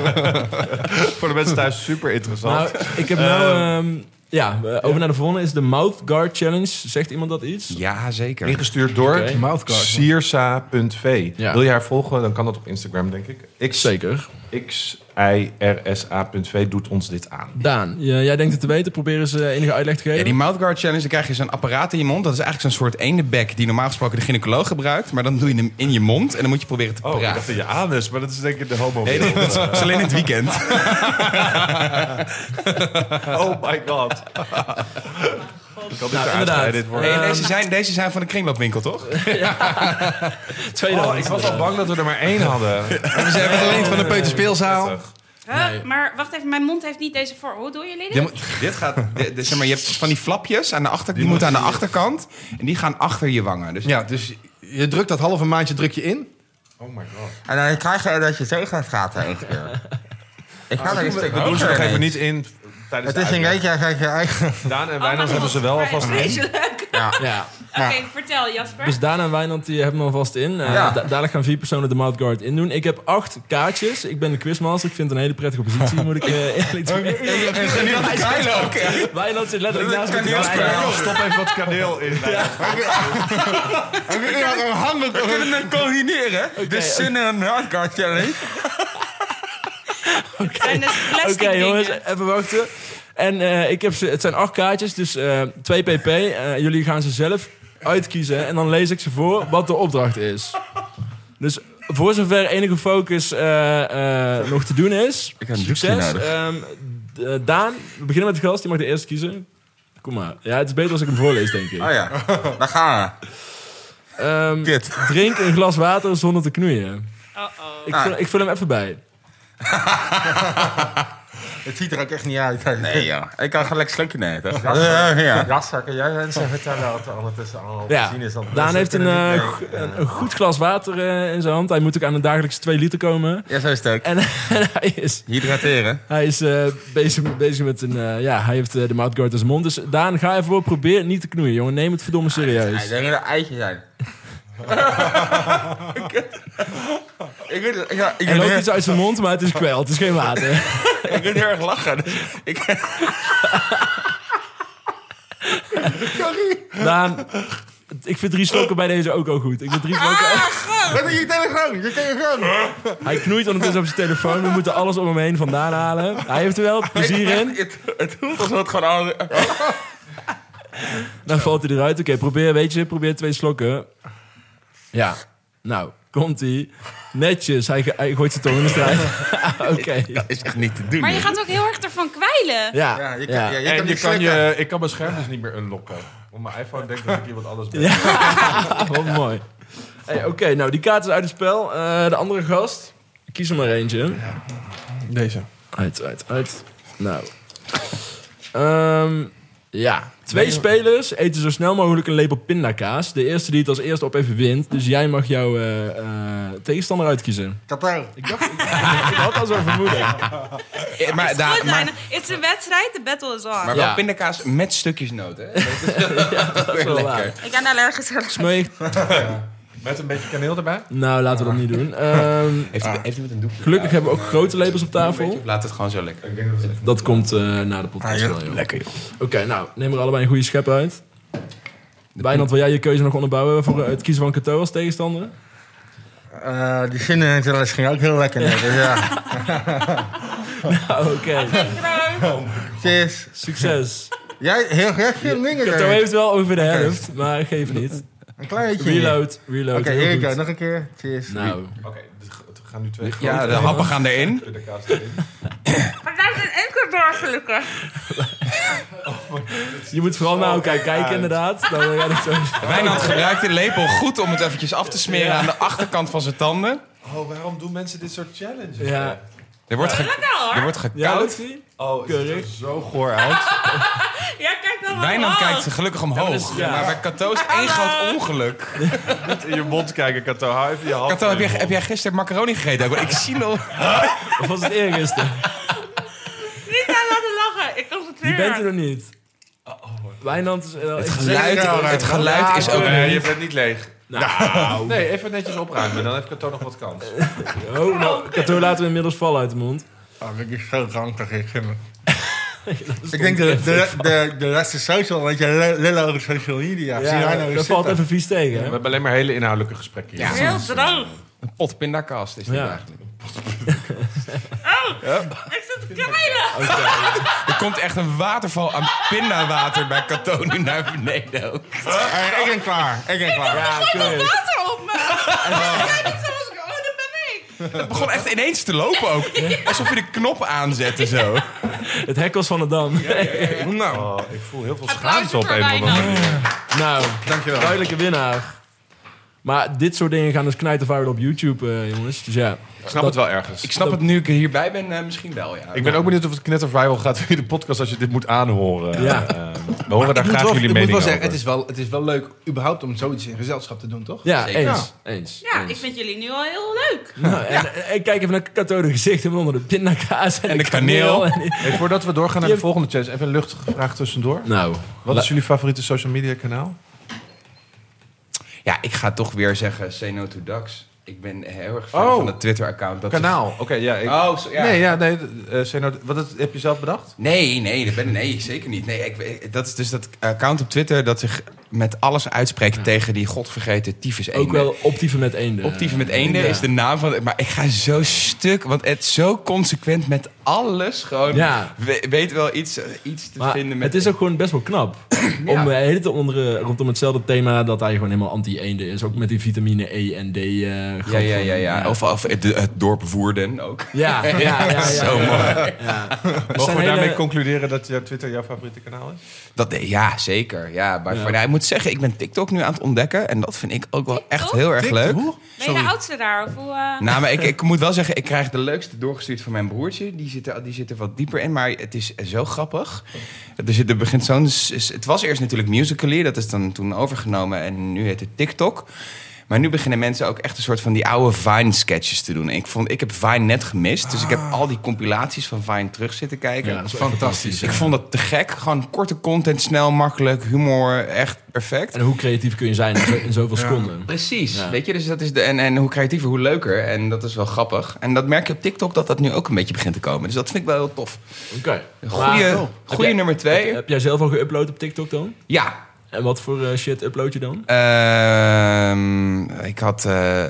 Speaker 1: Voor de mensen thuis super interessant.
Speaker 3: Nou, ik heb nou... ehm, ja, eh, over naar de volgende is de Mouth Guard Challenge. Zegt iemand dat iets?
Speaker 4: Ja, zeker.
Speaker 1: ingestuurd door
Speaker 3: Oké.
Speaker 5: Mouthguard.
Speaker 1: Siersa.v.
Speaker 3: Ja.
Speaker 1: Wil je haar volgen, dan kan dat op Instagram, denk ik. X,
Speaker 3: Zeker.
Speaker 1: X I R S A.v doet ons dit aan.
Speaker 3: Daan, j- jij denkt het te weten. Probeer eens eh, enige uitleg te geven.
Speaker 4: Ja, die mouthguard challenge, dan krijg je zo'n apparaat in je mond. Dat is eigenlijk zo'n soort eendenbek die normaal gesproken de gynaecoloog gebruikt. Maar dan doe je hem in je mond en dan moet je proberen te
Speaker 1: Oh, ik
Speaker 4: praten.
Speaker 1: dacht dat je aan is, maar dat is denk ik de homo.
Speaker 4: Nee, nee, dat is alleen in het weekend.
Speaker 1: Oh my god. Ik kan dit eruit
Speaker 3: Nou, inderdaad. Eh,
Speaker 1: snijden, dit wordt.
Speaker 4: Hey, deze, zijn, deze zijn van de kringloopwinkel, toch?
Speaker 3: Tweede
Speaker 1: Oh,
Speaker 3: hand.
Speaker 1: ik was al bang dat we er maar één hadden.
Speaker 5: We zijn het alleen van de Peuterspeelzaal.
Speaker 2: Huh? Maar wacht even, mijn mond heeft niet deze vorm. Hoe doen jullie dit?
Speaker 4: Dit gaat, dit- dit- zeg maar, je hebt dus van die flapjes aan de achter, die moeten aan de achterkant. En die gaan achter je wangen. Dus,
Speaker 5: Ja, dus je drukt dat halve maandje druk je in.
Speaker 1: Oh my god.
Speaker 4: En dan krijg je dat je zo gaat praten één keer. Ah, Ik ga er een stuk
Speaker 1: Dat doen ze nog even niet in tijdens de uitleg.
Speaker 4: als je eigen...
Speaker 1: Daan en
Speaker 2: Oh, mijn
Speaker 1: Wijnand hebben
Speaker 2: god,
Speaker 1: ze wel
Speaker 2: vreselijk.
Speaker 1: alvast in.
Speaker 3: Ja.
Speaker 2: Oké, vertel Jasper.
Speaker 3: Dus Daan en Wijnand die hebben hem alvast in. Eh,
Speaker 4: Ja.
Speaker 3: da- dadelijk gaan vier personen de mouthguard indoen. Ik heb acht kaartjes. Ik ben de quizmaster. Ik vind het een hele prettige positie, moet ik eh eerlijk zeggen. Wijnand zit letterlijk naast me. te
Speaker 4: kaneelspel.
Speaker 3: draaien.
Speaker 1: Stop even wat kaneel in.
Speaker 4: We kunnen hem combineren.
Speaker 3: oké.
Speaker 4: De zin en mouthguard challenge.
Speaker 2: zijn dus plastic
Speaker 3: Oké jongens,
Speaker 2: dingen.
Speaker 3: even wachten. En eh, ik heb ze, het zijn acht kaartjes, dus eh 2 pp. Eh, jullie gaan ze zelf uitkiezen en dan lees ik ze voor wat de opdracht is. Dus voor zover enige focus eh, eh, nog te doen is.
Speaker 4: Ik heb een doekje
Speaker 3: succes.
Speaker 4: nodig.
Speaker 3: Ehm, d- eh, Daan, we beginnen met de gast, die mag de eerste kiezen. Kom maar. Ja, het is beter als ik hem voorlees, denk ik.
Speaker 4: Oh ja, daar gaan we.
Speaker 3: Ehm,
Speaker 4: Kut.
Speaker 3: drink een glas water zonder te knoeien.
Speaker 2: Uh-oh.
Speaker 3: Ik,
Speaker 4: Ah.
Speaker 3: vul, ik vul hem even bij.
Speaker 4: Het ziet er ook echt niet uit. Nee joh, ik kan gelijk slukje nemen. Ja, ja.
Speaker 7: Jaszakken, jij mensen vertellen wat er ondertussen allemaal te
Speaker 3: Ja.
Speaker 7: zien is. want
Speaker 3: Daan
Speaker 7: mensen
Speaker 3: heeft een,
Speaker 7: kunnen niet
Speaker 3: eh,
Speaker 7: mee.
Speaker 3: go- een, een goed glas water eh, in zijn hand. Hij moet ook aan de dagelijkse 2 liter komen.
Speaker 4: Ja, zo is het ook.
Speaker 3: En, en hij is,
Speaker 4: Hydrateren.
Speaker 3: hij is eh, bezig, bezig met een... eh, ja, hij heeft eh, de mouthguard in zijn mond. Dus Daan, ga even voor. Probeer niet te knoeien, jongen. Neem het verdomme serieus.
Speaker 4: denk dat er eitjes zijn. ik moet, ik, ik,
Speaker 3: Er loopt iets uit zijn mond, maar het is kwel. Het is geen water.
Speaker 4: ik moet heel erg lachen. ik,
Speaker 3: Daan, vind, ik vind drie slokken bij deze ook al goed. Ik vind drie slokken...
Speaker 5: Dat is je telegram. Je telegram.
Speaker 3: Hij knoeit ondertussen op zijn telefoon. We moeten alles om hem heen vandaan halen. Hij heeft er wel plezier in.
Speaker 7: Het, het voelt alsof het gewoon... al-
Speaker 3: Dan valt hij eruit. Oké, probeer, weet je, probeer twee slokken. Ja, nou, komt hij. Netjes, hij, ge- hij gooit zijn tong in de strijd. Oké.
Speaker 7: is echt niet te doen.
Speaker 2: Maar je gaat ook heel erg ervan kwijlen.
Speaker 3: Ja,
Speaker 5: Ja,
Speaker 3: ja,
Speaker 5: je kan, ja. je kan
Speaker 1: En
Speaker 5: niet
Speaker 1: je kan
Speaker 5: slikken.
Speaker 1: je, ik kan mijn scherm dus niet meer unlocken. Want mijn iPhone denkt dat ik iemand anders ben.
Speaker 3: wat Oh, mooi. Hey, Oké, nou, die kaart is uit het spel. Eh, de andere gast, kies er maar eentje.
Speaker 5: Deze.
Speaker 3: Uit, uit, uit. Nou. Ehm, ja. Twee spelers eten zo snel mogelijk een lepel pindakaas. De eerste die het als eerste op even wint. Dus jij mag jouw eh, eh, tegenstander uitkiezen.
Speaker 5: Qatar.
Speaker 3: Ik had al zo'n vermoeden.
Speaker 4: Eh, Maar, daar-
Speaker 2: Goed,
Speaker 4: maar,
Speaker 2: Leijnen. Het is een wedstrijd, de battle is on.
Speaker 4: maar wel
Speaker 3: Ja.
Speaker 4: pindakaas met stukjes noot, hè?
Speaker 3: Dat is wel waar.
Speaker 2: Ik ben allergisch. voor.
Speaker 3: Smeug.
Speaker 1: Met een beetje kaneel erbij.
Speaker 3: Nou, laten we dat niet doen. Ehm,
Speaker 4: Heeft, heeft iemand een doekje?
Speaker 3: gelukkig hebben we ook grote lepels op tafel.
Speaker 4: Of laat het gewoon zo lekker?
Speaker 3: Dat komt eh, na de podcast wel, joh. Lekker, Oké, nou, neem er allebei een goede schep uit. Wijnand, wil jij je keuze nog onderbouwen voor eh, het kiezen van Kato als tegenstander?
Speaker 7: Eh, die zin in het ging ook heel lekker. net, Dus ja,
Speaker 3: Ah, Oké,
Speaker 7: cheers.
Speaker 3: succes.
Speaker 7: Jij, heel graag veel dingen.
Speaker 3: Kato
Speaker 7: Erik.
Speaker 3: heeft wel over de helft, maar geef niet.
Speaker 7: Een kleintje.
Speaker 3: Reload, reload.
Speaker 7: Oké,
Speaker 3: heel
Speaker 7: Erika,
Speaker 3: goed.
Speaker 7: nog een keer. Cheers.
Speaker 3: Nou,
Speaker 1: Oké, dus we gaan nu twee grote
Speaker 4: Ja, de happen gaan erin.
Speaker 1: de kaas erin.
Speaker 2: Maar daar is een enkel burgerlijke.
Speaker 3: je moet vooral naar elkaar kijken, inderdaad. Dan eh, gaat het zo.
Speaker 4: Wijnand gebruikt de lepel goed om het eventjes af te smeren aan de achterkant van zijn tanden.
Speaker 1: Oh, waarom doen mensen dit soort challenges?
Speaker 3: Ja,
Speaker 4: Er wordt, ge-
Speaker 2: Lekker
Speaker 4: er
Speaker 2: hoor.
Speaker 4: wordt
Speaker 3: ja
Speaker 4: gekoud.
Speaker 3: lukt ie?
Speaker 1: Oh, het ziet er
Speaker 3: Keurig.
Speaker 1: zo goor uit.
Speaker 2: Ja, kijk dan wel.
Speaker 4: Wijnand
Speaker 2: omhoog.
Speaker 4: kijkt gelukkig omhoog.
Speaker 3: ja.
Speaker 4: Maar bij Cato is het één groot ongeluk.
Speaker 1: Niet in je mond kijken, Kato. Hou even je hand.
Speaker 4: Cato, heb jij,
Speaker 1: in je
Speaker 4: heb
Speaker 1: mond.
Speaker 4: jij gisteren macaroni gegeten? Ik- Ik zie nog.
Speaker 3: Of was het eergisteren?
Speaker 2: Niet aan laten lachen. Ik concentreer
Speaker 3: Je bent
Speaker 2: me.
Speaker 3: er nog niet. Wijnand is... eh, is-
Speaker 4: Geluid, het geluid is ook...
Speaker 1: Nee, je bent niet leeg.
Speaker 3: Nou,
Speaker 1: Nee, even netjes opruimen. Dan heeft Kato nog wat kans.
Speaker 3: oh, nou Kato laten we inmiddels vallen uit de mond.
Speaker 7: Oh, dit is zo rantig, ik vind het. Ik denk de, de, de, de rest is social, want je lul- lullen over social media. Zie jij nou
Speaker 3: dat
Speaker 7: eens
Speaker 3: valt
Speaker 7: zitten?
Speaker 3: even vies tegen.
Speaker 1: We
Speaker 3: Hè?
Speaker 1: hebben alleen maar hele inhoudelijke gesprekken hier.
Speaker 2: Heel droog.
Speaker 4: Een pot pindakaas is dit
Speaker 3: Ja.
Speaker 4: eigenlijk.
Speaker 2: Ik zit te kwijlen.
Speaker 4: Er komt echt een waterval aan pindavater bij Cato nu naar beneden ook.
Speaker 7: Eh, Ik ben klaar, ik ben klaar.
Speaker 3: Ja, keurig.
Speaker 2: Water op me. Ik zei niet zoals ik. Oh, dat ben ik.
Speaker 4: Het begon echt ineens te lopen ook. Alsof je de knop aanzette zo.
Speaker 3: Het hek was van de dam.
Speaker 4: Nou,
Speaker 1: Oh, ik voel heel veel
Speaker 2: Applaus
Speaker 1: schaamte op
Speaker 2: voor
Speaker 1: een of andere
Speaker 2: Wijnand.
Speaker 1: manier.
Speaker 3: Nou,
Speaker 5: Dankjewel.
Speaker 3: duidelijke winnaar. Maar dit soort dingen gaan dus knijtervuil op YouTube, eh, jongens. Dus ja.
Speaker 1: Ik snap het wel ergens.
Speaker 4: ik snap het nu ik er hierbij ben, eh, misschien wel ja.
Speaker 1: Ik ben ook benieuwd of het knetterviral gaat via de podcast als je dit moet aanhoren.
Speaker 3: Ja.
Speaker 1: Eh, we horen daar
Speaker 5: Ik moet
Speaker 1: graag
Speaker 5: wel,
Speaker 1: jullie
Speaker 5: ik moet
Speaker 1: mening
Speaker 5: wel
Speaker 1: over.
Speaker 5: zeggen, het is wel, het is wel leuk überhaupt om zoiets in gezelschap te doen, toch?
Speaker 3: Ja,
Speaker 4: Zeker.
Speaker 3: eens. eens.
Speaker 2: Ja,
Speaker 3: eens.
Speaker 2: ik vind jullie nu al heel leuk.
Speaker 3: Nou, en, en kijk even naar Kato de gezicht en onder de pindakaas en,
Speaker 4: En
Speaker 3: de
Speaker 4: de kaneel.
Speaker 3: kaneel. en die-
Speaker 1: Hey, voordat we doorgaan naar
Speaker 3: Je
Speaker 1: de volgende challenge, even een luchtige vraag tussendoor.
Speaker 3: Nou,
Speaker 1: Wat
Speaker 3: la-
Speaker 1: is jullie favoriete social media kanaal?
Speaker 4: Ja, ik ga toch weer zeggen say no to ducks. Ik ben heel erg fan
Speaker 1: Oh.
Speaker 4: van het Twitter-account. dat
Speaker 1: Kanaal, oké, ja. Ik,
Speaker 4: zich- Oh, zo- ja.
Speaker 1: Nee,
Speaker 4: Nee,
Speaker 1: ja, nee. eh, Zeno, wat het- heb je zelf bedacht?
Speaker 4: nee, nee, dat ben, nee, zeker niet. Nee, ik, weet- dat is dus dat account op Twitter dat zich met alles uitspreekt tegen die godvergeten tyfus eenden.
Speaker 3: ook wel optieven met eenden.
Speaker 4: Optieven met eenden
Speaker 3: Eh, Ja.
Speaker 4: is de naam van... Maar ik ga zo stuk, want het is zo consequent met alles gewoon...
Speaker 3: Ja.
Speaker 4: we- weet wel iets, eh, iets te
Speaker 3: Maar
Speaker 4: vinden met...
Speaker 3: het is ook gewoon best wel knap. Om eh, hele te onder, rondom hetzelfde thema dat hij gewoon helemaal anti-eenden is. Ook met die vitamine E en D. eh,
Speaker 4: Ja,
Speaker 3: grap
Speaker 4: ja,
Speaker 3: van-
Speaker 4: ja, ja. Of, of het, het dorp Woerden ook.
Speaker 3: Ja, ja, ja. ja,
Speaker 4: Zo
Speaker 3: ja.
Speaker 4: mooi.
Speaker 1: Mogen we
Speaker 3: hele-
Speaker 1: daarmee concluderen dat jouw Twitter jouw favoriete kanaal is?
Speaker 4: Dat, ja, zeker. Ja, maar Voor, nou, ik moet zeggen, ik ben TikTok nu aan het ontdekken. En dat vind ik ook wel echt
Speaker 2: TikTok?
Speaker 4: heel erg leuk.
Speaker 2: Ben je de oudste daar? Of hoe, eh,
Speaker 4: Nou, maar ik, ik moet wel zeggen, ik krijg de leukste doorgestuurd van mijn broertje. Die zit, er, die zit er wat dieper in, maar het is zo grappig. Er, zit, er begint zo'n... s- s- Het was eerst natuurlijk Musical.ly, dat is dan toen overgenomen. En nu heet het TikTok. Maar nu beginnen mensen ook echt een soort van die oude Vine-sketches te doen. En ik, vond, ik heb Vine net gemist, dus ik heb al die compilaties van Vine terug zitten kijken.
Speaker 3: Ja, dat is wel
Speaker 5: Fantastisch.
Speaker 4: Ik vond dat te gek. Gewoon korte content, snel, makkelijk, humor, echt perfect.
Speaker 3: En hoe creatief kun je zijn in, zo- in zoveel seconden?
Speaker 4: Precies,
Speaker 3: Ja.
Speaker 4: weet je, dus dat is de, en, en hoe creatiever, hoe leuker. En dat is wel grappig. En dat merk je op TikTok dat dat nu ook een beetje begint te komen. Dus dat vind ik wel heel tof.
Speaker 3: Oké. Maar-
Speaker 4: Goeie, goeie
Speaker 3: jij-
Speaker 4: nummer twee.
Speaker 3: Heb jij zelf al geüpload op TikTok dan?
Speaker 4: Ja,
Speaker 3: En wat voor eh, shit upload je dan?
Speaker 4: Ehm, ik had. eh,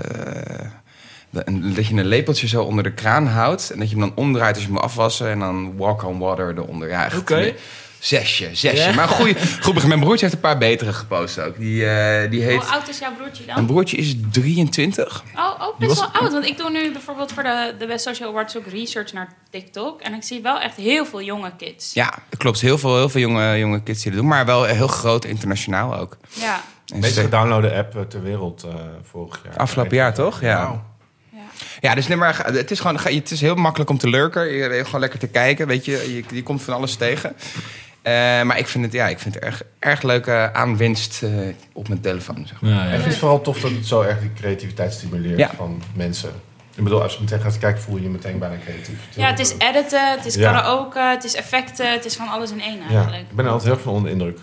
Speaker 4: de- een- dat je een lepeltje zo onder de kraan houdt. En dat je hem dan omdraait als je hem moet afwassen. En dan walk on water eronder. Ja, echt.
Speaker 3: Oké.
Speaker 4: een- Zesje, zesje.
Speaker 3: Ja.
Speaker 4: Maar goed, goed begin. Mijn broertje heeft een paar betere gepost ook. Die, eh, die
Speaker 2: Hoe
Speaker 4: heet.
Speaker 2: oud is jouw broertje dan?
Speaker 4: Mijn broertje is 23.
Speaker 2: Oh, ook
Speaker 1: Die
Speaker 2: best
Speaker 1: was-
Speaker 2: wel oud. Want ik doe nu bijvoorbeeld voor de, de West Social Awards ook research naar TikTok. En ik zie wel echt heel veel jonge kids.
Speaker 4: Ja, klopt. Heel veel, heel veel jonge, jonge kids die dat doen. Maar wel heel groot internationaal ook.
Speaker 2: Ja.
Speaker 4: En
Speaker 1: Meest
Speaker 4: ze-
Speaker 1: gedownloade app eh, ter wereld eh, vorig jaar.
Speaker 4: Afgelopen jaar toch? Ja.
Speaker 5: Wauw.
Speaker 2: Ja.
Speaker 4: Ja, dus nee, maar ga- het is gewoon ga- het is heel makkelijk om te lurken. Je je gewoon lekker te kijken, weet je. Je, je komt van alles tegen. Eh, maar ik vind het, ja, ik vind het erg, erg leuke aanwinst eh, op mijn telefoon, zeg maar.
Speaker 3: Ja,
Speaker 1: Ik vind het vooral tof dat het zo erg die creativiteit stimuleert
Speaker 4: Ja.
Speaker 1: van mensen. Ik bedoel, als je meteen gaat kijken, voel je je meteen bijna creatief.
Speaker 2: ja, het is editen, het is
Speaker 1: Ja.
Speaker 2: karaoke, het is effecten, het is van alles in één
Speaker 1: Ja,
Speaker 2: eigenlijk.
Speaker 1: ik ben er altijd heel veel onder de indruk.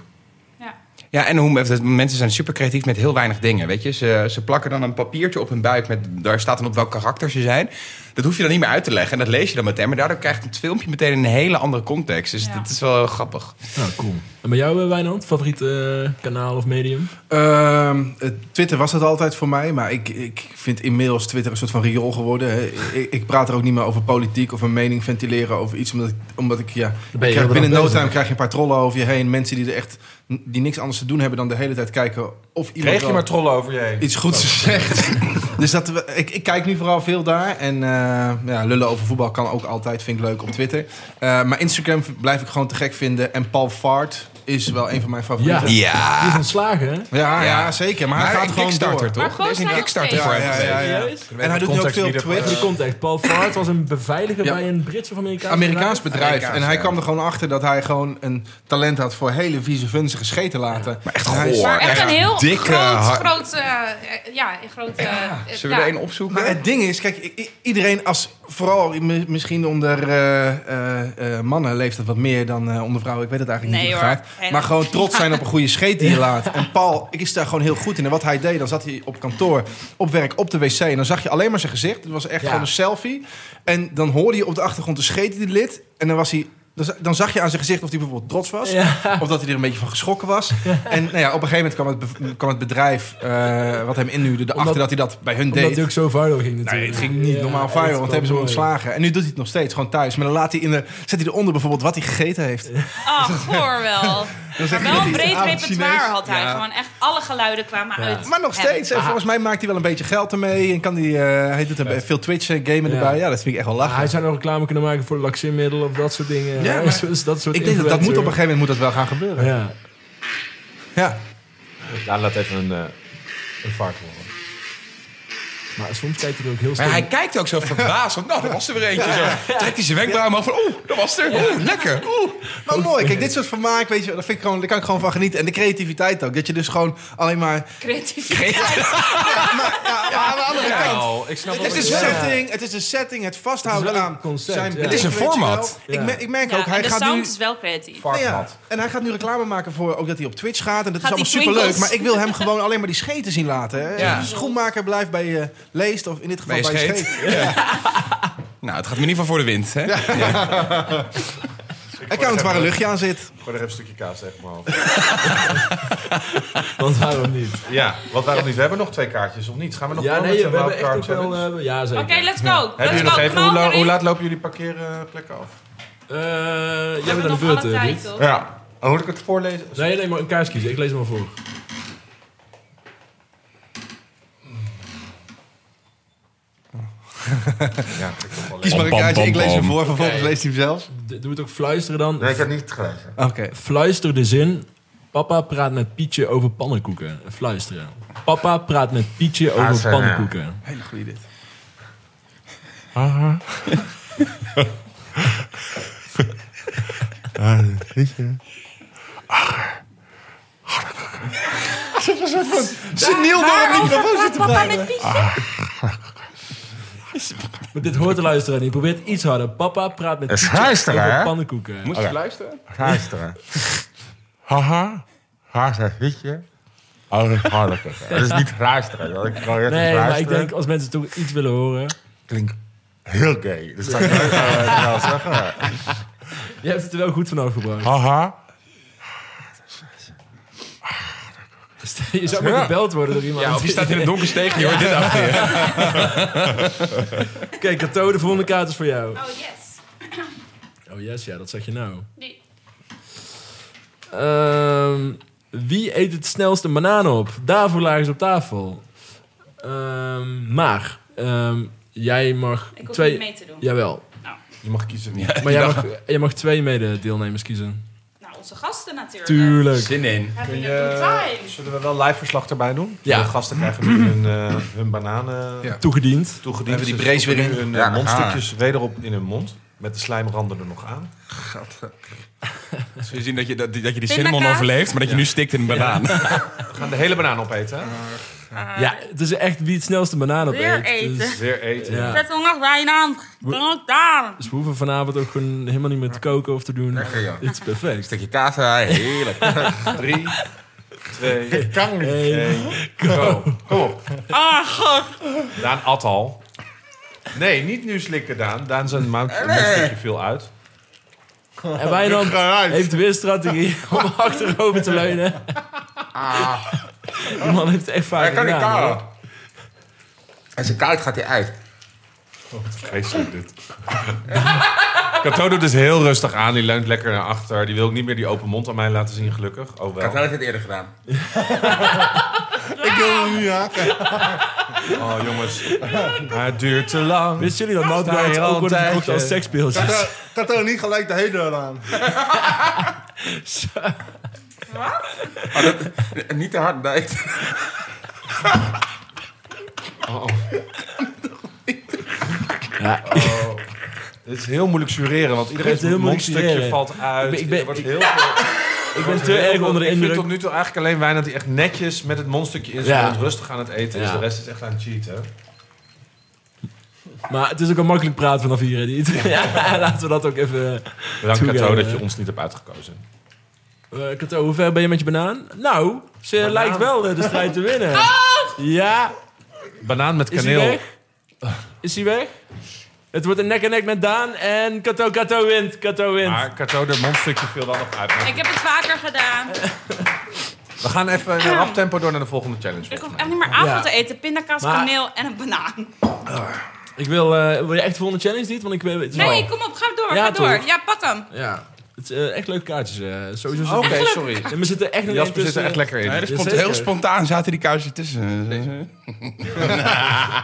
Speaker 4: Ja, en hoe, dat- mensen zijn super creatief met heel weinig dingen, weet je. Ze, ze plakken dan een papiertje op hun buik met... daar staat dan op welk karakter ze zijn. Dat hoef je dan niet meer uit te leggen en dat lees je dan meteen. Maar daardoor krijgt het filmpje meteen een hele andere context. Dus
Speaker 2: Ja.
Speaker 4: dat is wel heel grappig.
Speaker 3: Nou, cool. En bij jou, eh, Wijnand? Favoriet eh, kanaal of medium?
Speaker 5: Ehm, eh, Twitter was het altijd voor mij, maar ik, ik vind inmiddels Twitter een soort van riool geworden. hè. Ik, ik praat er ook niet meer over politiek of een mening ventileren over iets, omdat ik, omdat ik ja,
Speaker 3: ben je
Speaker 5: ik
Speaker 3: heel
Speaker 5: krijg binnen
Speaker 3: erg
Speaker 5: no
Speaker 3: bezig.
Speaker 5: time krijg je een paar trollen over je heen. Mensen die er echt n- die niks anders te doen hebben dan de hele tijd kijken of iemand
Speaker 1: Kreeg je
Speaker 5: wel
Speaker 1: maar trollen over je heen?
Speaker 5: iets goeds zegt. dus dat, we- ik, ik kijk nu vooral veel daar en eh, ja, lullen over voetbal kan ook altijd, vind ik leuk op Twitter. Eh, maar Instagram blijf ik gewoon te gek vinden en Paul Fart is wel een van mijn favorieten. Ja.
Speaker 4: Ja.
Speaker 3: Die is ontslagen, hè?
Speaker 5: Ja,
Speaker 4: Ja.
Speaker 5: zeker. Maar,
Speaker 4: Maar
Speaker 5: hij gaat
Speaker 4: een
Speaker 5: gewoon door.
Speaker 4: Kickstarter,
Speaker 2: Maar
Speaker 4: toch? Er is
Speaker 2: post
Speaker 4: een
Speaker 2: hij nog
Speaker 4: Kickstarter
Speaker 2: steeds?
Speaker 4: voor
Speaker 5: Ja,
Speaker 4: hem
Speaker 5: ja, ja,
Speaker 4: gezeten.
Speaker 5: ja.
Speaker 3: Serieus?
Speaker 5: En hij doet nu ook
Speaker 1: Context
Speaker 5: veel op
Speaker 1: niet
Speaker 3: Even
Speaker 5: Twitter.
Speaker 3: de context. Paul Fart was een beveiliger
Speaker 5: Ja.
Speaker 3: bij een Brits of Amerikaans
Speaker 5: Amerikaans
Speaker 3: bedrijf?
Speaker 5: bedrijf.
Speaker 4: Amerikaans,
Speaker 5: en hij
Speaker 4: ja.
Speaker 5: kwam er gewoon achter dat hij gewoon een talent had voor hele vieze vunzige scheten laten. maar echt
Speaker 4: goor.
Speaker 2: Maar echt
Speaker 4: Echt
Speaker 2: een heel
Speaker 4: dikke,
Speaker 2: groot,
Speaker 4: hard-
Speaker 2: groot, eh, eh, ja, een groot... eh, eh,
Speaker 4: Zullen we er
Speaker 2: ja.
Speaker 4: één opzoeken?
Speaker 5: Maar het ding is, kijk, i- i- iedereen als, vooral i- mi- misschien onder eh, eh, eh, mannen leeft dat wat meer dan eh, onder vrouwen. Ik weet het eigenlijk
Speaker 2: Nee
Speaker 5: niet hoe
Speaker 2: hoor.
Speaker 5: het gaat. Maar gewoon trots zijn op een goede scheet die je laat. En Paul ik is daar gewoon heel goed in. En wat hij deed, dan zat hij op kantoor, op werk, op de wc. En dan zag je alleen maar zijn gezicht. Het was echt
Speaker 3: Ja.
Speaker 5: gewoon een selfie. En dan hoorde je op de achtergrond de scheet die hij lid. En dan was hij... dan za- Dan zag je aan zijn gezicht of hij bijvoorbeeld trots was. Of dat hij er een beetje van geschrokken was. En nou ja, op een gegeven moment kwam het, bev- kwam het bedrijf eh, wat hem inhuurde... erachter
Speaker 3: Omdat-
Speaker 5: dat hij dat bij hun
Speaker 3: Omdat
Speaker 5: deed.
Speaker 3: het ook zo viral ging natuurlijk.
Speaker 5: Nee, het ging niet
Speaker 3: Ja,
Speaker 5: normaal
Speaker 3: het
Speaker 5: viral, want
Speaker 3: kwam
Speaker 5: hebben ze hem
Speaker 3: mooi.
Speaker 5: ontslagen. En nu doet hij het nog steeds, gewoon thuis. Maar dan laat hij in de, zet hij eronder bijvoorbeeld wat hij gegeten heeft.
Speaker 2: Ach, Ah, goor wel. Maar wel een breed
Speaker 5: Ah,
Speaker 2: repertoire
Speaker 5: Chinees.
Speaker 2: had hij.
Speaker 5: Ja.
Speaker 2: Gewoon echt alle geluiden kwamen uit.
Speaker 5: Maar nog
Speaker 2: hem.
Speaker 5: steeds, en volgens mij maakt hij wel een beetje geld ermee. En kan hij, eh, hij doet er veel Twitch eh, gamen
Speaker 3: Ah. Ja.
Speaker 5: erbij. Ja, dat vind ik echt wel
Speaker 3: Ah, hij
Speaker 5: lachen.
Speaker 3: zou nog reclame kunnen maken voor laxinmiddel of dat soort dingen.
Speaker 5: Ja,
Speaker 3: Hè?
Speaker 5: maar-
Speaker 3: Dus dat soort
Speaker 5: Ik denk dat dat moet op een gegeven moment moet dat wel gaan gebeuren. Ja.
Speaker 3: Ja.
Speaker 1: Ja, laat even een, eh, een vark horen.
Speaker 3: Maar soms kijkt hij er ook heel stil.
Speaker 4: Maar hij kijkt ook zo verbaasd. want, nou, daar was er weer eentje. Zo. Trekt hij zijn wenkbrauw omhoog van, oeh, daar was er. Oeh, lekker. Oeh.
Speaker 5: Maar mooi, kijk, dit soort vermaak, weet je, dat vind ik gewoon, daar kan ik gewoon van genieten. En de creativiteit ook. Dat je dus gewoon alleen maar...
Speaker 2: Creativiteit.
Speaker 5: Ja, aan de andere kant.
Speaker 4: ik snap
Speaker 5: Het is, een setting, het is een setting, het vasthouden
Speaker 3: Het is wel een
Speaker 5: aan
Speaker 3: concept,
Speaker 5: zijn
Speaker 3: ja.
Speaker 5: blik,
Speaker 3: Het
Speaker 4: is een
Speaker 5: weet je wel.
Speaker 4: format.
Speaker 5: Ik,
Speaker 3: Ja.
Speaker 5: mer- ik merk
Speaker 2: Ja,
Speaker 5: ook, hij
Speaker 2: en de
Speaker 5: gaat
Speaker 2: sound
Speaker 5: nu...
Speaker 2: is wel creatief.
Speaker 5: Nou ja, En hij gaat nu reclame maken voor ook dat hij op Twitch gaat. En dat
Speaker 2: Gaat
Speaker 5: is
Speaker 2: die
Speaker 5: allemaal superleuk.
Speaker 2: twinkels?
Speaker 5: Maar ik wil hem gewoon alleen maar die scheten zien laten. Hè?
Speaker 4: Ja.
Speaker 5: Een Schoenmaker blijft bij je leest. Of in dit geval
Speaker 4: Bij je
Speaker 5: bij je
Speaker 4: scheet.
Speaker 5: scheet.
Speaker 4: Nou, het gaat me in ieder geval voor de wind, hè?
Speaker 5: Account waar een luchtje aan zit.
Speaker 1: Gooi er even een stukje kaas tegen mijn hoofd.
Speaker 3: Want waarom niet?
Speaker 1: Ja, want waarom niet? We hebben nog twee kaartjes, of niet? Gaan we nog
Speaker 3: Ja,
Speaker 1: door
Speaker 3: nee,
Speaker 1: met
Speaker 3: we
Speaker 1: de
Speaker 3: hebben echt
Speaker 1: wildcard
Speaker 3: ook wel...
Speaker 1: challenge?
Speaker 3: eh, ja, zeker.
Speaker 2: Oké, let's go.
Speaker 1: Hebben
Speaker 2: let's
Speaker 1: jullie nog
Speaker 2: go.
Speaker 1: even, hoe, la-
Speaker 2: Knal
Speaker 1: hoe
Speaker 2: erin.
Speaker 1: laat lopen jullie parkeerplekken af?
Speaker 3: Eh, jij
Speaker 2: We
Speaker 3: bent aan
Speaker 2: hebben
Speaker 3: de
Speaker 2: nog
Speaker 3: beurt,
Speaker 2: alle
Speaker 3: eh,
Speaker 2: tijd,
Speaker 3: Ruud.
Speaker 2: toch?
Speaker 1: Ja. Oh, moet ik het voorlezen?
Speaker 3: Nee, nee, maar een kaars kiezen. Ik lees hem al voor.
Speaker 1: Ja, ik heb wel
Speaker 5: Kies maar een kaartje. Ik lees hem voor. Vervolgens leest hij hem zelf.
Speaker 3: D- Doe het ook fluisteren dan.
Speaker 1: Nee, ik heb niet gelezen.
Speaker 5: Oké.
Speaker 3: Fluister de zin. Papa praat met Pietje over pannenkoeken. Fluisteren. Papa praat met Pietje
Speaker 1: Ah,
Speaker 3: over
Speaker 1: zo, ja.
Speaker 3: pannenkoeken.
Speaker 5: Hele goede dit. Seniel door het microfoon zit te praten.
Speaker 3: Maar dit hoort de luisteraar niet. Probeer het iets harder. Papa praat met
Speaker 1: Een
Speaker 3: Pietje
Speaker 1: fluisteraar,
Speaker 3: over
Speaker 1: hè?
Speaker 3: pannenkoeken.
Speaker 4: Moest je luisteren?
Speaker 1: Luisteren. Haha. Haha, weet je? Oh, hartelijk. Dat is niet luisteren. Dat ik gewoon echt
Speaker 3: Nee, maar ik denk als mensen toch iets willen horen.
Speaker 1: Klinkt heel gay. Dus dat kan ik eh, wel zeggen.
Speaker 3: Je hebt het er wel goed van afgebracht.
Speaker 1: Haha.
Speaker 3: Dus Je zou maar gebeld worden door iemand.
Speaker 4: Ja, of je staat in een donker steegje, hoor. Dit achter je.
Speaker 3: Kijk, Kato, de volgende kaart is voor jou.
Speaker 2: Oh, yes.
Speaker 3: Oh yes, ja, dat zeg je nou.
Speaker 2: Die.
Speaker 3: Ehm, wie eet het snelst een banaan op? Daarvoor lagen ze op tafel. Ehm, maar, ehm, jij mag
Speaker 2: Ik hoef
Speaker 3: twee...
Speaker 2: niet mee te doen.
Speaker 3: Jawel.
Speaker 5: Je mag kiezen.
Speaker 3: Maar jij mag, jij mag twee mede-deelnemers kiezen.
Speaker 2: Nou, onze gasten natuurlijk.
Speaker 3: Tuurlijk.
Speaker 4: Zin in.
Speaker 2: Having
Speaker 1: Kun
Speaker 2: a
Speaker 1: je-
Speaker 2: good time.
Speaker 1: eh, Zullen we wel live verslag erbij doen?
Speaker 3: Ja.
Speaker 1: De gasten krijgen nu hun, eh, hun bananen
Speaker 5: Ja.
Speaker 3: Toegediend.
Speaker 1: toegediend.
Speaker 5: Hebben die
Speaker 1: Ze
Speaker 5: brace
Speaker 1: stoppen
Speaker 5: weer
Speaker 1: nu
Speaker 5: in?
Speaker 1: Hun
Speaker 4: Ja,
Speaker 1: eh,
Speaker 4: daar
Speaker 1: mondstukjes wederop in hun mond. Met de slijmranden er nog aan.
Speaker 4: Zul je zien dat je, dat, dat je die
Speaker 2: Pindakaas.
Speaker 4: cinnamon overleeft, maar dat je nu stikt in een banaan.
Speaker 1: We gaan de hele banaan opeten. hè?
Speaker 3: Ja, het is echt wie het snelst een banaan op
Speaker 2: Weer
Speaker 3: eet.
Speaker 2: Eh. eten.
Speaker 3: Dus,
Speaker 1: Weer eten.
Speaker 3: ja.
Speaker 2: Zet nog wijn aan. Kom daar.
Speaker 3: dus we hoeven vanavond ook gewoon helemaal niet meer te koken of te doen.
Speaker 4: Lekker, joh.
Speaker 3: Dit is perfect.
Speaker 4: Stukje kaas erbij, heerlijk.
Speaker 1: Drie, twee,
Speaker 7: Kan niet.
Speaker 3: Hey.
Speaker 1: één, go. Kom op.
Speaker 2: Ah, god.
Speaker 1: Daan at al. Nee, niet nu slikken, Daan. Daan zijn mount een stukje veel uit.
Speaker 3: En Wijnand
Speaker 7: Geruis.
Speaker 3: heeft weer strategie om achterover te leunen. Die man heeft het echt vaak
Speaker 4: Ah. Hij kan niet
Speaker 3: gedaan, hoor.
Speaker 4: koud. Als je koud gaat hij uit.
Speaker 1: Oh, Vreselijk dit. Kato doet dus heel rustig aan. Die leunt lekker naar achter. Die wil ook niet meer die open mond aan mij laten zien, gelukkig. Oh
Speaker 4: Ik had
Speaker 1: wel.
Speaker 4: nooit het eerder gedaan.
Speaker 7: Ik wil hem niet haken.
Speaker 1: Oh jongens, maar het duurt te lang.
Speaker 3: Wisten jullie dat
Speaker 1: Sta
Speaker 3: Moutbright
Speaker 1: hier al
Speaker 3: ook wordt
Speaker 1: een
Speaker 3: verkocht
Speaker 1: tijdje.
Speaker 3: als seksspeeltjes?
Speaker 7: Kato- Kato niet gelijk de hele aan.
Speaker 4: Oh, Niet te hard, nee.
Speaker 1: Dit is heel moeilijk sureren, want
Speaker 3: Het is heel
Speaker 1: iedereen
Speaker 3: moeilijk
Speaker 1: mondstukje
Speaker 3: sureren.
Speaker 1: valt uit.
Speaker 3: Ik ben- ik
Speaker 1: Er wordt
Speaker 3: ben-
Speaker 1: heel veel,
Speaker 3: Ik ben te
Speaker 1: heel
Speaker 3: erg
Speaker 1: veel-
Speaker 3: onder de
Speaker 1: ik vind tot
Speaker 3: indruk.
Speaker 1: nu toe eigenlijk alleen Wijnand die echt netjes met het mondstukje in
Speaker 3: Ja.
Speaker 1: zijn mond rustig aan het eten is.
Speaker 3: Ja.
Speaker 1: De rest is echt aan het cheaten.
Speaker 3: Maar het is ook al makkelijk praten vanaf hier. hè, Niet? Ja, laten we dat ook even... eh,
Speaker 1: Bedankt
Speaker 3: Toegeven.
Speaker 1: Kato dat je ons niet hebt uitgekozen.
Speaker 3: Eh, Kato, hoe ver ben je met je banaan? Nou, ze lijkt wel eh, de strijd te winnen. Ja,
Speaker 1: Banaan met
Speaker 3: is hij
Speaker 1: kaneel.
Speaker 3: weg? Is hij weg? Het wordt een nek en nek met Daan en Kato, Kato wint. Kato wint.
Speaker 1: Maar Kato, dat mondstukje viel wel nog uit.
Speaker 2: Ik heb het vaker gedaan. Ah.
Speaker 1: We gaan even in rap tempo door naar de volgende challenge.
Speaker 2: Ik hoef echt niet meer avond
Speaker 3: Ja.
Speaker 2: te eten. Pindakaas,
Speaker 3: Maar-
Speaker 2: kaneel en een banaan.
Speaker 3: Ik wil, eh, wil je echt de volgende challenge niet? Want ik eh, weet het is
Speaker 2: Nee,
Speaker 3: wel-
Speaker 2: kom op. Ga door.
Speaker 3: Ja,
Speaker 2: ga door.
Speaker 3: toch?
Speaker 2: Ja, pak hem.
Speaker 3: Ja, het is eh, echt leuke kaartjes. eh. Sowieso zit-
Speaker 1: Oké, sorry.
Speaker 3: Ja, maar zitten echt nog
Speaker 1: Jasper
Speaker 3: één
Speaker 1: zit er
Speaker 3: tussen-
Speaker 1: echt lekker in.
Speaker 3: Ja, zeker.
Speaker 4: heel spontaan zaten die kousen tussen.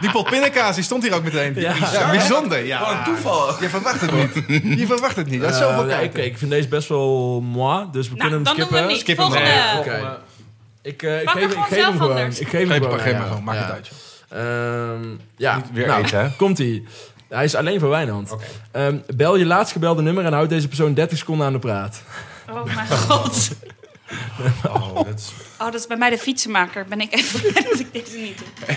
Speaker 5: Die pot pindakaas, die stond hier ook meteen.
Speaker 3: Ja.
Speaker 5: Ja, bijzonder. Ja. Gewoon toeval. Je verwacht het niet. Je verwacht het niet. Dat is
Speaker 3: Eh,
Speaker 5: zoveel
Speaker 3: nee,
Speaker 5: kijken.
Speaker 3: oké, ik vind deze best wel moi, dus we
Speaker 2: Nou,
Speaker 3: kunnen
Speaker 2: dan
Speaker 3: hem
Speaker 2: doen
Speaker 3: skippen.
Speaker 2: we hem niet.
Speaker 5: Skip hem.
Speaker 2: Volgende.
Speaker 3: Nee, oké. Ik, eh, ik
Speaker 2: Pak hem
Speaker 3: geef, ik
Speaker 2: gewoon
Speaker 3: geef hem
Speaker 2: zelf
Speaker 3: gewoon.
Speaker 2: anders.
Speaker 3: Ik geef hem
Speaker 5: Geef
Speaker 3: gewoon.
Speaker 5: maar, geef
Speaker 3: ja.
Speaker 5: maar gewoon. Maakt
Speaker 3: Ja.
Speaker 5: het uit. joh.
Speaker 3: Ehm, ja,
Speaker 1: Niet weer
Speaker 3: nou,
Speaker 1: eten, hè?
Speaker 3: komt ie. Hij is alleen voor Wijnand. Ehm, bel je laatst gebelde nummer en houd deze persoon 30 seconden aan de praat.
Speaker 2: Oh mijn god.
Speaker 1: Oh, dat is-
Speaker 2: Oh, dat is bij mij de fietsenmaker. Ben ik even blij dat ik deze niet doe.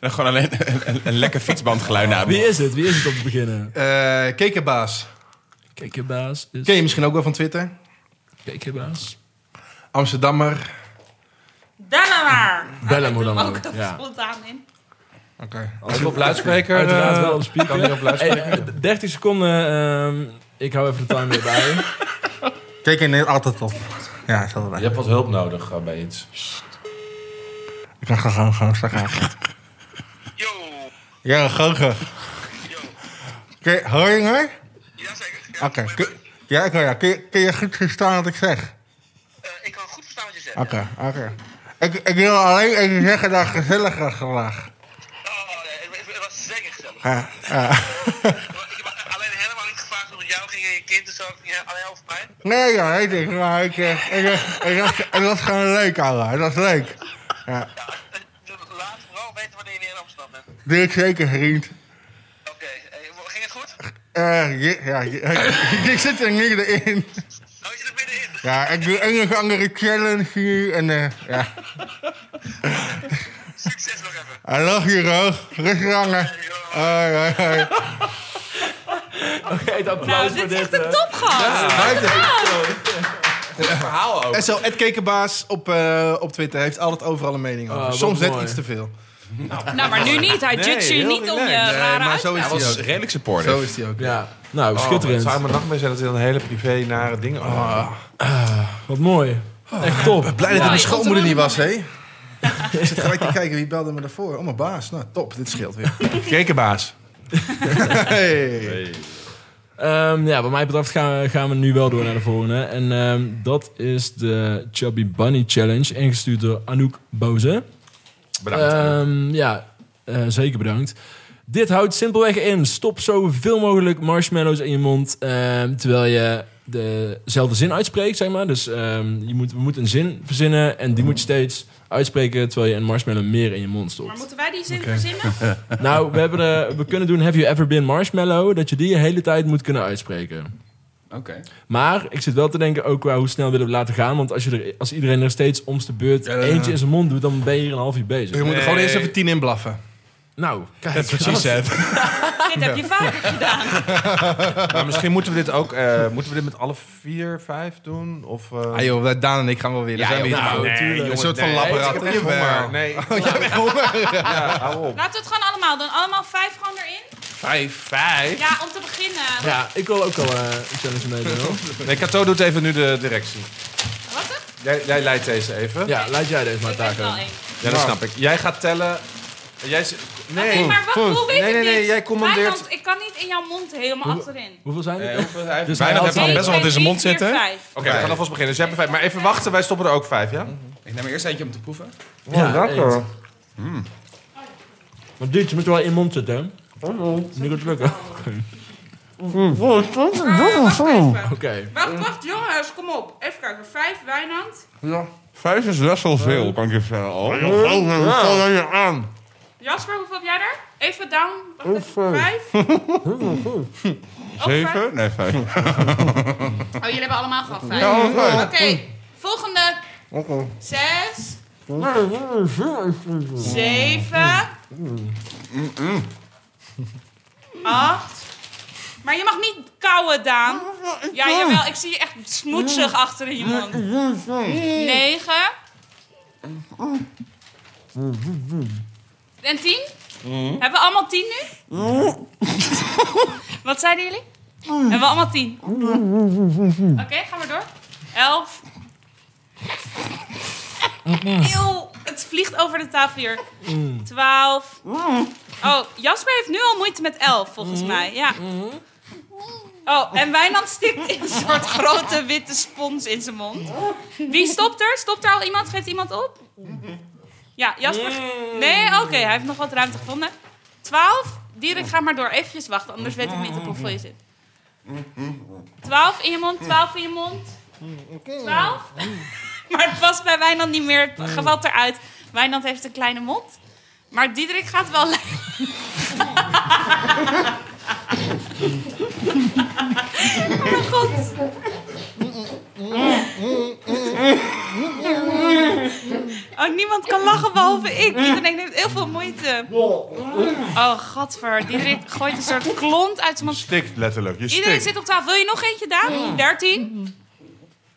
Speaker 4: En gewoon alleen een, een, een lekker fietsbandgeluid na.
Speaker 3: Wie is het? Wie is het om te beginnen?
Speaker 5: Eh, Kekerbaas.
Speaker 3: Kijk, je baas. Is...
Speaker 5: Ken je misschien ook wel van Twitter?
Speaker 3: Kijk, je baas.
Speaker 5: Amsterdammer.
Speaker 2: Daarna maar.
Speaker 3: Bel hem hoe dan
Speaker 2: Ook
Speaker 3: ook.
Speaker 2: dat
Speaker 3: Ja.
Speaker 2: spontaan in.
Speaker 5: Oké.
Speaker 1: Als we op luidspreker...
Speaker 3: Uiteraard
Speaker 1: eh,
Speaker 3: wel op
Speaker 1: Kan die op
Speaker 3: Hey,
Speaker 1: luidspreker?
Speaker 3: eh, 30 seconden. ehm, ik hou even de timer erbij.
Speaker 7: Kijk in neemt altijd op. Ja, zo
Speaker 1: Je
Speaker 7: erbij.
Speaker 1: hebt wat hulp nodig eh, bij iets.
Speaker 7: Ik ga gewoon gewoon zeggen.
Speaker 8: Yo,
Speaker 7: Ja, gozer. Oké, hoor je me?
Speaker 8: jazeker. Ja,
Speaker 7: Oké.
Speaker 8: maar-
Speaker 7: kun- Ja, ik hoor je. Kun je. Kun je goed verstaan wat ik zeg?
Speaker 8: eh, ik kan goed verstaan wat je zegt.
Speaker 7: Oké, oké. Ik, ik wil alleen even zeggen dat het gezellig was vandaag.
Speaker 8: Oh, nee, het, het was zeker gezellig.
Speaker 7: Ja, ja.
Speaker 8: Ik heb alleen helemaal niet gevraagd hoe het jou ging en je kind en zo. Het ging Alleen over mij.
Speaker 7: Nee, ja, weet ik. Maar ik, eh, ik, eh, ik dacht, het was gewoon leuk, ouwe. Het was leuk.
Speaker 8: Eh, Laat vooral weten wanneer je weer in Amsterdam bent.
Speaker 7: Doe ik zeker, vriend.
Speaker 8: Oké, eh, ging het goed?
Speaker 7: Eh, je- ja, je- ik, ik zit er middenin.
Speaker 8: Oh, je zit er middenin.
Speaker 7: Ja, ik doe een of andere challenge hier. En eh, ja,
Speaker 8: Succes nog even.
Speaker 7: I love you, Roos. Rustig hangen. Hoi, hoi, hoi.
Speaker 3: Oké, het applaus
Speaker 2: Nou,
Speaker 3: voor
Speaker 2: dit is
Speaker 3: dit. eh,
Speaker 2: echt een topgast.
Speaker 4: verhaal ook.
Speaker 5: En zo, Ed Kekerbaas op, eh, op Twitter heeft altijd overal een mening over.
Speaker 3: Oh, wat
Speaker 5: Soms net
Speaker 3: mooi.
Speaker 5: iets te veel.
Speaker 2: Nou, maar nu niet. Hij judge je
Speaker 5: heel
Speaker 2: niet om je
Speaker 5: relaxed. Nee,
Speaker 2: rare
Speaker 5: maar zo
Speaker 4: Hij
Speaker 5: is hij
Speaker 4: was
Speaker 5: ook.
Speaker 4: redelijk supportive.
Speaker 5: Zo is hij ook.
Speaker 3: Ja, nou,
Speaker 1: Oh, het
Speaker 3: schitterend.
Speaker 1: Ah. zou mijn nacht mee zijn dat dit een hele privé nare ding... Oh,
Speaker 3: Wat mooi. Echt top.
Speaker 5: Blij dat het mijn
Speaker 2: Mooi,
Speaker 5: schoonmoeder niet was,
Speaker 2: ontroerend
Speaker 5: hé. Ik zit gelijk te kijken wie belde me daarvoor. Oh, mijn baas. Nou, top. Dit scheelt weer.
Speaker 1: Kekenbaas.
Speaker 5: Hey.
Speaker 3: Ehm, ja, wat mij betreft gaan we, gaan we nu wel door naar de volgende. En ehm, dat is de Chubby Bunny Challenge, ingestuurd door Anouk Boze.
Speaker 1: Bedankt.
Speaker 3: Ehm, ja, eh, zeker bedankt. Dit houdt simpelweg in: stop zoveel mogelijk marshmallows in je mond ehm, terwijl je dezelfde zin uitspreekt, zeg maar. Dus ehm, je moet, we moeten een zin verzinnen en die moet je steeds uitspreken terwijl je een marshmallow meer in je mond
Speaker 2: Maar
Speaker 3: stopt.
Speaker 2: moeten wij die zin verzinnen?
Speaker 3: Nou, we, hebben, eh, we kunnen doen Have You Ever Been Marshmallow, dat je die de hele tijd moet kunnen uitspreken.
Speaker 7: Eh,
Speaker 4: Oké.
Speaker 3: Maar ik zit wel te denken ook qua hoe snel willen we laten gaan. Want als, je er, als iedereen er steeds om de beurt
Speaker 5: Ja, ja, ja.
Speaker 3: eentje in zijn mond doet, dan ben je hier een half uur bezig.
Speaker 5: Je moet er gewoon eerst even tien in blaffen.
Speaker 3: Nou, kijk.
Speaker 5: Dat is precies het.
Speaker 2: Dit heb je vaker gedaan.
Speaker 1: Maar misschien moeten we dit ook... eh, moeten we dit met alle vier, vijf doen? Of... eh,
Speaker 5: Ah joh, Daan en ik gaan wel weer. Daar
Speaker 4: Ja,
Speaker 5: zijn we
Speaker 4: joh,
Speaker 5: hier
Speaker 4: nou,
Speaker 5: voor.
Speaker 3: nee,
Speaker 5: Tuurlijk. Een soort van
Speaker 1: nee,
Speaker 5: labberat.
Speaker 1: ik heb echt honger. Nee. Oh, jij Ja, hou op.
Speaker 2: Laten we het gewoon allemaal doen. Allemaal vijf gewoon erin.
Speaker 4: Vijf. Vijf.
Speaker 2: Ja, om te beginnen.
Speaker 3: Ja, ik wil ook al eh, een challenge meedoen. hoor.
Speaker 1: Nee, Kato doet even nu de directie.
Speaker 2: Wat? dan?
Speaker 1: Jij, jij leidt deze even.
Speaker 3: Ja, laat jij deze maar
Speaker 2: Ik heb
Speaker 3: taken.
Speaker 2: wel één.
Speaker 1: Ja, dat snap ik. Jij gaat tellen. Jij z-
Speaker 2: Nee,
Speaker 1: nee.
Speaker 2: maar wat, hoe weet
Speaker 1: Nee,
Speaker 2: ik
Speaker 1: nee, nee,
Speaker 2: dit?
Speaker 1: jij commandeert-
Speaker 2: Mijn hand- ik kan niet in jouw mond helemaal
Speaker 3: Hoe-
Speaker 2: achterin.
Speaker 3: Hoeveel zijn er?
Speaker 1: Oké,
Speaker 3: Dus hij had
Speaker 2: Twee,
Speaker 3: al-
Speaker 2: twee, drie, vier, vijf.
Speaker 1: we gaan alvast beginnen. Dus jij hebt er vijf. Maar even wachten, wij stoppen er ook vijf, ja?
Speaker 4: Ik neem er eerst eentje om te proeven.
Speaker 3: Ja,
Speaker 1: lekker.
Speaker 3: één. Maar dit, je moet er wel in je mond zitten. hè? Nu gaat het lukken.
Speaker 2: Ah, wacht even.
Speaker 3: Oké.
Speaker 2: Wacht, wacht, jongens, kom op. Even kijken. Vijf, Wijnand.
Speaker 7: Vijf is best wel veel, kan ik je vertellen. Oh, ja. je aan.
Speaker 2: Jasper, hoeveel heb jij er? Even down. Wacht even. Vijf. Ook vijf?
Speaker 7: Zeven? Nee, vijf.
Speaker 2: Oh, jullie hebben allemaal gehad vijf.
Speaker 7: Ja, vijf.
Speaker 2: Oké, volgende. Zes. Zeven. Acht. Maar je mag niet kauwen, Daan. Ja, jawel. Ik zie je echt smoetsig achter in je mond. Negen. En tien? Hebben we allemaal tien nu? Wat zeiden jullie? Hebben we allemaal tien? Oké, gaan we door. Elf. Eeuw, het vliegt over de tafel hier. Twaalf. Oh, Jasper heeft nu al moeite met elf, volgens mij. Ja. Oh, en Wijnand stikt een soort grote witte spons in zijn mond. Wie stopt er? Stopt er al iemand? Geeft iemand op? Ja, Jasper. Nee, oké, hij heeft nog wat ruimte gevonden. Twaalf. Dierik, ga maar door. Eventjes wachten, anders weet ik niet op hoeveel je zit. Twaalf in je mond, twaalf in je mond. Twaalf. Maar het past bij Wijnand niet meer. Het gewalt eruit. Wijnand heeft een kleine mond. Maar Diederik gaat wel lekker. oh mijn god. Oh, niemand kan lachen behalve ik. Iedereen heeft heel veel moeite. Oh, gadver. Diederik gooit een soort klont uit zijn mond.
Speaker 1: Stikt letterlijk. Je
Speaker 2: Iedereen
Speaker 1: stikt.
Speaker 2: zit op tafel. Wil je nog eentje, Daan? 13.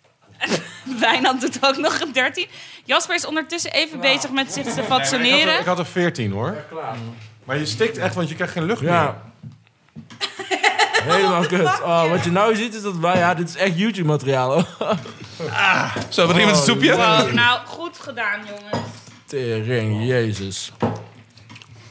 Speaker 2: Wijnand doet ook nog een 13. Jasper is ondertussen even bezig met zich te
Speaker 1: Ik had,
Speaker 2: vaccineren.
Speaker 1: ik had er veertien, hoor. Maar je stikt echt, want je krijgt geen lucht meer.
Speaker 3: Ja. Helemaal kut. Oh, wat je nou ziet is dat wij... Ja, dit is echt YouTube-materiaal. hoor.
Speaker 4: Zo, wat iemand een soepje?
Speaker 2: Wow, nou, goed gedaan, jongens.
Speaker 3: Tering, jezus.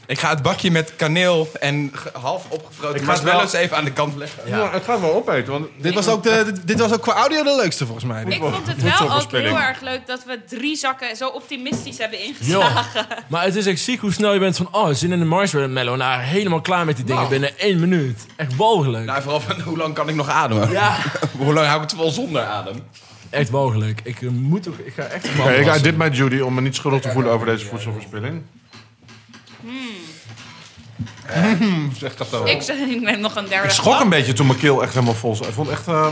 Speaker 4: Ik ga het bakje met kaneel en ge- half opgevroten
Speaker 1: ga het wel-
Speaker 4: marshmallows even aan de kant leggen.
Speaker 1: Ja, het gaat wel opeten, want...
Speaker 5: Dit was, ook de, dit- dit was ook qua audio de leukste volgens mij.
Speaker 2: Ik vond het wel ook heel erg leuk dat we drie zakken zo optimistisch hebben
Speaker 3: Joh.
Speaker 2: ingeslagen.
Speaker 3: Maar het is echt ziek hoe snel je bent van... Oh, zin in de marshmallow. Nou, helemaal klaar met die
Speaker 1: Nou.
Speaker 3: dingen binnen één minuut. Echt walgelijk.
Speaker 4: Nou, vooral van hoe lang kan ik nog ademen?
Speaker 3: Ja.
Speaker 4: Hoe lang hou ik het wel zonder adem?
Speaker 3: Echt walgelijk. Ik eh, moet toch... Ik ga echt...
Speaker 1: Oké, ik uit dit met Judy om me niet schuldig te voelen over deze voedselverspilling.
Speaker 4: Zeg dat dan.
Speaker 2: Ik, ik neem nog een derde.
Speaker 1: Ik schrok een beetje toen mijn keel echt helemaal vol zat. Ik vond echt... eh,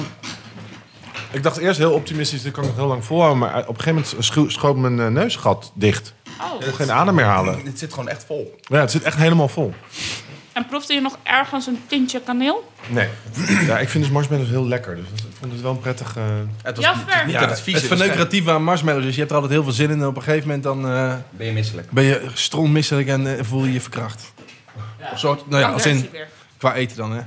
Speaker 1: ik dacht eerst heel optimistisch, dit kan ik nog heel lang volhouden. Maar op een gegeven moment scho- schoot mijn eh, neusgat dicht.
Speaker 2: Oh.
Speaker 1: Ik kon geen adem meer halen.
Speaker 4: Dit zit gewoon echt vol.
Speaker 1: Ja, het zit echt helemaal vol.
Speaker 2: En proefde je nog ergens een tintje kaneel?
Speaker 1: Nee. ja, ik vind dus marshmallows heel lekker. Dus dat- ik vond het wel een prettig... eh,
Speaker 4: Het was
Speaker 2: Jasper.
Speaker 4: niet, niet dat het vies
Speaker 5: het
Speaker 4: is. waarschijnlijk
Speaker 5: verneukeratieve aan marshmallows. Dus je hebt er altijd heel veel zin in. En op een gegeven moment dan, eh,
Speaker 4: Ben je misselijk?
Speaker 2: Oh,
Speaker 5: ben je strontmisselijk en eh, voel je je verkracht. Een soort, nou ja, als in
Speaker 2: weer.
Speaker 5: Qua eten dan, hè?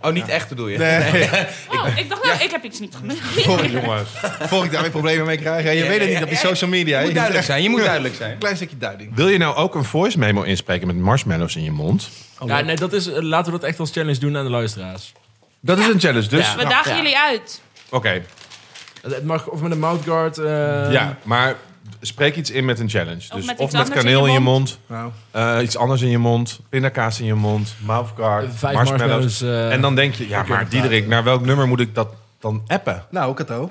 Speaker 4: Oh, niet echt bedoel je?
Speaker 2: Oh, ik dacht, nou, ik heb iets niet gemist.
Speaker 5: Voor,
Speaker 1: Jongens.
Speaker 5: voor ik daar weer problemen mee krijg. Ja, je weet het niet op die social media.
Speaker 4: Je
Speaker 5: hè?
Speaker 4: moet duidelijk zijn, je moet duidelijk zijn.
Speaker 5: Een klein stukje duiding.
Speaker 1: Wil je nou ook een voice memo inspreken met marshmallows in je mond?
Speaker 3: ja, nee, dat is, eh, laten we dat echt als challenge doen aan de luisteraars.
Speaker 1: Dat is een challenge, dus.
Speaker 2: We dagen jullie uit.
Speaker 1: Oké,
Speaker 3: Het het mag of met een mouthguard. eh,
Speaker 1: ja, maar spreek iets in met een challenge. Dus
Speaker 2: met
Speaker 1: of
Speaker 2: iets
Speaker 1: met
Speaker 2: anders
Speaker 1: kaneel in je mond,
Speaker 5: Nou,
Speaker 1: eh, iets anders in je mond, pindakaas in je mond, mouthguard,
Speaker 3: Vijf
Speaker 1: marshmallows.
Speaker 3: marshmallows, eh,
Speaker 1: en dan denk je, ja, maar Diederik, naar welk nummer moet ik dat dan appen?
Speaker 5: nou Kato.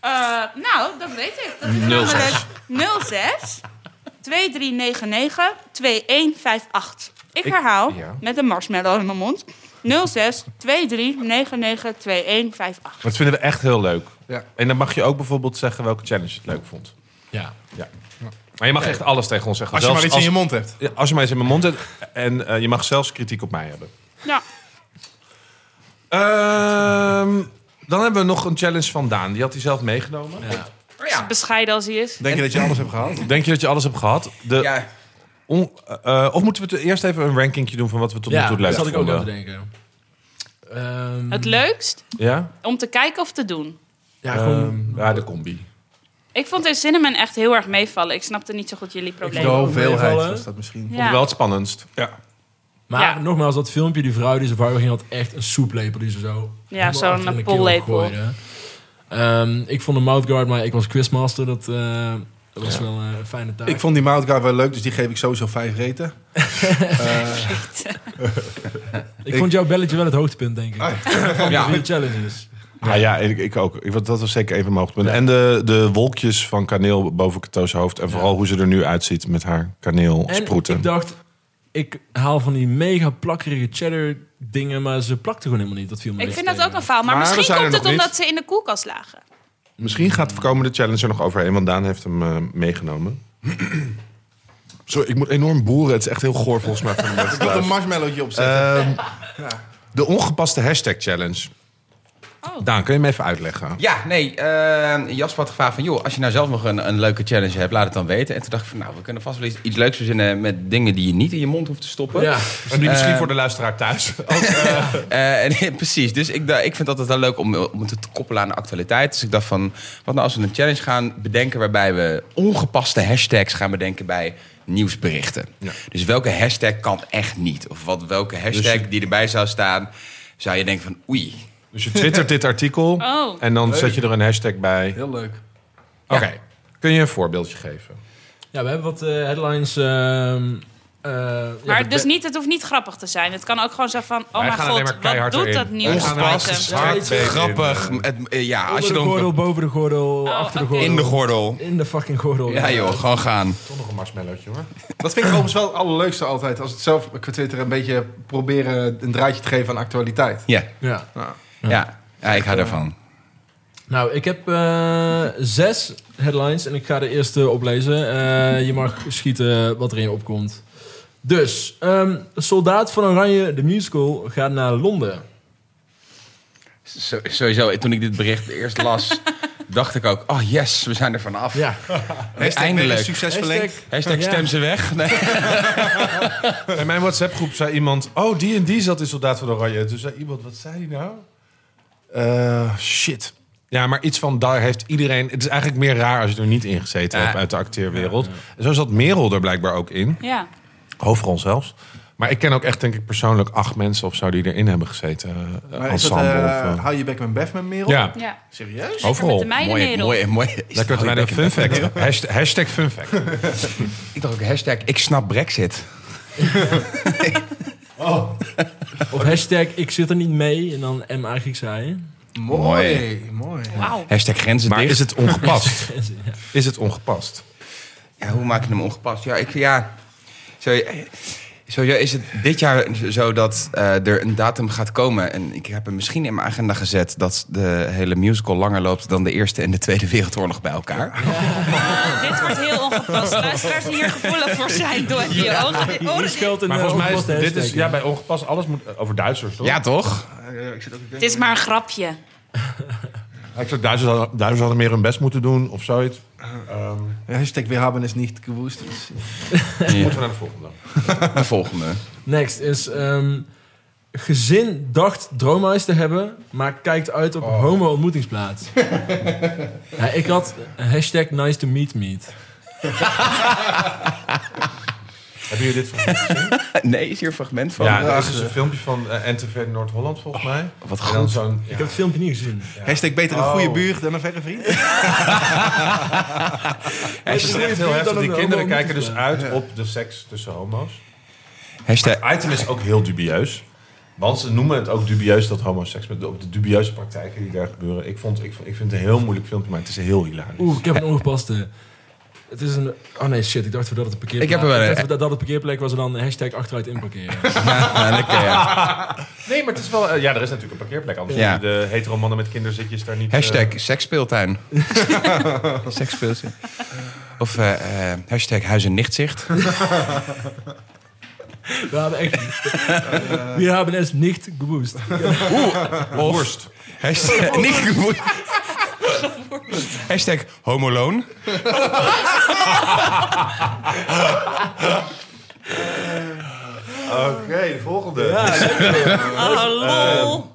Speaker 2: Eh, nou, dat weet ik. Dat is namelijk 06 2399 2158. Ik herhaal
Speaker 1: ja.
Speaker 2: met een marshmallow in mijn mond. 06 2399 2158.
Speaker 1: Dat vinden we echt heel leuk.
Speaker 5: Ja.
Speaker 1: En dan mag je ook bijvoorbeeld zeggen welke challenge je het leuk vond.
Speaker 3: ja.
Speaker 1: Maar je mag echt alles tegen ons zeggen.
Speaker 5: Als je maar iets
Speaker 1: Zelfs
Speaker 5: in je mond hebt.
Speaker 1: Ja, Als je mij eens in mijn mond zet. En eh, je mag zelfs kritiek op mij hebben.
Speaker 2: Ja.
Speaker 1: Ehm, dan hebben we nog een challenge van Daan. Die had hij zelf meegenomen.
Speaker 2: Bescheiden als hij is.
Speaker 5: Denk je dat je alles hebt gehaald?
Speaker 1: Denk je dat je alles hebt gehad? De,
Speaker 4: Ja,
Speaker 1: on- eh, eh, of moeten we het eerst even een rankingje doen van wat we tot nu
Speaker 3: Ja,
Speaker 1: toe
Speaker 3: dat
Speaker 1: leuk
Speaker 3: zat ik ook
Speaker 1: vonden?
Speaker 3: aan te denken. Ehm,
Speaker 1: Mm.
Speaker 2: Het leukst
Speaker 1: Ja?
Speaker 2: om te kijken of te doen.
Speaker 3: ja, gewoon,
Speaker 1: Ehm, ja, de combi.
Speaker 2: Ik vond de cinnamon echt heel erg meevallen. Ik snapte niet zo goed jullie
Speaker 5: De
Speaker 2: probleem.
Speaker 5: hoeveelheid
Speaker 3: meevallen.
Speaker 5: was dat misschien.
Speaker 1: Vond ik wel het spannendst. Ja.
Speaker 3: maar
Speaker 2: Ja.
Speaker 3: nogmaals, dat filmpje, die vrouw die zijn vrouw ging, had echt een soeplepel die ze zo...
Speaker 2: Ja, zo'n
Speaker 3: achter in de keel
Speaker 2: pollepel.
Speaker 3: gooide. Ehm, ik vond de mouthguard, maar ik was quizmaster. Dat, eh, dat was
Speaker 1: Ja.
Speaker 3: wel eh, een fijne taak.
Speaker 5: Ik vond die mouthguard wel leuk, dus die geef ik sowieso vijf reten.
Speaker 3: Ik vond jouw belletje wel het hoogtepunt, denk ik. Van de
Speaker 4: Ja.
Speaker 3: vier challenges.
Speaker 1: Ah, Ja, ja ik, ik ook. Ik, want dat was zeker even mijn hoogtepunt. En de, de wolkjes van kaneel boven Kato's hoofd. En vooral hoe ze er nu uitziet met haar kaneel
Speaker 3: En
Speaker 1: sproeten.
Speaker 3: ik dacht, ik haal van die mega plakkerige cheddar dingen, maar ze plakten gewoon helemaal niet. Dat viel me
Speaker 2: Ik
Speaker 3: niks
Speaker 2: vind dat
Speaker 3: tegen.
Speaker 2: ook een faal. Maar,
Speaker 1: Maar we
Speaker 2: misschien
Speaker 1: zijn er
Speaker 2: komt het
Speaker 1: nog niet.
Speaker 2: omdat ze in de koelkast lagen.
Speaker 1: Misschien gaat de komende challenge er nog overheen, want Daan heeft hem eh, meegenomen. Sorry, ik moet enorm boeren. Het is echt heel goor volgens mij. Van de mensen
Speaker 5: Ik had een
Speaker 1: thuis.
Speaker 5: marshmallowtje opzetten.
Speaker 1: Ehm, de ongepaste hashtag challenge.
Speaker 2: Oh.
Speaker 1: Daan, kun je hem even uitleggen?
Speaker 4: ja nee. eh, Jasper had gevraagd van... joh, als je nou zelf nog een, een leuke challenge hebt, laat het dan weten. En toen dacht ik van... nou, we kunnen vast wel iets, iets leuks verzinnen... met dingen die je niet in je mond hoeft te stoppen.
Speaker 3: Ja,
Speaker 1: En die misschien
Speaker 4: Ehm,
Speaker 1: voor de luisteraar thuis.
Speaker 4: Eh, en, precies, dus ik, da- ik vind altijd wel leuk om, om het te koppelen aan de actualiteit. Dus ik dacht van, wat nou als we een challenge gaan bedenken... waarbij we ongepaste hashtags gaan bedenken bij nieuwsberichten.
Speaker 1: Ja.
Speaker 4: Dus welke hashtag kan echt niet? Of wat, welke hashtag die erbij zou staan, zou je denken van oei.
Speaker 1: Dus je twittert dit artikel
Speaker 2: Oh.
Speaker 1: en dan zet je er een hashtag bij. Oké,
Speaker 5: Heel leuk.
Speaker 1: kun je een voorbeeldje geven?
Speaker 2: Oh,
Speaker 3: ja we hebben wat eh, headlines. ehm, eh, ja,
Speaker 2: Maar
Speaker 3: de-
Speaker 2: dus niet, het hoeft niet grappig te zijn. Het kan ook gewoon zeggen van... Oh
Speaker 1: Wij
Speaker 2: mijn
Speaker 1: gaan alleen
Speaker 2: god,
Speaker 1: maar
Speaker 2: wat
Speaker 1: keihard
Speaker 2: doet
Speaker 1: erin.
Speaker 2: dat
Speaker 1: Wij
Speaker 2: nieuws
Speaker 1: gaan er
Speaker 2: met
Speaker 1: als
Speaker 2: hem?
Speaker 1: een
Speaker 3: Ja,
Speaker 1: schaap
Speaker 3: iets
Speaker 1: mee in.
Speaker 4: Grappig. Het, eh, ja, als je
Speaker 3: onder de
Speaker 4: dan
Speaker 3: gordel, boven de gordel, achter de
Speaker 2: Oh, oké.
Speaker 3: gordel.
Speaker 4: in de gordel.
Speaker 3: In de fucking gordel.
Speaker 4: Ja joh, gewoon gaan.
Speaker 1: Toch nog een marshmallowtje hoor.
Speaker 5: Dat vind ik overigens wel het allerleukste altijd. Als het zelf qua Twitter een beetje proberen een draadje te geven aan actualiteit.
Speaker 4: Ja,
Speaker 3: Ja.
Speaker 4: ja. ja ik hou daarvan.
Speaker 3: Nou, ik heb eh, zes headlines en ik ga de eerste oplezen. Eh, je mag schieten wat er in je opkomt. Dus, ehm, Soldaat van Oranje, de musical, gaat naar Londen.
Speaker 4: Zo- sowieso, toen ik dit bericht eerst las, dacht ik ook... oh yes, we zijn er vanaf.
Speaker 3: Ja,
Speaker 4: Eindelijk.
Speaker 5: Succes
Speaker 3: Hashtag-
Speaker 4: Hashtag
Speaker 3: Ja.
Speaker 4: stem ze weg. Nee.
Speaker 1: In mijn WhatsApp-groep zei iemand... Oh, die en die zat in Soldaat van Oranje. Toen zei iemand, wat zei die nou? Eh, shit. Ja, maar iets van daar heeft iedereen... Het is eigenlijk meer raar als je er niet in gezeten
Speaker 4: Ja.
Speaker 1: hebt uit de acteerwereld. En Zo zat Merel er blijkbaar ook in.
Speaker 2: Ja.
Speaker 1: Hoofdrol zelfs. Maar ik ken ook echt, denk ik, persoonlijk acht mensen of zo... die erin hebben gezeten. eh,
Speaker 5: Maar is dat,
Speaker 1: ensemble.
Speaker 5: eh,
Speaker 1: of, eh,
Speaker 5: hou je bek met Bef met Merel?
Speaker 1: ja,
Speaker 2: ja.
Speaker 5: Serieus?
Speaker 2: Met de
Speaker 1: overal.
Speaker 4: Mooi,
Speaker 2: meidenwereld.
Speaker 4: mooi, mooi.
Speaker 1: Daar kunt u mij een fun fact. Hashtag, hashtag fun fact.
Speaker 4: Ik dacht ook hashtag ik snap brexit.
Speaker 3: Of hashtag ik zit er niet mee en dan MA Grieks
Speaker 1: Oh,
Speaker 3: rijden.
Speaker 5: Mooi. Mooi.
Speaker 2: Wauw.
Speaker 4: Hashtag grenzen
Speaker 1: Maar
Speaker 4: dicht.
Speaker 1: is het ongepast? Is het ongepast?
Speaker 4: Ja, hoe maak je hem ongepast? Ja, ik, ja. Zo, eh, sowieso is het dit jaar zo dat eh, er een datum gaat komen. En ik heb hem misschien in mijn agenda gezet... dat de hele musical langer loopt dan de Eerste en de Tweede Wereldoorlog bij elkaar.
Speaker 2: Dit wordt heel ongepast. Luisteraars die hier gevoelig voor zijn door je ogen.
Speaker 3: Hier
Speaker 2: oren-
Speaker 3: geldt een
Speaker 1: Maar
Speaker 3: eh,
Speaker 1: volgens mij is
Speaker 3: ongepaste
Speaker 1: dit is,
Speaker 3: hashtag.
Speaker 1: ja, bij ongepast, alles moet eh, over Duitsers, toch?
Speaker 4: Ja, toch?
Speaker 2: Het is maar een grapje.
Speaker 1: Ik zou Duitsers, hadden, Duitsers hadden meer hun best moeten doen of zoiets.
Speaker 5: Hashtag we hebben is niet gewoest.
Speaker 1: Moeten we naar de volgende.
Speaker 4: De volgende.
Speaker 3: Next is ehm, gezin dacht droomhuis te hebben, maar kijkt uit op homo-ontmoetingsplaats. ja, ik had hashtag nice to meet meet.
Speaker 1: Hebben jullie dit van
Speaker 4: Nee, is hier een fragment van?
Speaker 1: Ja, Oh, er is dus een filmpje van eh, NTV Noord-Holland volgens mij.
Speaker 4: wat
Speaker 1: En dan zo'n...
Speaker 3: Ik heb het filmpje niet gezien.
Speaker 5: Hashtag beter een
Speaker 1: Oh.
Speaker 5: goede buur dan een verre vriend.
Speaker 1: Het is echt heel
Speaker 3: Dan
Speaker 1: heftig. Die
Speaker 3: een
Speaker 1: kinderen
Speaker 3: homo
Speaker 1: kijken dus uit op de seks tussen homo's.
Speaker 4: Hashtag
Speaker 1: Het item is ook heel dubieus. Want ze noemen het ook dubieus dat homoseks met op de dubieuze praktijken die daar gebeuren. Ik, vond, ik, vond- ik vind het een heel moeilijk filmpje, maar het is heel hilarisch.
Speaker 3: Oeh, ik heb een ongepaste. Het is een... Oh nee, shit. Ik dacht dat het een parkeerplek
Speaker 4: Ik heb er wel een-
Speaker 3: dacht dat dat het parkeerplek was en dan hashtag achteruit inparkeren.
Speaker 4: Ja, lekker, ja.
Speaker 1: Nee, maar het is wel. eh, ja, er is natuurlijk een parkeerplek. Anders
Speaker 4: Ja.
Speaker 1: ja. de hetero mannen met kinderzitjes daar niet. eh,
Speaker 4: Hashtag seksspeeltuin. seksspeeltuin. Of eh, eh, hashtag huis- en nichtzicht.
Speaker 3: We hebben echt... We hebben es niet gewoest.
Speaker 4: Worst. Hashtag, niet gemoe- hashtag homoloon.
Speaker 1: Oké, de volgende.
Speaker 6: Oh, lol.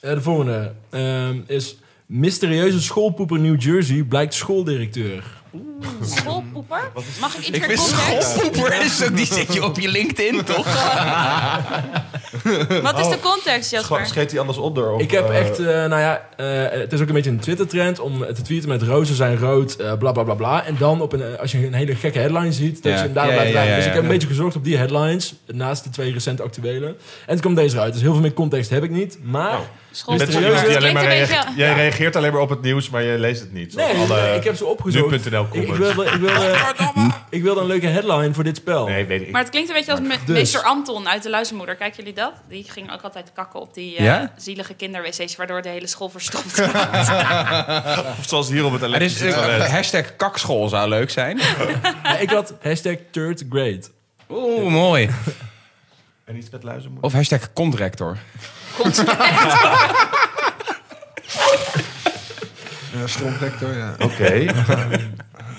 Speaker 3: Eh, de volgende ehm, is... Mysterieuze schoolpoeper New Jersey blijkt schooldirecteur.
Speaker 2: Schoolpoeper? Mag ik iets
Speaker 4: Ik
Speaker 2: meer
Speaker 4: wist
Speaker 2: context?
Speaker 4: schoolpoeper. is ook, die zet je op je LinkedIn, toch?
Speaker 2: Wat is de context,
Speaker 1: Gewoon,
Speaker 2: Jasper?
Speaker 1: Scheet die anders op door?
Speaker 3: Ik heb echt, eh, nou ja, eh, het is ook een beetje een Twitter-trend om te tweeten met rozen zijn rood, eh, bla bla bla bla. En dan op een, eh, als je een hele gekke headline ziet, dat
Speaker 4: Ja.
Speaker 3: je hem daarop
Speaker 4: Ja,
Speaker 3: blijft
Speaker 4: ja, ja,
Speaker 3: rijden. Dus
Speaker 4: ja,
Speaker 3: ik heb
Speaker 4: ja.
Speaker 3: een beetje gezocht op die headlines, naast de twee recent actuele. En toen kwam deze eruit. Dus heel veel meer context heb ik niet. Maar
Speaker 1: Oh.
Speaker 2: Schoolpoeper.
Speaker 3: Met serieus,
Speaker 2: Het
Speaker 1: die alleen
Speaker 2: klinkt
Speaker 1: maar
Speaker 2: een beetje...
Speaker 1: reageert, jij reageert alleen maar op het nieuws, maar je leest het niet.
Speaker 3: nee,
Speaker 1: Zoals alle-
Speaker 3: nee, ik heb ze opgezocht. Ik,
Speaker 1: Nu.nl
Speaker 3: ik,
Speaker 1: comments.
Speaker 3: wilde, ik, wilde, ik wilde een leuke headline voor dit spel.
Speaker 1: Nee, weet ik.
Speaker 2: Maar het klinkt een beetje als me-
Speaker 3: Dus.
Speaker 2: meester Anton uit de Luizenmoeder. Kijken jullie dat? Die ging ook altijd kakken op die eh,
Speaker 4: Ja?
Speaker 2: zielige kinderwc's... waardoor de hele school verstopt
Speaker 1: Of zoals hier op het
Speaker 4: Er is,
Speaker 1: elektrische
Speaker 4: eh,
Speaker 1: toilet.
Speaker 4: hashtag kakschool zou leuk zijn.
Speaker 3: Ja, ik had hashtag third grade.
Speaker 4: Oeh, mooi.
Speaker 1: En iets met luizenmoeder.
Speaker 4: Of hashtag contractor.
Speaker 2: komt.
Speaker 5: Ja, stromplector, eh, ja.
Speaker 1: Oké.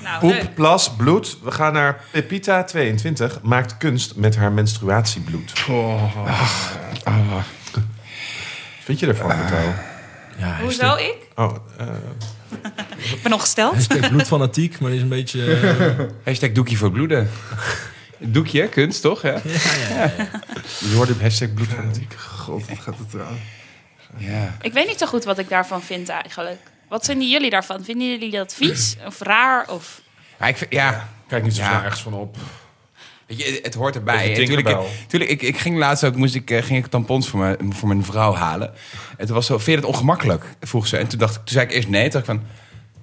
Speaker 2: nou, leuk.
Speaker 1: Poep, plas, bloed. We gaan naar Pepita22. Maakt kunst met haar menstruatiebloed. Oh. Ah. Vind je ervan,
Speaker 5: Ah.
Speaker 1: Matthijs?
Speaker 3: Ja,
Speaker 2: Hoezo ik?
Speaker 1: Oh, eh,
Speaker 2: Ik ben ongesteld.
Speaker 3: Hashtag bloedfanatiek, maar die is een beetje... eh,
Speaker 4: Hashtag doekje voor bloeden. Doekje, kunst toch? Hè?
Speaker 1: je hoorde hashtag bloedfanatiek.
Speaker 5: God, wat gaat het eraan?
Speaker 4: Ja.
Speaker 2: Ik weet niet zo goed wat ik daarvan vind eigenlijk. Wat vinden jullie daarvan? Vinden jullie dat vies of raar? Of...
Speaker 4: Ja, ik vind- ja.
Speaker 1: Kijk niet zo
Speaker 4: Ja.
Speaker 1: snel ergens van op.
Speaker 4: Weet je, het hoort erbij.
Speaker 1: Beetje
Speaker 4: En tuurlijk-
Speaker 1: Tinkerbell.
Speaker 4: tuurlijk, ik, ik ging laatst ook moest ik, eh, ging ik tampons voor mijn, voor mijn vrouw halen. En toen was zo, vind je het ongemakkelijk? Vroeg ze. En toen dacht ik, toen zei ik eerst nee. Toen dacht ik van,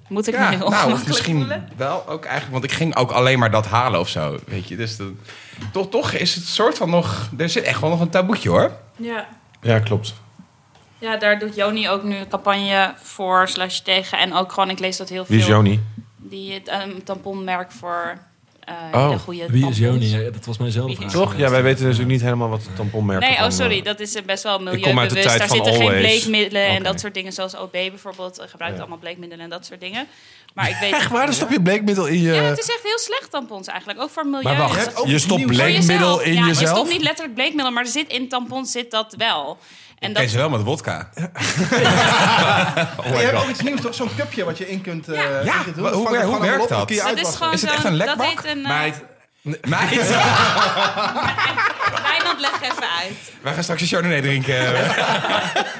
Speaker 2: Moet ik
Speaker 4: ja,
Speaker 2: me heel
Speaker 4: nou, of
Speaker 2: ongemakkelijk
Speaker 4: misschien
Speaker 2: voelen?
Speaker 4: wel ook eigenlijk. Want ik ging ook alleen maar dat halen of zo. Weet je, dus dan- toch, toch is het soort van nog, er zit echt wel nog een taboetje hoor.
Speaker 2: Ja.
Speaker 1: Ja, klopt.
Speaker 2: ja, daar doet Joni ook nu een campagne voor slash tegen. En ook gewoon, ik lees dat heel veel.
Speaker 1: Wie is Joni?
Speaker 2: Die het een tamponmerk voor eh
Speaker 1: Oh,
Speaker 2: hele goede
Speaker 3: wie is
Speaker 2: tampons.
Speaker 3: Joni? Ja, dat was mijzelf.
Speaker 2: Wie is-
Speaker 1: Toch? Ja, wij weten natuurlijk niet helemaal wat de tamponmerken
Speaker 2: Nee, oh
Speaker 1: van,
Speaker 2: sorry,
Speaker 1: eh,
Speaker 2: dat is eh, best wel
Speaker 1: Ik kom uit de
Speaker 2: milieubewust.
Speaker 1: tijd
Speaker 2: Daar
Speaker 1: van
Speaker 2: zitten geen
Speaker 1: always.
Speaker 2: bleekmiddelen
Speaker 1: Oké.
Speaker 2: en dat soort dingen. Zoals OB bijvoorbeeld eh, gebruikt
Speaker 1: Ja.
Speaker 2: allemaal bleekmiddelen en dat soort dingen. Maar ik weet...
Speaker 5: Waar Ah, dan stop je bleekmiddel in je...
Speaker 2: Ja, het is echt heel slecht tampons eigenlijk. Ook voor het milieu.
Speaker 4: Maar wacht,
Speaker 2: Dus
Speaker 4: je
Speaker 2: ook
Speaker 1: Je stopt
Speaker 2: Voor
Speaker 1: bleekmiddel
Speaker 2: jezelf.
Speaker 1: in
Speaker 2: ja, maar
Speaker 1: jezelf?
Speaker 2: Je stopt niet letterlijk bleekmiddel, maar er zit in tampons zit dat wel. En
Speaker 4: Ken
Speaker 2: dat,
Speaker 4: ze wel met wodka.
Speaker 5: je hebt ook iets nieuws, toch? Zo'n cupje wat je in kunt... eh,
Speaker 2: Ja.
Speaker 5: in
Speaker 4: Ja,
Speaker 5: kunt
Speaker 4: wa-
Speaker 5: doen.
Speaker 4: hoe wer-
Speaker 5: Vang het
Speaker 4: hoe
Speaker 5: gewoon allemaal
Speaker 4: werkt
Speaker 5: op,
Speaker 4: dat?
Speaker 5: dan kun je
Speaker 2: dat is
Speaker 5: uitwassen.
Speaker 2: gewoon
Speaker 4: Oh, Is het echt
Speaker 2: zo'n-
Speaker 4: een
Speaker 2: Dat
Speaker 4: lekbak?
Speaker 2: heet een... eh,
Speaker 4: Meid. Meid.
Speaker 2: Wijnand, leg even uit.
Speaker 4: Wij gaan straks een chardonnay drinken.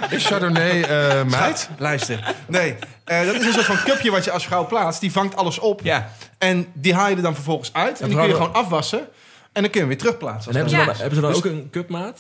Speaker 1: Is Chardonnay eh meid?
Speaker 5: Meid, luister. Nee, eh, dat is een soort van cupje wat je als vrouw plaatst. Die vangt alles op.
Speaker 4: Ja.
Speaker 5: En die haal je er dan vervolgens uit. En die kun je
Speaker 3: vrouwen-
Speaker 5: gewoon afwassen. En dan kun je hem weer terugplaatsen.
Speaker 3: En hebben ze,
Speaker 2: Ja.
Speaker 3: dan, hebben ze dan ook een cupmaat?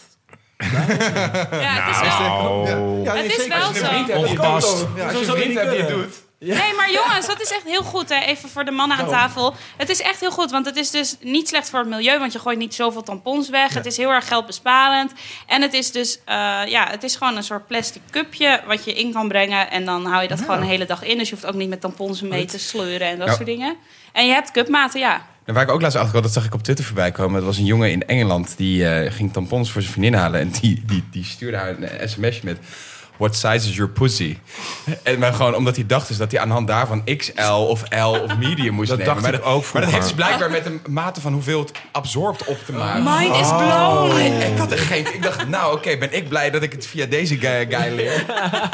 Speaker 2: Ja,
Speaker 1: Nou.
Speaker 2: het is wel...
Speaker 5: Ja, nee,
Speaker 2: Het is
Speaker 5: zeker.
Speaker 2: wel
Speaker 5: Als je
Speaker 2: zo.
Speaker 5: een vriend hebt,
Speaker 1: Ongepast.
Speaker 5: dat kan toch? Ja,
Speaker 3: Zo zou je niet kunnen.
Speaker 2: Nee, maar jongens, dat is echt heel goed. Hè? Even voor de mannen aan tafel. Het is echt heel goed, want het is dus niet slecht voor het milieu. Want je gooit niet zoveel tampons weg. Het is heel erg geldbesparend. En het is dus... eh, ja, het is gewoon een soort plastic cupje wat je in kan brengen. En dan hou je dat gewoon een hele dag in. Dus je hoeft ook niet met tampons mee te sleuren en dat
Speaker 4: Ah. Ja.
Speaker 2: soort dingen. En je hebt cupmaten, ja.
Speaker 4: En waar ik ook laatst achter kwam, dat zag ik op Twitter voorbij komen. Dat was een jongen in Engeland die eh, ging tampons voor zijn vriendin halen. En die, die, die stuurde haar een eh, sms'je met... What size is your pussy? En maar gewoon omdat hij dacht dus dat hij aan de hand daarvan XL of L of medium moest
Speaker 1: Dat
Speaker 4: nemen.
Speaker 1: dacht
Speaker 4: maar,
Speaker 1: ik ook
Speaker 4: maar dat
Speaker 1: vroeger.
Speaker 4: heeft dus blijkbaar met een mate van hoeveel het absorpt op te maken.
Speaker 6: Mine is blown.
Speaker 4: Oh. Ik had er geen... Ik dacht, nou oké, ben ik blij dat ik het via deze guy, guy leer.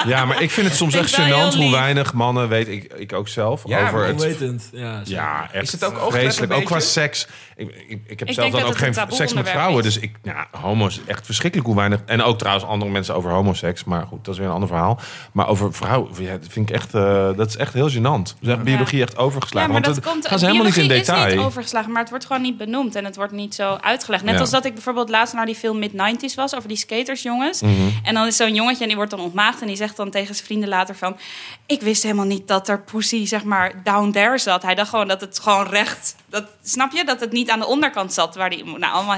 Speaker 1: Ja, maar ik vind het soms
Speaker 4: Ik
Speaker 1: echt
Speaker 4: ben heel
Speaker 1: gênant hoe
Speaker 4: lief.
Speaker 1: weinig mannen, weet ik, ik ook zelf,
Speaker 4: Ja,
Speaker 1: over het...
Speaker 3: Onwetend. Ja, zeker.
Speaker 1: Ja, echt
Speaker 4: Is het ook oogklep een
Speaker 1: vreselijk. Ook qua
Speaker 4: beetje?
Speaker 1: seks. Ik, ik, ik heb
Speaker 2: Ik
Speaker 1: zelf
Speaker 2: denk
Speaker 1: dan
Speaker 2: dat
Speaker 1: ook
Speaker 2: het
Speaker 1: geen
Speaker 2: een taboe
Speaker 1: seks met
Speaker 2: onderwerp
Speaker 1: vrouwen.
Speaker 2: is.
Speaker 1: Dus ik, ja, homo's echt verschrikkelijk hoe weinig. En ook trouwens andere mensen over homoseks. Maar goed, dat is weer een ander verhaal. Maar over vrouwen, ja, dat vind ik echt, eh, dat is echt heel gênant. We zijn biologie echt overgeslagen.
Speaker 2: Ja, maar
Speaker 1: want
Speaker 2: dat
Speaker 1: het
Speaker 2: komt.
Speaker 1: gaan ze helemaal niet in
Speaker 2: biologie
Speaker 1: detail.
Speaker 2: is niet overgeslagen, maar het wordt gewoon niet benoemd en het wordt niet zo uitgelegd. Net
Speaker 1: Ja.
Speaker 2: als dat ik bijvoorbeeld laatst naar die film Mid 90s was over die skatersjongens.
Speaker 1: Mhm.
Speaker 2: En dan is zo'n jongetje en die wordt dan ontmaagd en die zegt dan tegen zijn vrienden later van: ik wist helemaal niet dat er pussy zeg maar down there zat. Hij dacht gewoon dat het gewoon recht. Dat snap je dat het niet aan de onderkant zat waar die nou allemaal.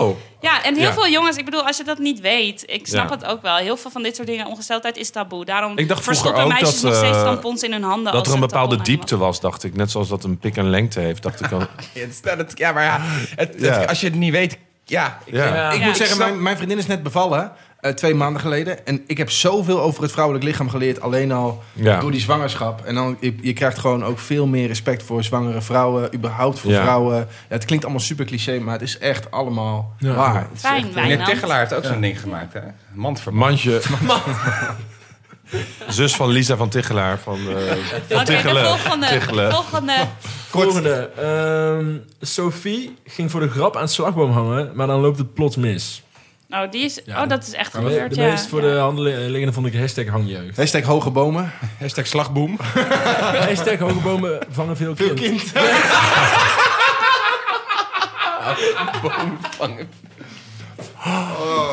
Speaker 4: Oh.
Speaker 2: Ja, en heel
Speaker 1: Ja.
Speaker 2: veel jongens, ik bedoel, als je dat niet weet, ik snap
Speaker 1: Ja.
Speaker 2: het ook wel. Heel veel van dit soort dingen, ongesteldheid is taboe. Daarom
Speaker 1: Ik dacht vroeger
Speaker 2: verstoppen
Speaker 1: ook
Speaker 2: meisjes
Speaker 1: dat,
Speaker 2: nog steeds
Speaker 1: eh,
Speaker 2: tampons in hun handen.
Speaker 1: Dat
Speaker 2: als
Speaker 1: er een
Speaker 2: het
Speaker 1: bepaalde
Speaker 2: tampon aan
Speaker 1: diepte was, dacht ik. Net zoals dat een pik en lengte heeft, dacht ik al.
Speaker 4: Ja, het is- nou, dat- ja, maar ja, het- het-
Speaker 1: Ja.
Speaker 4: als je het niet weet... Ja, ik,
Speaker 1: Ja.
Speaker 5: Ik
Speaker 4: ik
Speaker 5: moet zeggen,
Speaker 4: snap-
Speaker 5: mijn, mijn vriendin is net bevallen. eh, twee maanden geleden. En ik heb zoveel over het vrouwelijk lichaam geleerd. Alleen al
Speaker 1: Ja.
Speaker 5: door die zwangerschap. En dan, je, je krijgt gewoon ook veel meer respect voor zwangere vrouwen. Überhaupt voor
Speaker 1: Ja.
Speaker 5: vrouwen. Ja, het klinkt allemaal super cliché, maar het is echt allemaal
Speaker 3: Ja.
Speaker 5: waar. Het is
Speaker 2: Fijn,
Speaker 5: echt-
Speaker 2: Wijnand.
Speaker 4: Meneer Tegelaar heeft ook zo'n ding gemaakt, hè? Mandverband.
Speaker 1: Mandje. Zus van Lisa van Tichelaar. Van, eh, van
Speaker 2: Oké, de
Speaker 1: Tichelen.
Speaker 2: volgende.
Speaker 1: Tichelen.
Speaker 2: volgende.
Speaker 3: Volgende. Ehm, Sophie ging voor de grap aan het slagboom hangen, maar dan loopt het plots mis.
Speaker 2: Oh, die is,
Speaker 3: Ja,
Speaker 2: oh, dat is echt
Speaker 3: De, me-
Speaker 2: gebeurd,
Speaker 3: de
Speaker 2: ja.
Speaker 3: meest voor de hand li- liggende vond ik hashtag hangjeugd.
Speaker 5: Hashtag hoge bomen.
Speaker 4: Hashtag slagboom.
Speaker 3: hashtag hoge bomen vangen veel kind.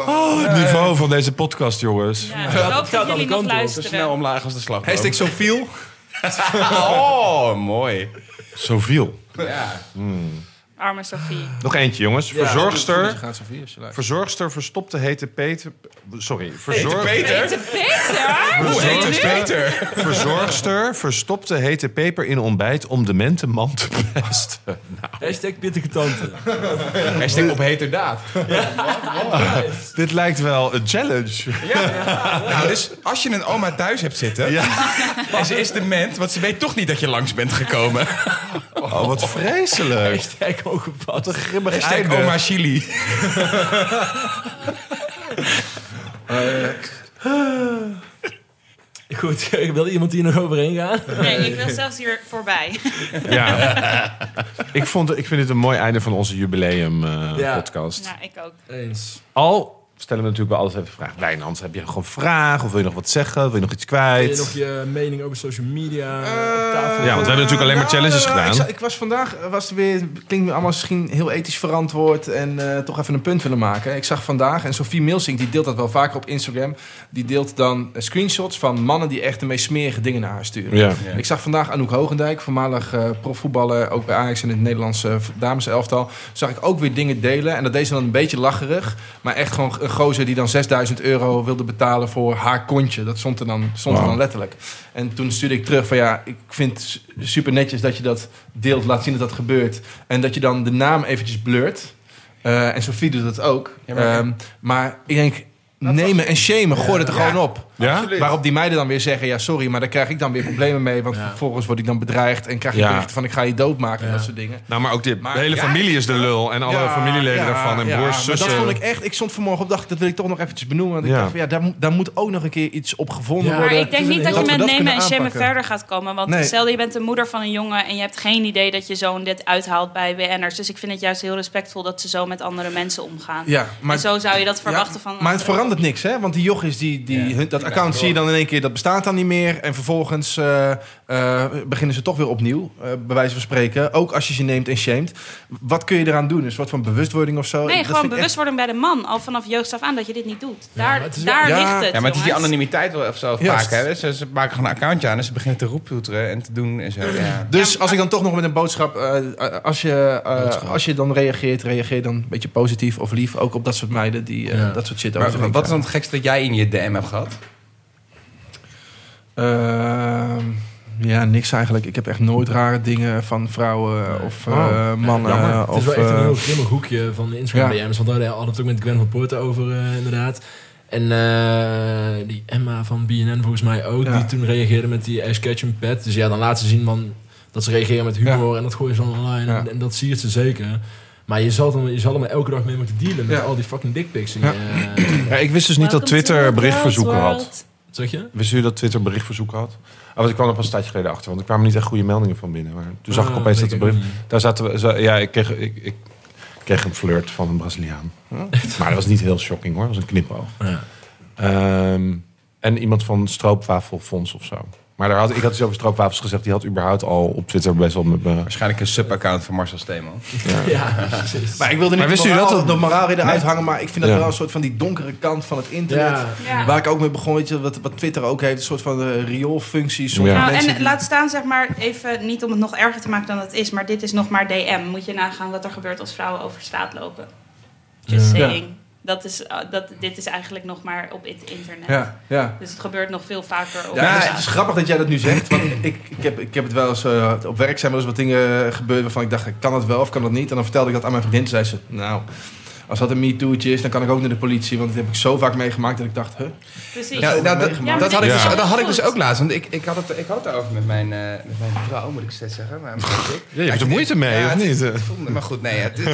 Speaker 1: Oh, het niveau van deze podcast, jongens.
Speaker 2: Ja, ik hoop dat
Speaker 3: alle
Speaker 2: jullie
Speaker 3: kanten
Speaker 2: nog
Speaker 3: op.
Speaker 4: Zo
Speaker 2: luisteren.
Speaker 4: snel omlaag als de slagboom.
Speaker 5: Hashtag Sofiel.
Speaker 4: Oh, mooi.
Speaker 1: Zoveel.
Speaker 4: Ja.
Speaker 2: Arme Sophie.
Speaker 1: Nog eentje, jongens. Verzorgster,
Speaker 5: Gaat Sophie als je luistert.
Speaker 1: verzorgster verstopte hete Peter... Sorry.
Speaker 4: Peter,
Speaker 1: Verzorg,
Speaker 4: Peter.
Speaker 2: Peter, Peter! Hoe heet
Speaker 4: Peter,
Speaker 2: het?
Speaker 4: Peter.
Speaker 1: verzorgster verstopte hete peper in ontbijt om demente man te pesten.
Speaker 3: Hashtag pittige tante.
Speaker 4: Hashtag op heterdaad.
Speaker 1: Dit lijkt wel een challenge.
Speaker 4: Nou, dus als je een oma thuis hebt zitten... en ze is dement, want ze weet toch niet dat je langs bent gekomen.
Speaker 1: Oh, wat vreselijk.
Speaker 3: Hashtag hoge
Speaker 1: Wat een
Speaker 3: pas.
Speaker 1: grimmig
Speaker 4: Hashtag
Speaker 1: einde.
Speaker 4: oma chili.
Speaker 3: Goed, wil iemand hier nog overheen gaan?
Speaker 2: Nee, ik wil zelfs hier voorbij.
Speaker 1: Ja. ik, vond, ik vind het een mooi einde van onze jubileum eh,
Speaker 3: Ja.
Speaker 1: podcast.
Speaker 2: Nou, ik ook.
Speaker 3: Eens.
Speaker 1: Al stellen we natuurlijk wel altijd even vragen. Wijnand, heb je nog een vraag? Of wil je nog wat zeggen? Wil je nog iets
Speaker 3: Wil je
Speaker 1: kwijt?
Speaker 3: nog je mening over social media? op
Speaker 1: Ja, want
Speaker 3: tafel?
Speaker 1: we hebben natuurlijk alleen maar
Speaker 5: Nou,
Speaker 1: challenges
Speaker 5: nou, nou,
Speaker 1: gedaan.
Speaker 5: Ik, za- ik was vandaag, eh, was er weer, klinkt me allemaal misschien heel ethisch verantwoord en eh, toch even een punt willen maken. Ik zag vandaag, en Sophie Milsink, die deelt dat wel vaker op Instagram, die deelt dan eh, screenshots van mannen die echt de meest smerige dingen naar haar sturen.
Speaker 1: Ja.
Speaker 4: Ja.
Speaker 5: En Ik zag vandaag Anouk Hogendijk, voormalig eh, profvoetballer, ook bij Ajax en het Nederlandse eh, dameselftal. Zag ik ook weer dingen delen. En dat deed ze dan een beetje lacherig. Maar echt gewoon een gozer die dan 6000 euro wilde betalen voor haar kontje. Dat stond er dan, stond er
Speaker 1: Wauw.
Speaker 5: dan letterlijk. En toen stuurde ik terug van ja, ik vind het su- super netjes dat je dat deelt, laat zien dat dat gebeurt. En dat je dan de naam eventjes blurt. Eh, en Sophie doet dat ook.
Speaker 4: Ja,
Speaker 5: maar,
Speaker 4: maar-
Speaker 5: maar ik denk, nemen en shamen, gooi het er gewoon op.
Speaker 1: Ja?
Speaker 5: Waarop die meiden dan weer zeggen: Ja, sorry, maar daar krijg ik dan weer problemen mee. Want vervolgens word ik dan bedreigd en krijg ik
Speaker 1: Ja.
Speaker 5: berichten van: Ik ga je doodmaken en dat soort dingen.
Speaker 1: Nou, maar ook de
Speaker 5: Maar-
Speaker 1: hele
Speaker 5: Ja,
Speaker 1: familie is de lul. En alle
Speaker 5: Ja,
Speaker 1: familieleden
Speaker 5: ja,
Speaker 1: daarvan. En
Speaker 5: ja,
Speaker 1: broers,
Speaker 5: maar
Speaker 1: zussen.
Speaker 5: Dat vond ik echt. Ik stond vanmorgen op, dacht ik, dat wil ik toch nog eventjes benoemen. Want ik
Speaker 1: Ja.
Speaker 5: dacht: van, Ja, daar, moet- daar moet ook nog een keer iets op gevonden
Speaker 3: Ja.
Speaker 2: Maar
Speaker 5: worden.
Speaker 2: ik denk niet dat je
Speaker 5: dus Dat we
Speaker 2: met
Speaker 5: dat
Speaker 2: nemen en
Speaker 5: kunnen
Speaker 2: shamen
Speaker 5: aanpakken.
Speaker 2: verder gaat komen. Want
Speaker 5: Nee.
Speaker 2: stel je bent de moeder van een jongen en je hebt geen idee dat je zoon dit uithaalt bij WN'ers. Dus ik vind het juist heel respectvol dat ze zo met andere mensen omgaan.
Speaker 5: Ja,
Speaker 2: en zo zou je dat verwachten
Speaker 5: ja,
Speaker 2: van
Speaker 5: Maar het
Speaker 2: anderen.
Speaker 5: verandert niks, hè? Want die jochies, die, die,
Speaker 4: Ja,
Speaker 5: hun, dat account zie je dan in één keer, dat bestaat dan niet meer. En vervolgens eh, eh, beginnen ze toch weer opnieuw, eh, bij wijze van spreken. Ook als je ze neemt en shamed. Wat kun je eraan doen? Een soort van bewustwording of zo?
Speaker 2: Nee,
Speaker 5: Dat
Speaker 2: gewoon
Speaker 5: vind ik echt-
Speaker 2: bewustwording bij de man. Al vanaf jeugd af aan dat je dit niet doet. Daar,
Speaker 3: maar het is wel-
Speaker 2: daar
Speaker 5: Ja.
Speaker 2: ligt het.
Speaker 4: Ja, maar het is die
Speaker 2: jongens.
Speaker 4: anonimiteit wel of zo
Speaker 5: Juist.
Speaker 4: vaak. Hè? Ze, ze maken gewoon een accountje aan en ze beginnen te roeptoeteren en te doen en zo. Ja.
Speaker 5: Dus als ik dan toch nog met een boodschap, eh, als, je, eh, als je dan reageert, reageer dan een beetje positief of lief. Ook op dat soort meiden die eh,
Speaker 3: Ja.
Speaker 5: dat soort shit over zich
Speaker 4: Maar
Speaker 5: heen
Speaker 4: wat is dan
Speaker 5: krijgen.
Speaker 4: het gekste dat jij in je DM hebt gehad?
Speaker 5: Ehm, ja, niks eigenlijk. Ik heb echt nooit rare dingen van vrouwen of eh,
Speaker 1: Oh.
Speaker 5: mannen.
Speaker 1: Jammer.
Speaker 5: eh,
Speaker 3: Het is
Speaker 5: of,
Speaker 3: wel echt een
Speaker 5: eh,
Speaker 3: heel grimmig hoekje van de Instagram
Speaker 5: Ja.
Speaker 3: DM's. Want daar hadden we het ook met Gwen van Poorten over, eh, inderdaad. En eh, die Emma van BNN volgens mij ook,
Speaker 5: Ja.
Speaker 3: die toen reageerde met die Ash Ketchum pet. Dus ja, dan laten ze zien van, dat ze reageren met humor en dat gooien ze dan online. En, en dat siert ze zeker. Maar je zal, dan, je zal er maar elke dag mee moeten dealen met al die fucking dickpics. in je- eh,
Speaker 1: Ja, ik wist dus niet dat Twitter berichtverzoeken had.
Speaker 3: Zeg je?
Speaker 1: Wist u dat Twitter berichtverzoeken had? Ah, want ik kwam er pas een tijdje geleden achter, want er kwamen niet echt goede meldingen van binnen. Maar toen zag
Speaker 3: Ah,
Speaker 1: ik opeens dat de
Speaker 3: weet
Speaker 1: bericht...
Speaker 3: ik
Speaker 1: Daar zaten we, za- ja, ik kreeg, ik, ik kreeg een flirt van een Braziliaan. Maar dat was niet heel shocking hoor, dat was een knipoog.
Speaker 3: Ja.
Speaker 1: Ehm, en iemand van Stroopwafelfonds of zo. Maar daar had, ik had iets over stroopwafels gezegd. Die had überhaupt al op Twitter best wel met me...
Speaker 4: Waarschijnlijk een subaccount van Marcel Steeman.
Speaker 3: Ja, precies.
Speaker 5: Maar ik wilde niet
Speaker 1: Maar wist
Speaker 5: de
Speaker 1: u
Speaker 5: moraal,
Speaker 1: dat dat-
Speaker 5: de moraal weer eruit hangen, maar ik vind dat
Speaker 1: Ja.
Speaker 5: wel een soort van die donkere kant van het internet.
Speaker 3: Ja.
Speaker 2: Ja.
Speaker 5: Waar ik ook mee begon, weet je, wat, wat Twitter ook heeft, een soort van eh, rioolfunctie. sommige
Speaker 1: Ja.
Speaker 2: Nou,
Speaker 5: mensen
Speaker 2: en
Speaker 5: die-
Speaker 2: laat staan, zeg maar, even niet om het nog erger te maken dan het is, maar dit is nog maar DM. Moet je nagaan wat er gebeurt als vrouwen over straat lopen. Just
Speaker 5: Ja.
Speaker 2: saying. Dat is, eh, dat, dit is eigenlijk nog maar op het internet.
Speaker 5: Ja, ja.
Speaker 2: Dus het gebeurt nog veel vaker. Op
Speaker 5: Ja, het, is, het is grappig dat jij dat nu zegt. Want ik, ik, heb, ik heb het wel eens eh, op werk zijn wel eens wat dingen gebeurd waarvan ik dacht, kan dat wel of kan dat niet? En dan vertelde ik dat aan mijn vriendin. Toen zei ze, nou, als dat een MeToo'tje is, dan kan ik ook naar de politie. Want dat heb ik zo vaak meegemaakt dat ik dacht, huh?
Speaker 2: Precies.
Speaker 4: Ja, nou, dat,
Speaker 2: maar
Speaker 4: dat, had ik
Speaker 2: dit
Speaker 4: dus,
Speaker 2: is
Speaker 4: dat had ik dus
Speaker 2: goed.
Speaker 4: ook laatst. Want ik, ik, had het, ik had het daarover met mijn, eh, met mijn vrouw, moet ik steeds zeggen. Maar,
Speaker 1: Ja, je hebt er moeite mee,
Speaker 4: Ja,
Speaker 1: of
Speaker 4: het-
Speaker 1: niet? Oh,
Speaker 4: het voelde- maar goed, nee. Het,
Speaker 1: Ik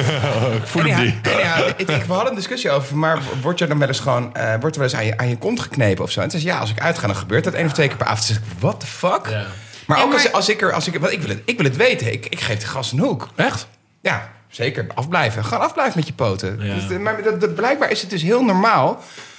Speaker 1: voel hem
Speaker 4: Anyhow,
Speaker 1: niet.
Speaker 4: anyhow, ik- ik- we hadden een discussie over, maar wordt je dan wel eens gewoon, eh, wordt er wel eens aan je, aan je kont geknepen of zo? En toen zei ze, ja, als ik uitga, dan gebeurt dat één of twee keer per avond. Toen zei ik, what the fuck?
Speaker 3: Ja.
Speaker 4: Maar
Speaker 2: Ja,
Speaker 4: ook als,
Speaker 2: maar-
Speaker 4: als ik er, als ik, want ik wil het, ik wil het weten. Ik, ik geef de gast een hoek. Echt? Ja, zeker. Afblijven. Gewoon afblijven met je poten.
Speaker 3: Ja.
Speaker 4: Dus, eh, maar dat, dat- blijkbaar is het dus heel normaal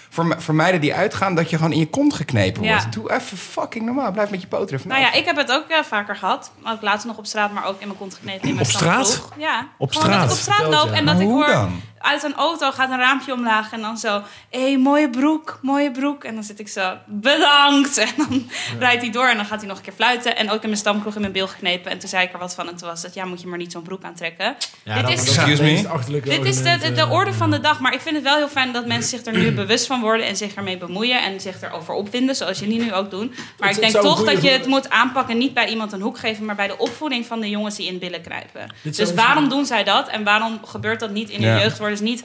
Speaker 4: voor, me- voor meiden die uitgaan dat je gewoon in je kont geknepen
Speaker 2: Ja.
Speaker 4: wordt. Doe even fucking normaal. Blijf met je poten er vanaf.
Speaker 2: Nou ja, ik heb het ook eh, vaker gehad. Ook laatst nog op straat, maar ook in mijn kont geknepen. In mijn
Speaker 1: Op straat?
Speaker 2: standploeg. Ja.
Speaker 1: Op
Speaker 2: Gewoon
Speaker 1: straat?
Speaker 2: dat ik op straat
Speaker 3: Verteld,
Speaker 2: loop
Speaker 3: ja.
Speaker 2: en dat
Speaker 4: Maar
Speaker 2: ik
Speaker 4: hoe
Speaker 2: hoor...
Speaker 4: dan?
Speaker 2: Uit een auto gaat een raampje omlaag en dan zo... Hé, hey, mooie broek, mooie broek. En dan zit ik zo, bedankt. En dan rijdt hij door en dan gaat hij nog een keer fluiten. En ook in mijn stamkroeg in mijn bil geknepen. En toen zei ik er wat van en toen was dat... Ja, moet je maar niet zo'n broek aantrekken. dit is,
Speaker 4: Excuse me?
Speaker 2: dit is de, de,
Speaker 3: eh.
Speaker 2: de orde van de dag. Maar ik vind het wel heel fijn dat mensen zich er nu bewust van worden... en zich ermee bemoeien en zich erover opwinden. Zoals jullie nu ook doen. Maar
Speaker 3: Het-
Speaker 2: ik
Speaker 3: het
Speaker 2: denk
Speaker 3: zou een
Speaker 2: toch dat
Speaker 3: goede-
Speaker 2: je het moet aanpakken. Niet bij iemand een hoek geven, maar bij de opvoeding van de jongens die in billen kruipen.
Speaker 3: Dit zou
Speaker 2: Dus
Speaker 3: een-
Speaker 2: waarom doen zij dat? En waarom gebeurt dat niet in hun
Speaker 4: Ja.
Speaker 2: jeugd? Worden ze niet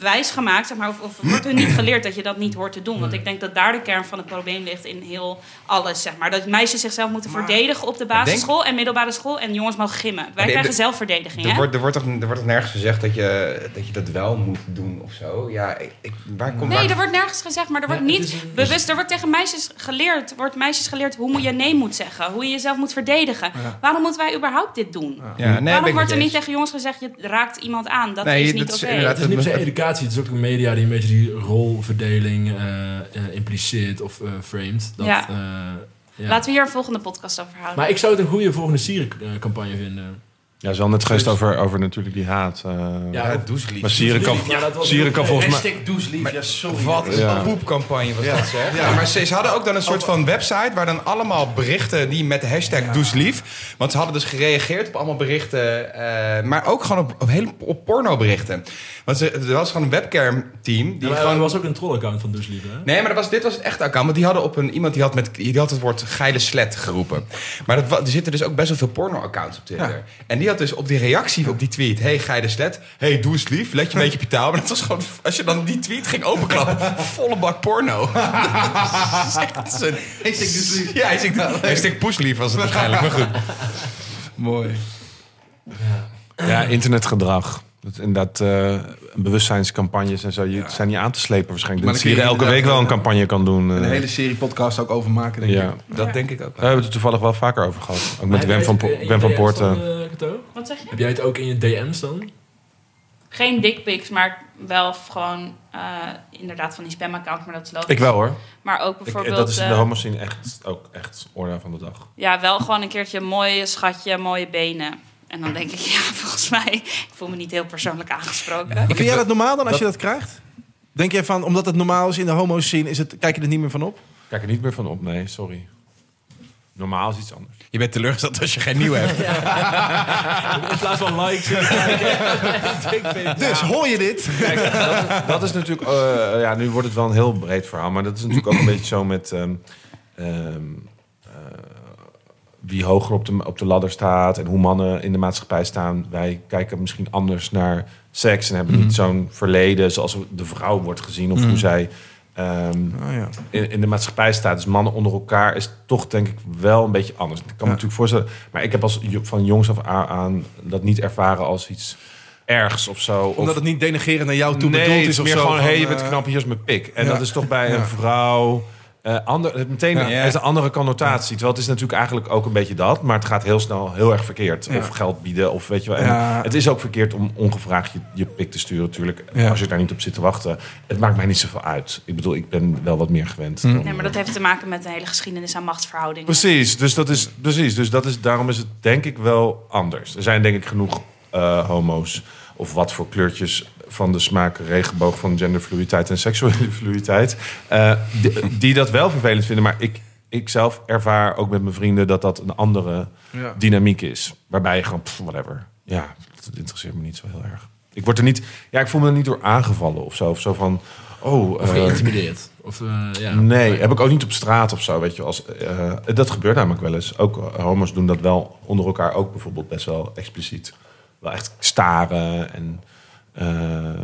Speaker 2: wijs gemaakt, zeg maar, of, of wordt hun niet geleerd dat je dat niet hoort te doen. Want ik denk dat daar de kern van het probleem ligt in heel alles, zeg maar. Dat meisjes zichzelf moeten verdedigen op de basisschool en middelbare school en jongens mogen gimmen. Wij
Speaker 4: de-
Speaker 2: krijgen
Speaker 4: de-
Speaker 2: zelfverdediging,
Speaker 4: Er
Speaker 2: hè?
Speaker 4: wordt, er, wordt toch, er wordt toch nergens gezegd dat je, dat je dat wel moet doen of zo? Ja, ik, ik- waar komt waar-
Speaker 2: Nee, er wordt nergens gezegd, maar er wordt
Speaker 3: Ja, het
Speaker 2: niet
Speaker 3: is een-
Speaker 2: bewust. Er wordt tegen meisjes geleerd, wordt meisjes geleerd hoe moet je nee moet zeggen, hoe je jezelf moet verdedigen. Waarom moeten wij überhaupt dit doen?
Speaker 4: Ja, nee, ben
Speaker 2: Waarom
Speaker 4: ik
Speaker 2: wordt
Speaker 4: met
Speaker 2: er
Speaker 4: je
Speaker 2: niet
Speaker 4: eens.
Speaker 2: tegen jongens gezegd, je raakt iemand aan? Dat
Speaker 4: Nee,
Speaker 2: is
Speaker 4: dat
Speaker 2: niet
Speaker 4: is
Speaker 2: oké.
Speaker 4: inderdaad-
Speaker 3: Het is niet per se educatie, het is ook de media die een beetje die rolverdeling eh, eh, impliceert of eh, framed. Dat,
Speaker 2: Ja.
Speaker 3: eh, ja.
Speaker 2: Laten we hier een volgende podcast over houden.
Speaker 3: Maar ik zou het een goede volgende sierencampagne vinden.
Speaker 1: Ja, ze hadden het geweest over, over natuurlijk die haat. eh.
Speaker 3: Ja, ook-
Speaker 4: doe ze lief.
Speaker 1: maar Sieren kan,
Speaker 3: Ja, dat was-
Speaker 1: Sieren kan volgens mij...
Speaker 5: Hashtag doeslief, ja sorry.
Speaker 4: Wat een
Speaker 1: Ja.
Speaker 4: poepcampagne was dat, zeg. Ja, maar ze, ze hadden ook dan een
Speaker 5: Oh,
Speaker 4: soort van website... waar dan allemaal berichten die met de hashtag Doe eens lief... want ze hadden dus gereageerd op allemaal berichten... eh, maar ook gewoon op, op, hele, op pornoberichten. Want ze, er was gewoon een webcam-team... die
Speaker 3: Ja, maar
Speaker 4: gewoon
Speaker 3: er was ook een troll-account van Dus Lieve. hè?
Speaker 4: Nee, maar dat was, dit was het echte account. Want die hadden op een, iemand die had, met, die had het woord geile slet geroepen. Maar dat, wa- er zitten dus ook best wel veel porno-accounts op Twitter. En die had dus op die reactie op die tweet... hey, geile slet, hey, doe eens lief, let je een beetje op je taal. Maar dat was gewoon, als je dan die tweet ging openklappen... volle bak porno. Dat is een- Ja, hij zegt hashtag poeslief was het waarschijnlijk, maar goed.
Speaker 5: Mooi.
Speaker 1: Ja, internetgedrag. Dat, en dat eh, bewustzijnscampagnes en zo, je, zijn niet aan te slepen waarschijnlijk.
Speaker 5: Maar
Speaker 1: dat
Speaker 5: dan
Speaker 1: je
Speaker 5: kun je
Speaker 1: elke week
Speaker 5: inderdaad,
Speaker 1: wel een
Speaker 5: eh,
Speaker 1: campagne kan doen. eh.
Speaker 5: Een hele serie podcast ook over maken, denk
Speaker 1: ja.
Speaker 5: ik.
Speaker 4: Dat denk ik ook.
Speaker 1: Daar hebben we het er toevallig wel vaker over gehad. Ook met
Speaker 3: Heb
Speaker 1: Wem
Speaker 3: jij
Speaker 1: van,
Speaker 3: het eh, in
Speaker 1: Po-
Speaker 3: je
Speaker 1: Wem van
Speaker 3: DM's
Speaker 1: Poorten.
Speaker 3: dan, eh, Cato?
Speaker 2: Wat zeg je?
Speaker 3: Heb jij het ook in je DM's dan?
Speaker 2: Geen dickpics, maar wel gewoon eh, inderdaad van die spamaccount, maar dat is logisch.
Speaker 1: Ik wel hoor.
Speaker 2: Maar ook
Speaker 1: Ik,
Speaker 2: eh, bijvoorbeeld...
Speaker 1: dat is in de
Speaker 2: eh,
Speaker 1: homoscene echt, ook echt orde van de dag.
Speaker 2: Ja, wel gewoon een keertje mooie schatje, mooie benen. En dan denk ik, ja, volgens mij, ik voel me niet heel persoonlijk aangesproken.
Speaker 5: Vind jij dat normaal dan als je dat krijgt? Denk jij van, omdat het normaal is in de homo-scene, is het, kijk je er niet meer van op?
Speaker 1: Kijk er niet meer van op, nee, sorry. Normaal is iets anders.
Speaker 4: Je bent teleurgesteld als je geen nieuwe hebt.
Speaker 3: In plaats van likes.
Speaker 5: Dus hoor je dit?
Speaker 1: Dat is natuurlijk, eh, ja, nu wordt het wel een heel breed verhaal, maar dat is natuurlijk ook een beetje zo met ehm, ehm, eh, wie hoger op de, op de ladder staat en hoe mannen in de maatschappij staan. Wij kijken misschien
Speaker 5: Mhm.
Speaker 1: anders naar seks en hebben niet zo'n verleden zoals de vrouw wordt gezien of hoe zij ehm,
Speaker 5: Oh,
Speaker 1: in, in de maatschappij staat. Dus mannen onder elkaar is toch denk ik wel een beetje anders. Ik kan me natuurlijk voorstellen. Maar ik heb als, jo- van jongs af aan, aan dat niet ervaren als iets ergs of zo.
Speaker 5: Omdat
Speaker 1: of,
Speaker 5: het niet denigerend naar jou toe
Speaker 1: nee,
Speaker 5: bedoeld
Speaker 1: het
Speaker 5: is of
Speaker 1: meer
Speaker 5: zo.
Speaker 1: gewoon,
Speaker 5: van,
Speaker 1: hé, je
Speaker 5: eh,
Speaker 1: bent knap, hier is mijn pik. En
Speaker 5: ja.
Speaker 1: dat is toch bij
Speaker 5: Ja.
Speaker 1: een vrouw... eh ander, meteen
Speaker 5: Ja.
Speaker 1: er is een andere connotatie. Terwijl het is natuurlijk eigenlijk ook een beetje dat. Maar het gaat heel snel heel erg verkeerd.
Speaker 5: Ja.
Speaker 1: Of geld bieden, of weet je wel. En
Speaker 5: Ja.
Speaker 1: Het is ook verkeerd om ongevraagd je, je pik te sturen, natuurlijk.
Speaker 5: Ja.
Speaker 1: Als je daar niet op zit te wachten. Het maakt mij niet zoveel uit. Ik bedoel, ik ben wel wat meer gewend.
Speaker 5: Hm.
Speaker 1: dan-
Speaker 2: Nee, maar dat heeft te maken met de hele geschiedenis aan machtsverhoudingen.
Speaker 1: Precies, dus dat is, precies. Dus dat is, daarom is het denk ik wel anders. Er zijn denk ik genoeg eh, homo's of wat voor kleurtjes van de smaak, regenboog van genderfluiditeit en seksuele fluiditeit, eh, die, die dat wel vervelend vinden. Maar ik, ik zelf ervaar ook met mijn vrienden dat dat een andere
Speaker 5: Ja.
Speaker 1: dynamiek is. Waarbij je gewoon, pff, whatever. Ja, dat interesseert me niet zo heel erg. Ik word er niet, ja, ik voel me er niet door aangevallen of zo. Of zo van, oh.
Speaker 3: Of
Speaker 1: eh,
Speaker 3: geïntimideerd. Of, eh, ja.
Speaker 1: Nee, heb ik ook niet op straat of zo. Weet je, als, eh, dat gebeurt namelijk wel eens. Ook eh, homo's doen dat wel onder elkaar ook bijvoorbeeld best wel expliciet. Wel echt staren en eh,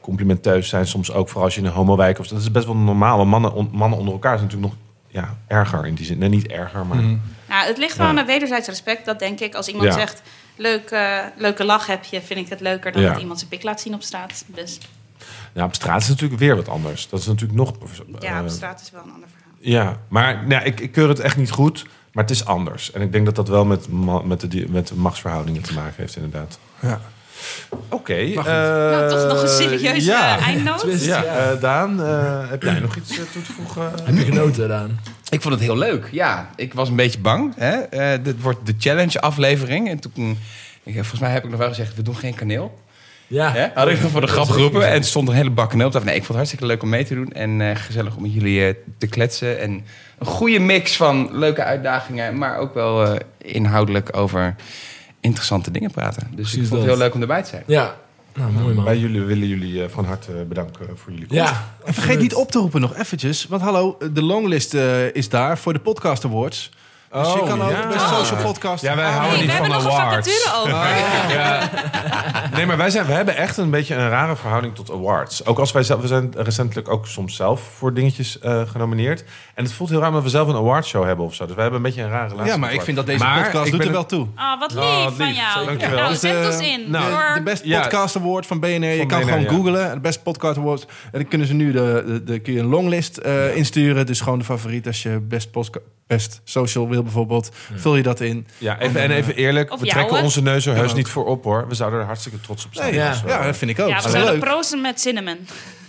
Speaker 1: complimenteus zijn soms ook. Vooral als je in een homowijk of dat is best wel normaal. Want mannen, on- mannen onder elkaar zijn natuurlijk nog ja, erger in die zin. Nee, niet erger, maar
Speaker 2: Nou, het ligt wel
Speaker 1: Ja.
Speaker 2: aan wederzijds respect. Dat denk ik. Als iemand
Speaker 1: Ja.
Speaker 2: zegt, leuk, eh, leuke lach heb je, vind ik het leuker dan
Speaker 1: Ja.
Speaker 2: dat iemand zijn pik laat zien op straat. Dus
Speaker 1: ja, op straat is het natuurlijk weer wat anders. Dat is natuurlijk nog.
Speaker 2: ja, op
Speaker 1: eh,
Speaker 2: straat is wel een ander verhaal.
Speaker 1: Ja, maar nou, ik, ik keur het echt niet goed, maar het is anders. En ik denk dat dat wel met, ma- met, de, di- met de machtsverhoudingen te maken heeft, inderdaad.
Speaker 5: Ja.
Speaker 1: Oké.
Speaker 5: Maar goed.
Speaker 1: eh,
Speaker 2: nou, toch nog een serieuze
Speaker 1: ja.
Speaker 2: eh, eindnoot.
Speaker 3: Twist,
Speaker 1: Ja,
Speaker 3: ja.
Speaker 1: eh, Daan, eh, heb jij nog iets eh, toe te voegen?
Speaker 3: Heb je genoten eraan?
Speaker 4: Ik vond het heel leuk, ja. Ik was een beetje bang. Hè? Eh, dit wordt de challenge-aflevering. En toen, ik, eh, volgens mij heb ik nog wel gezegd, we doen geen kaneel.
Speaker 3: Ja.
Speaker 4: Hè? Had ik nog voor de grap geroepen en er stond een hele bak kaneel op tafel. Nee, ik vond het hartstikke leuk om mee te doen. En eh, gezellig om met jullie eh, te kletsen. En een goede mix van leuke uitdagingen, maar ook wel eh, inhoudelijk over interessante dingen praten. Dus
Speaker 3: Precies
Speaker 4: ik vond het
Speaker 3: dat.
Speaker 4: heel leuk om erbij te zijn.
Speaker 3: Ja. Nou, mooi man.
Speaker 1: Wij jullie, willen jullie eh, van harte bedanken voor jullie komst.
Speaker 3: Ja.
Speaker 5: En vergeet niet op te roepen nog eventjes. Want hallo, de longlist eh, is daar voor de Podcast Awards. Dus je
Speaker 1: Oh,
Speaker 5: kan ook
Speaker 1: ja.
Speaker 5: bij social podcast.
Speaker 1: Ja, wij houden
Speaker 2: Hey,
Speaker 1: niet
Speaker 2: we
Speaker 1: van
Speaker 2: hebben nog een
Speaker 1: awards.
Speaker 2: vacature over.
Speaker 1: Nee, maar wij zijn, we hebben echt een beetje een rare verhouding tot awards. Ook als wij zelf, we zijn recentelijk ook soms zelf voor dingetjes eh, genomineerd. En het voelt heel raar dat we zelf een awardshow hebben of zo. Dus wij hebben een beetje een rare relatie.
Speaker 5: Ja, maar
Speaker 1: met
Speaker 5: ik vind dat
Speaker 1: awards.
Speaker 5: deze
Speaker 1: Maar
Speaker 5: podcast
Speaker 1: ik
Speaker 5: doet
Speaker 1: ben
Speaker 5: er wel
Speaker 1: het-
Speaker 5: toe.
Speaker 2: Ah, wat lief,
Speaker 1: Ah,
Speaker 2: van
Speaker 1: lief.
Speaker 2: jou.
Speaker 1: Dankjewel.
Speaker 2: Nou,
Speaker 5: Dus,
Speaker 2: zet
Speaker 5: eh,
Speaker 2: ons in.
Speaker 1: nou,
Speaker 2: voor...
Speaker 5: De Best
Speaker 1: Ja.
Speaker 5: Podcast Award van BNR. je
Speaker 1: Van
Speaker 5: kan
Speaker 1: BNR,
Speaker 5: gewoon
Speaker 1: ja.
Speaker 5: googlen. De Best Podcast Award. En dan kunnen ze nu de, de, de- kun je een longlist eh, insturen. Dus gewoon de favoriet als je Best, postka- best Social wil bijvoorbeeld. Vul je dat in.
Speaker 1: Ja, even, en even eerlijk,
Speaker 2: Of
Speaker 1: we
Speaker 2: jou,
Speaker 1: trekken
Speaker 2: hè?
Speaker 1: onze neus er heus
Speaker 5: ook.
Speaker 1: niet voor op hoor. We zouden er hartstikke trots op zijn.
Speaker 5: Nee,
Speaker 1: Dus,
Speaker 5: ja.
Speaker 1: eh,
Speaker 5: ja, dat vind ik ook.
Speaker 2: Ja,
Speaker 5: Dat
Speaker 2: we
Speaker 5: is
Speaker 2: zouden
Speaker 5: leuk.
Speaker 2: proosten met cinnamon.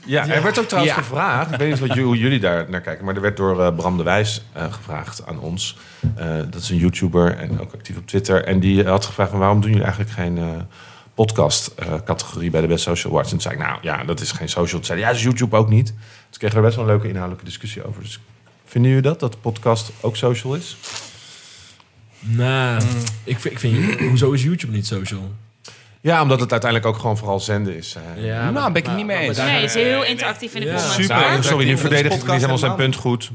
Speaker 1: Ja, er werd ook trouwens
Speaker 4: Ja.
Speaker 1: gevraagd. Ik weet niet wat ju- hoe jullie daar naar kijken, maar er werd door eh, Bram de Wijs eh, gevraagd aan ons. Eh, dat is een YouTuber en ook actief op Twitter. En die had gevraagd: van, waarom doen jullie eigenlijk geen eh, podcast-categorie bij de Best Social Awards? En toen zei ik: Nou ja, dat is geen social. Toen zei hij, Ja, is YouTube ook niet. Dus kregen we er best wel een leuke inhoudelijke discussie over. Dus vinden jullie dat, dat de podcast ook social is?
Speaker 3: Nou, ik, vind- ik vind... Hoezo is YouTube niet social?
Speaker 1: Ja, omdat het uiteindelijk ook gewoon vooral zenden is. eh.
Speaker 3: Ja,
Speaker 4: Nou, ben ik het niet mee eens.
Speaker 3: maar daar-
Speaker 2: Nee, het is heel interactief in de
Speaker 3: Ja.
Speaker 2: comments.
Speaker 1: Super.
Speaker 2: hoor.
Speaker 1: Nou, sorry, nu verdedigt
Speaker 5: podcast
Speaker 1: hij helemaal zijn
Speaker 5: helemaal
Speaker 1: punt goed.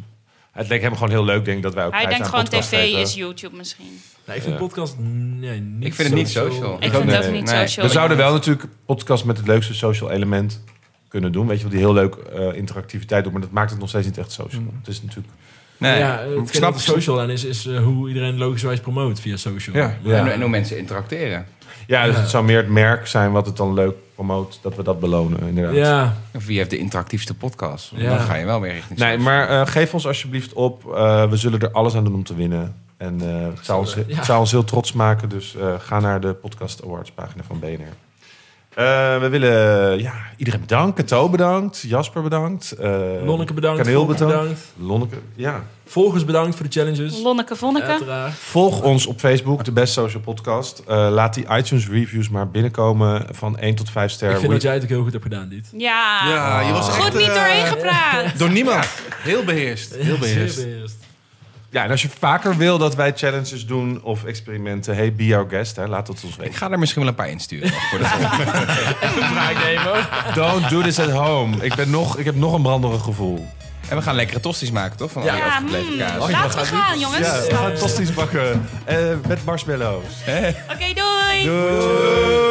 Speaker 1: Het leek hem gewoon heel leuk, denk ik, dat wij ook
Speaker 2: Hij
Speaker 1: prijs
Speaker 2: denkt
Speaker 1: aan
Speaker 2: gewoon
Speaker 1: podcast
Speaker 2: tv
Speaker 1: geven.
Speaker 2: is YouTube misschien.
Speaker 3: Nee, ik vind
Speaker 1: Ja.
Speaker 3: podcast... Nee, niet
Speaker 4: Ik vind het niet social.
Speaker 2: Ik vind
Speaker 1: nee.
Speaker 2: het ook niet
Speaker 4: Nee.
Speaker 2: social.
Speaker 1: We zouden wel natuurlijk podcast met het leukste social element kunnen doen. Weet je wel, die heel leuk eh, interactiviteit doet. Maar dat maakt het nog steeds niet echt social. Het is natuurlijk...
Speaker 4: Nee.
Speaker 3: Ja,
Speaker 4: ik
Speaker 3: het snap
Speaker 4: snap
Speaker 3: social aan is, is eh, hoe iedereen logischerwijs promoot via social.
Speaker 5: Ja.
Speaker 1: Ja,
Speaker 4: En, en hoe mensen interacteren.
Speaker 1: dus het zou meer het merk zijn wat het dan leuk promoot. Dat we dat belonen, inderdaad.
Speaker 3: Ja,
Speaker 4: Of Wie heeft de interactiefste podcast?
Speaker 3: Ja.
Speaker 4: Dan ga je wel weer richting
Speaker 1: Nee,
Speaker 4: social.
Speaker 1: maar eh, geef ons alsjeblieft op. Eh, we zullen er alles aan doen om te winnen. En eh, het, zou ons, het zou ons heel trots maken. Dus eh, ga naar de Podcast Awards pagina van BNR. Eh, we willen ja, iedereen bedanken. To bedankt. Jasper bedankt. eh,
Speaker 3: Lonneke bedankt.
Speaker 1: Kaneel
Speaker 3: Volker
Speaker 1: bedankt.
Speaker 3: bedankt.
Speaker 1: Lonneke, ja.
Speaker 3: Volgers bedankt voor de challenges.
Speaker 2: Lonneke Vonneke.
Speaker 3: Uiteraard.
Speaker 1: Volg ons op Facebook, de Best Social Podcast. Eh, laat die iTunes reviews maar binnenkomen van 1 tot 5
Speaker 3: Ik
Speaker 1: sterren.
Speaker 3: vind dat jij het ook heel goed hebt gedaan, dit.
Speaker 2: Ja.
Speaker 5: Ja, je was echt,
Speaker 2: Goed niet
Speaker 5: eh,
Speaker 2: doorheen gepraat.
Speaker 5: Door niemand. Heel beheerst. Heel beheerst.
Speaker 1: Ja, en als je vaker wil dat wij challenges doen of experimenten... hey, be our guest, hè, laat het ons weten.
Speaker 4: Ik ga er misschien wel een paar insturen. Voor de volgende.
Speaker 1: Don't do this at home. Ik, ben nog, ik heb nog een branderig gevoel.
Speaker 4: en we gaan lekkere tosties maken, toch? Van al die
Speaker 2: Ja,
Speaker 4: overgebleven
Speaker 2: mm,
Speaker 4: kaas.
Speaker 2: laten we gaan, jongens.
Speaker 1: Ja, we gaan tosti's bakken eh, met marshmallows.
Speaker 2: Oké, doei.
Speaker 1: Doei.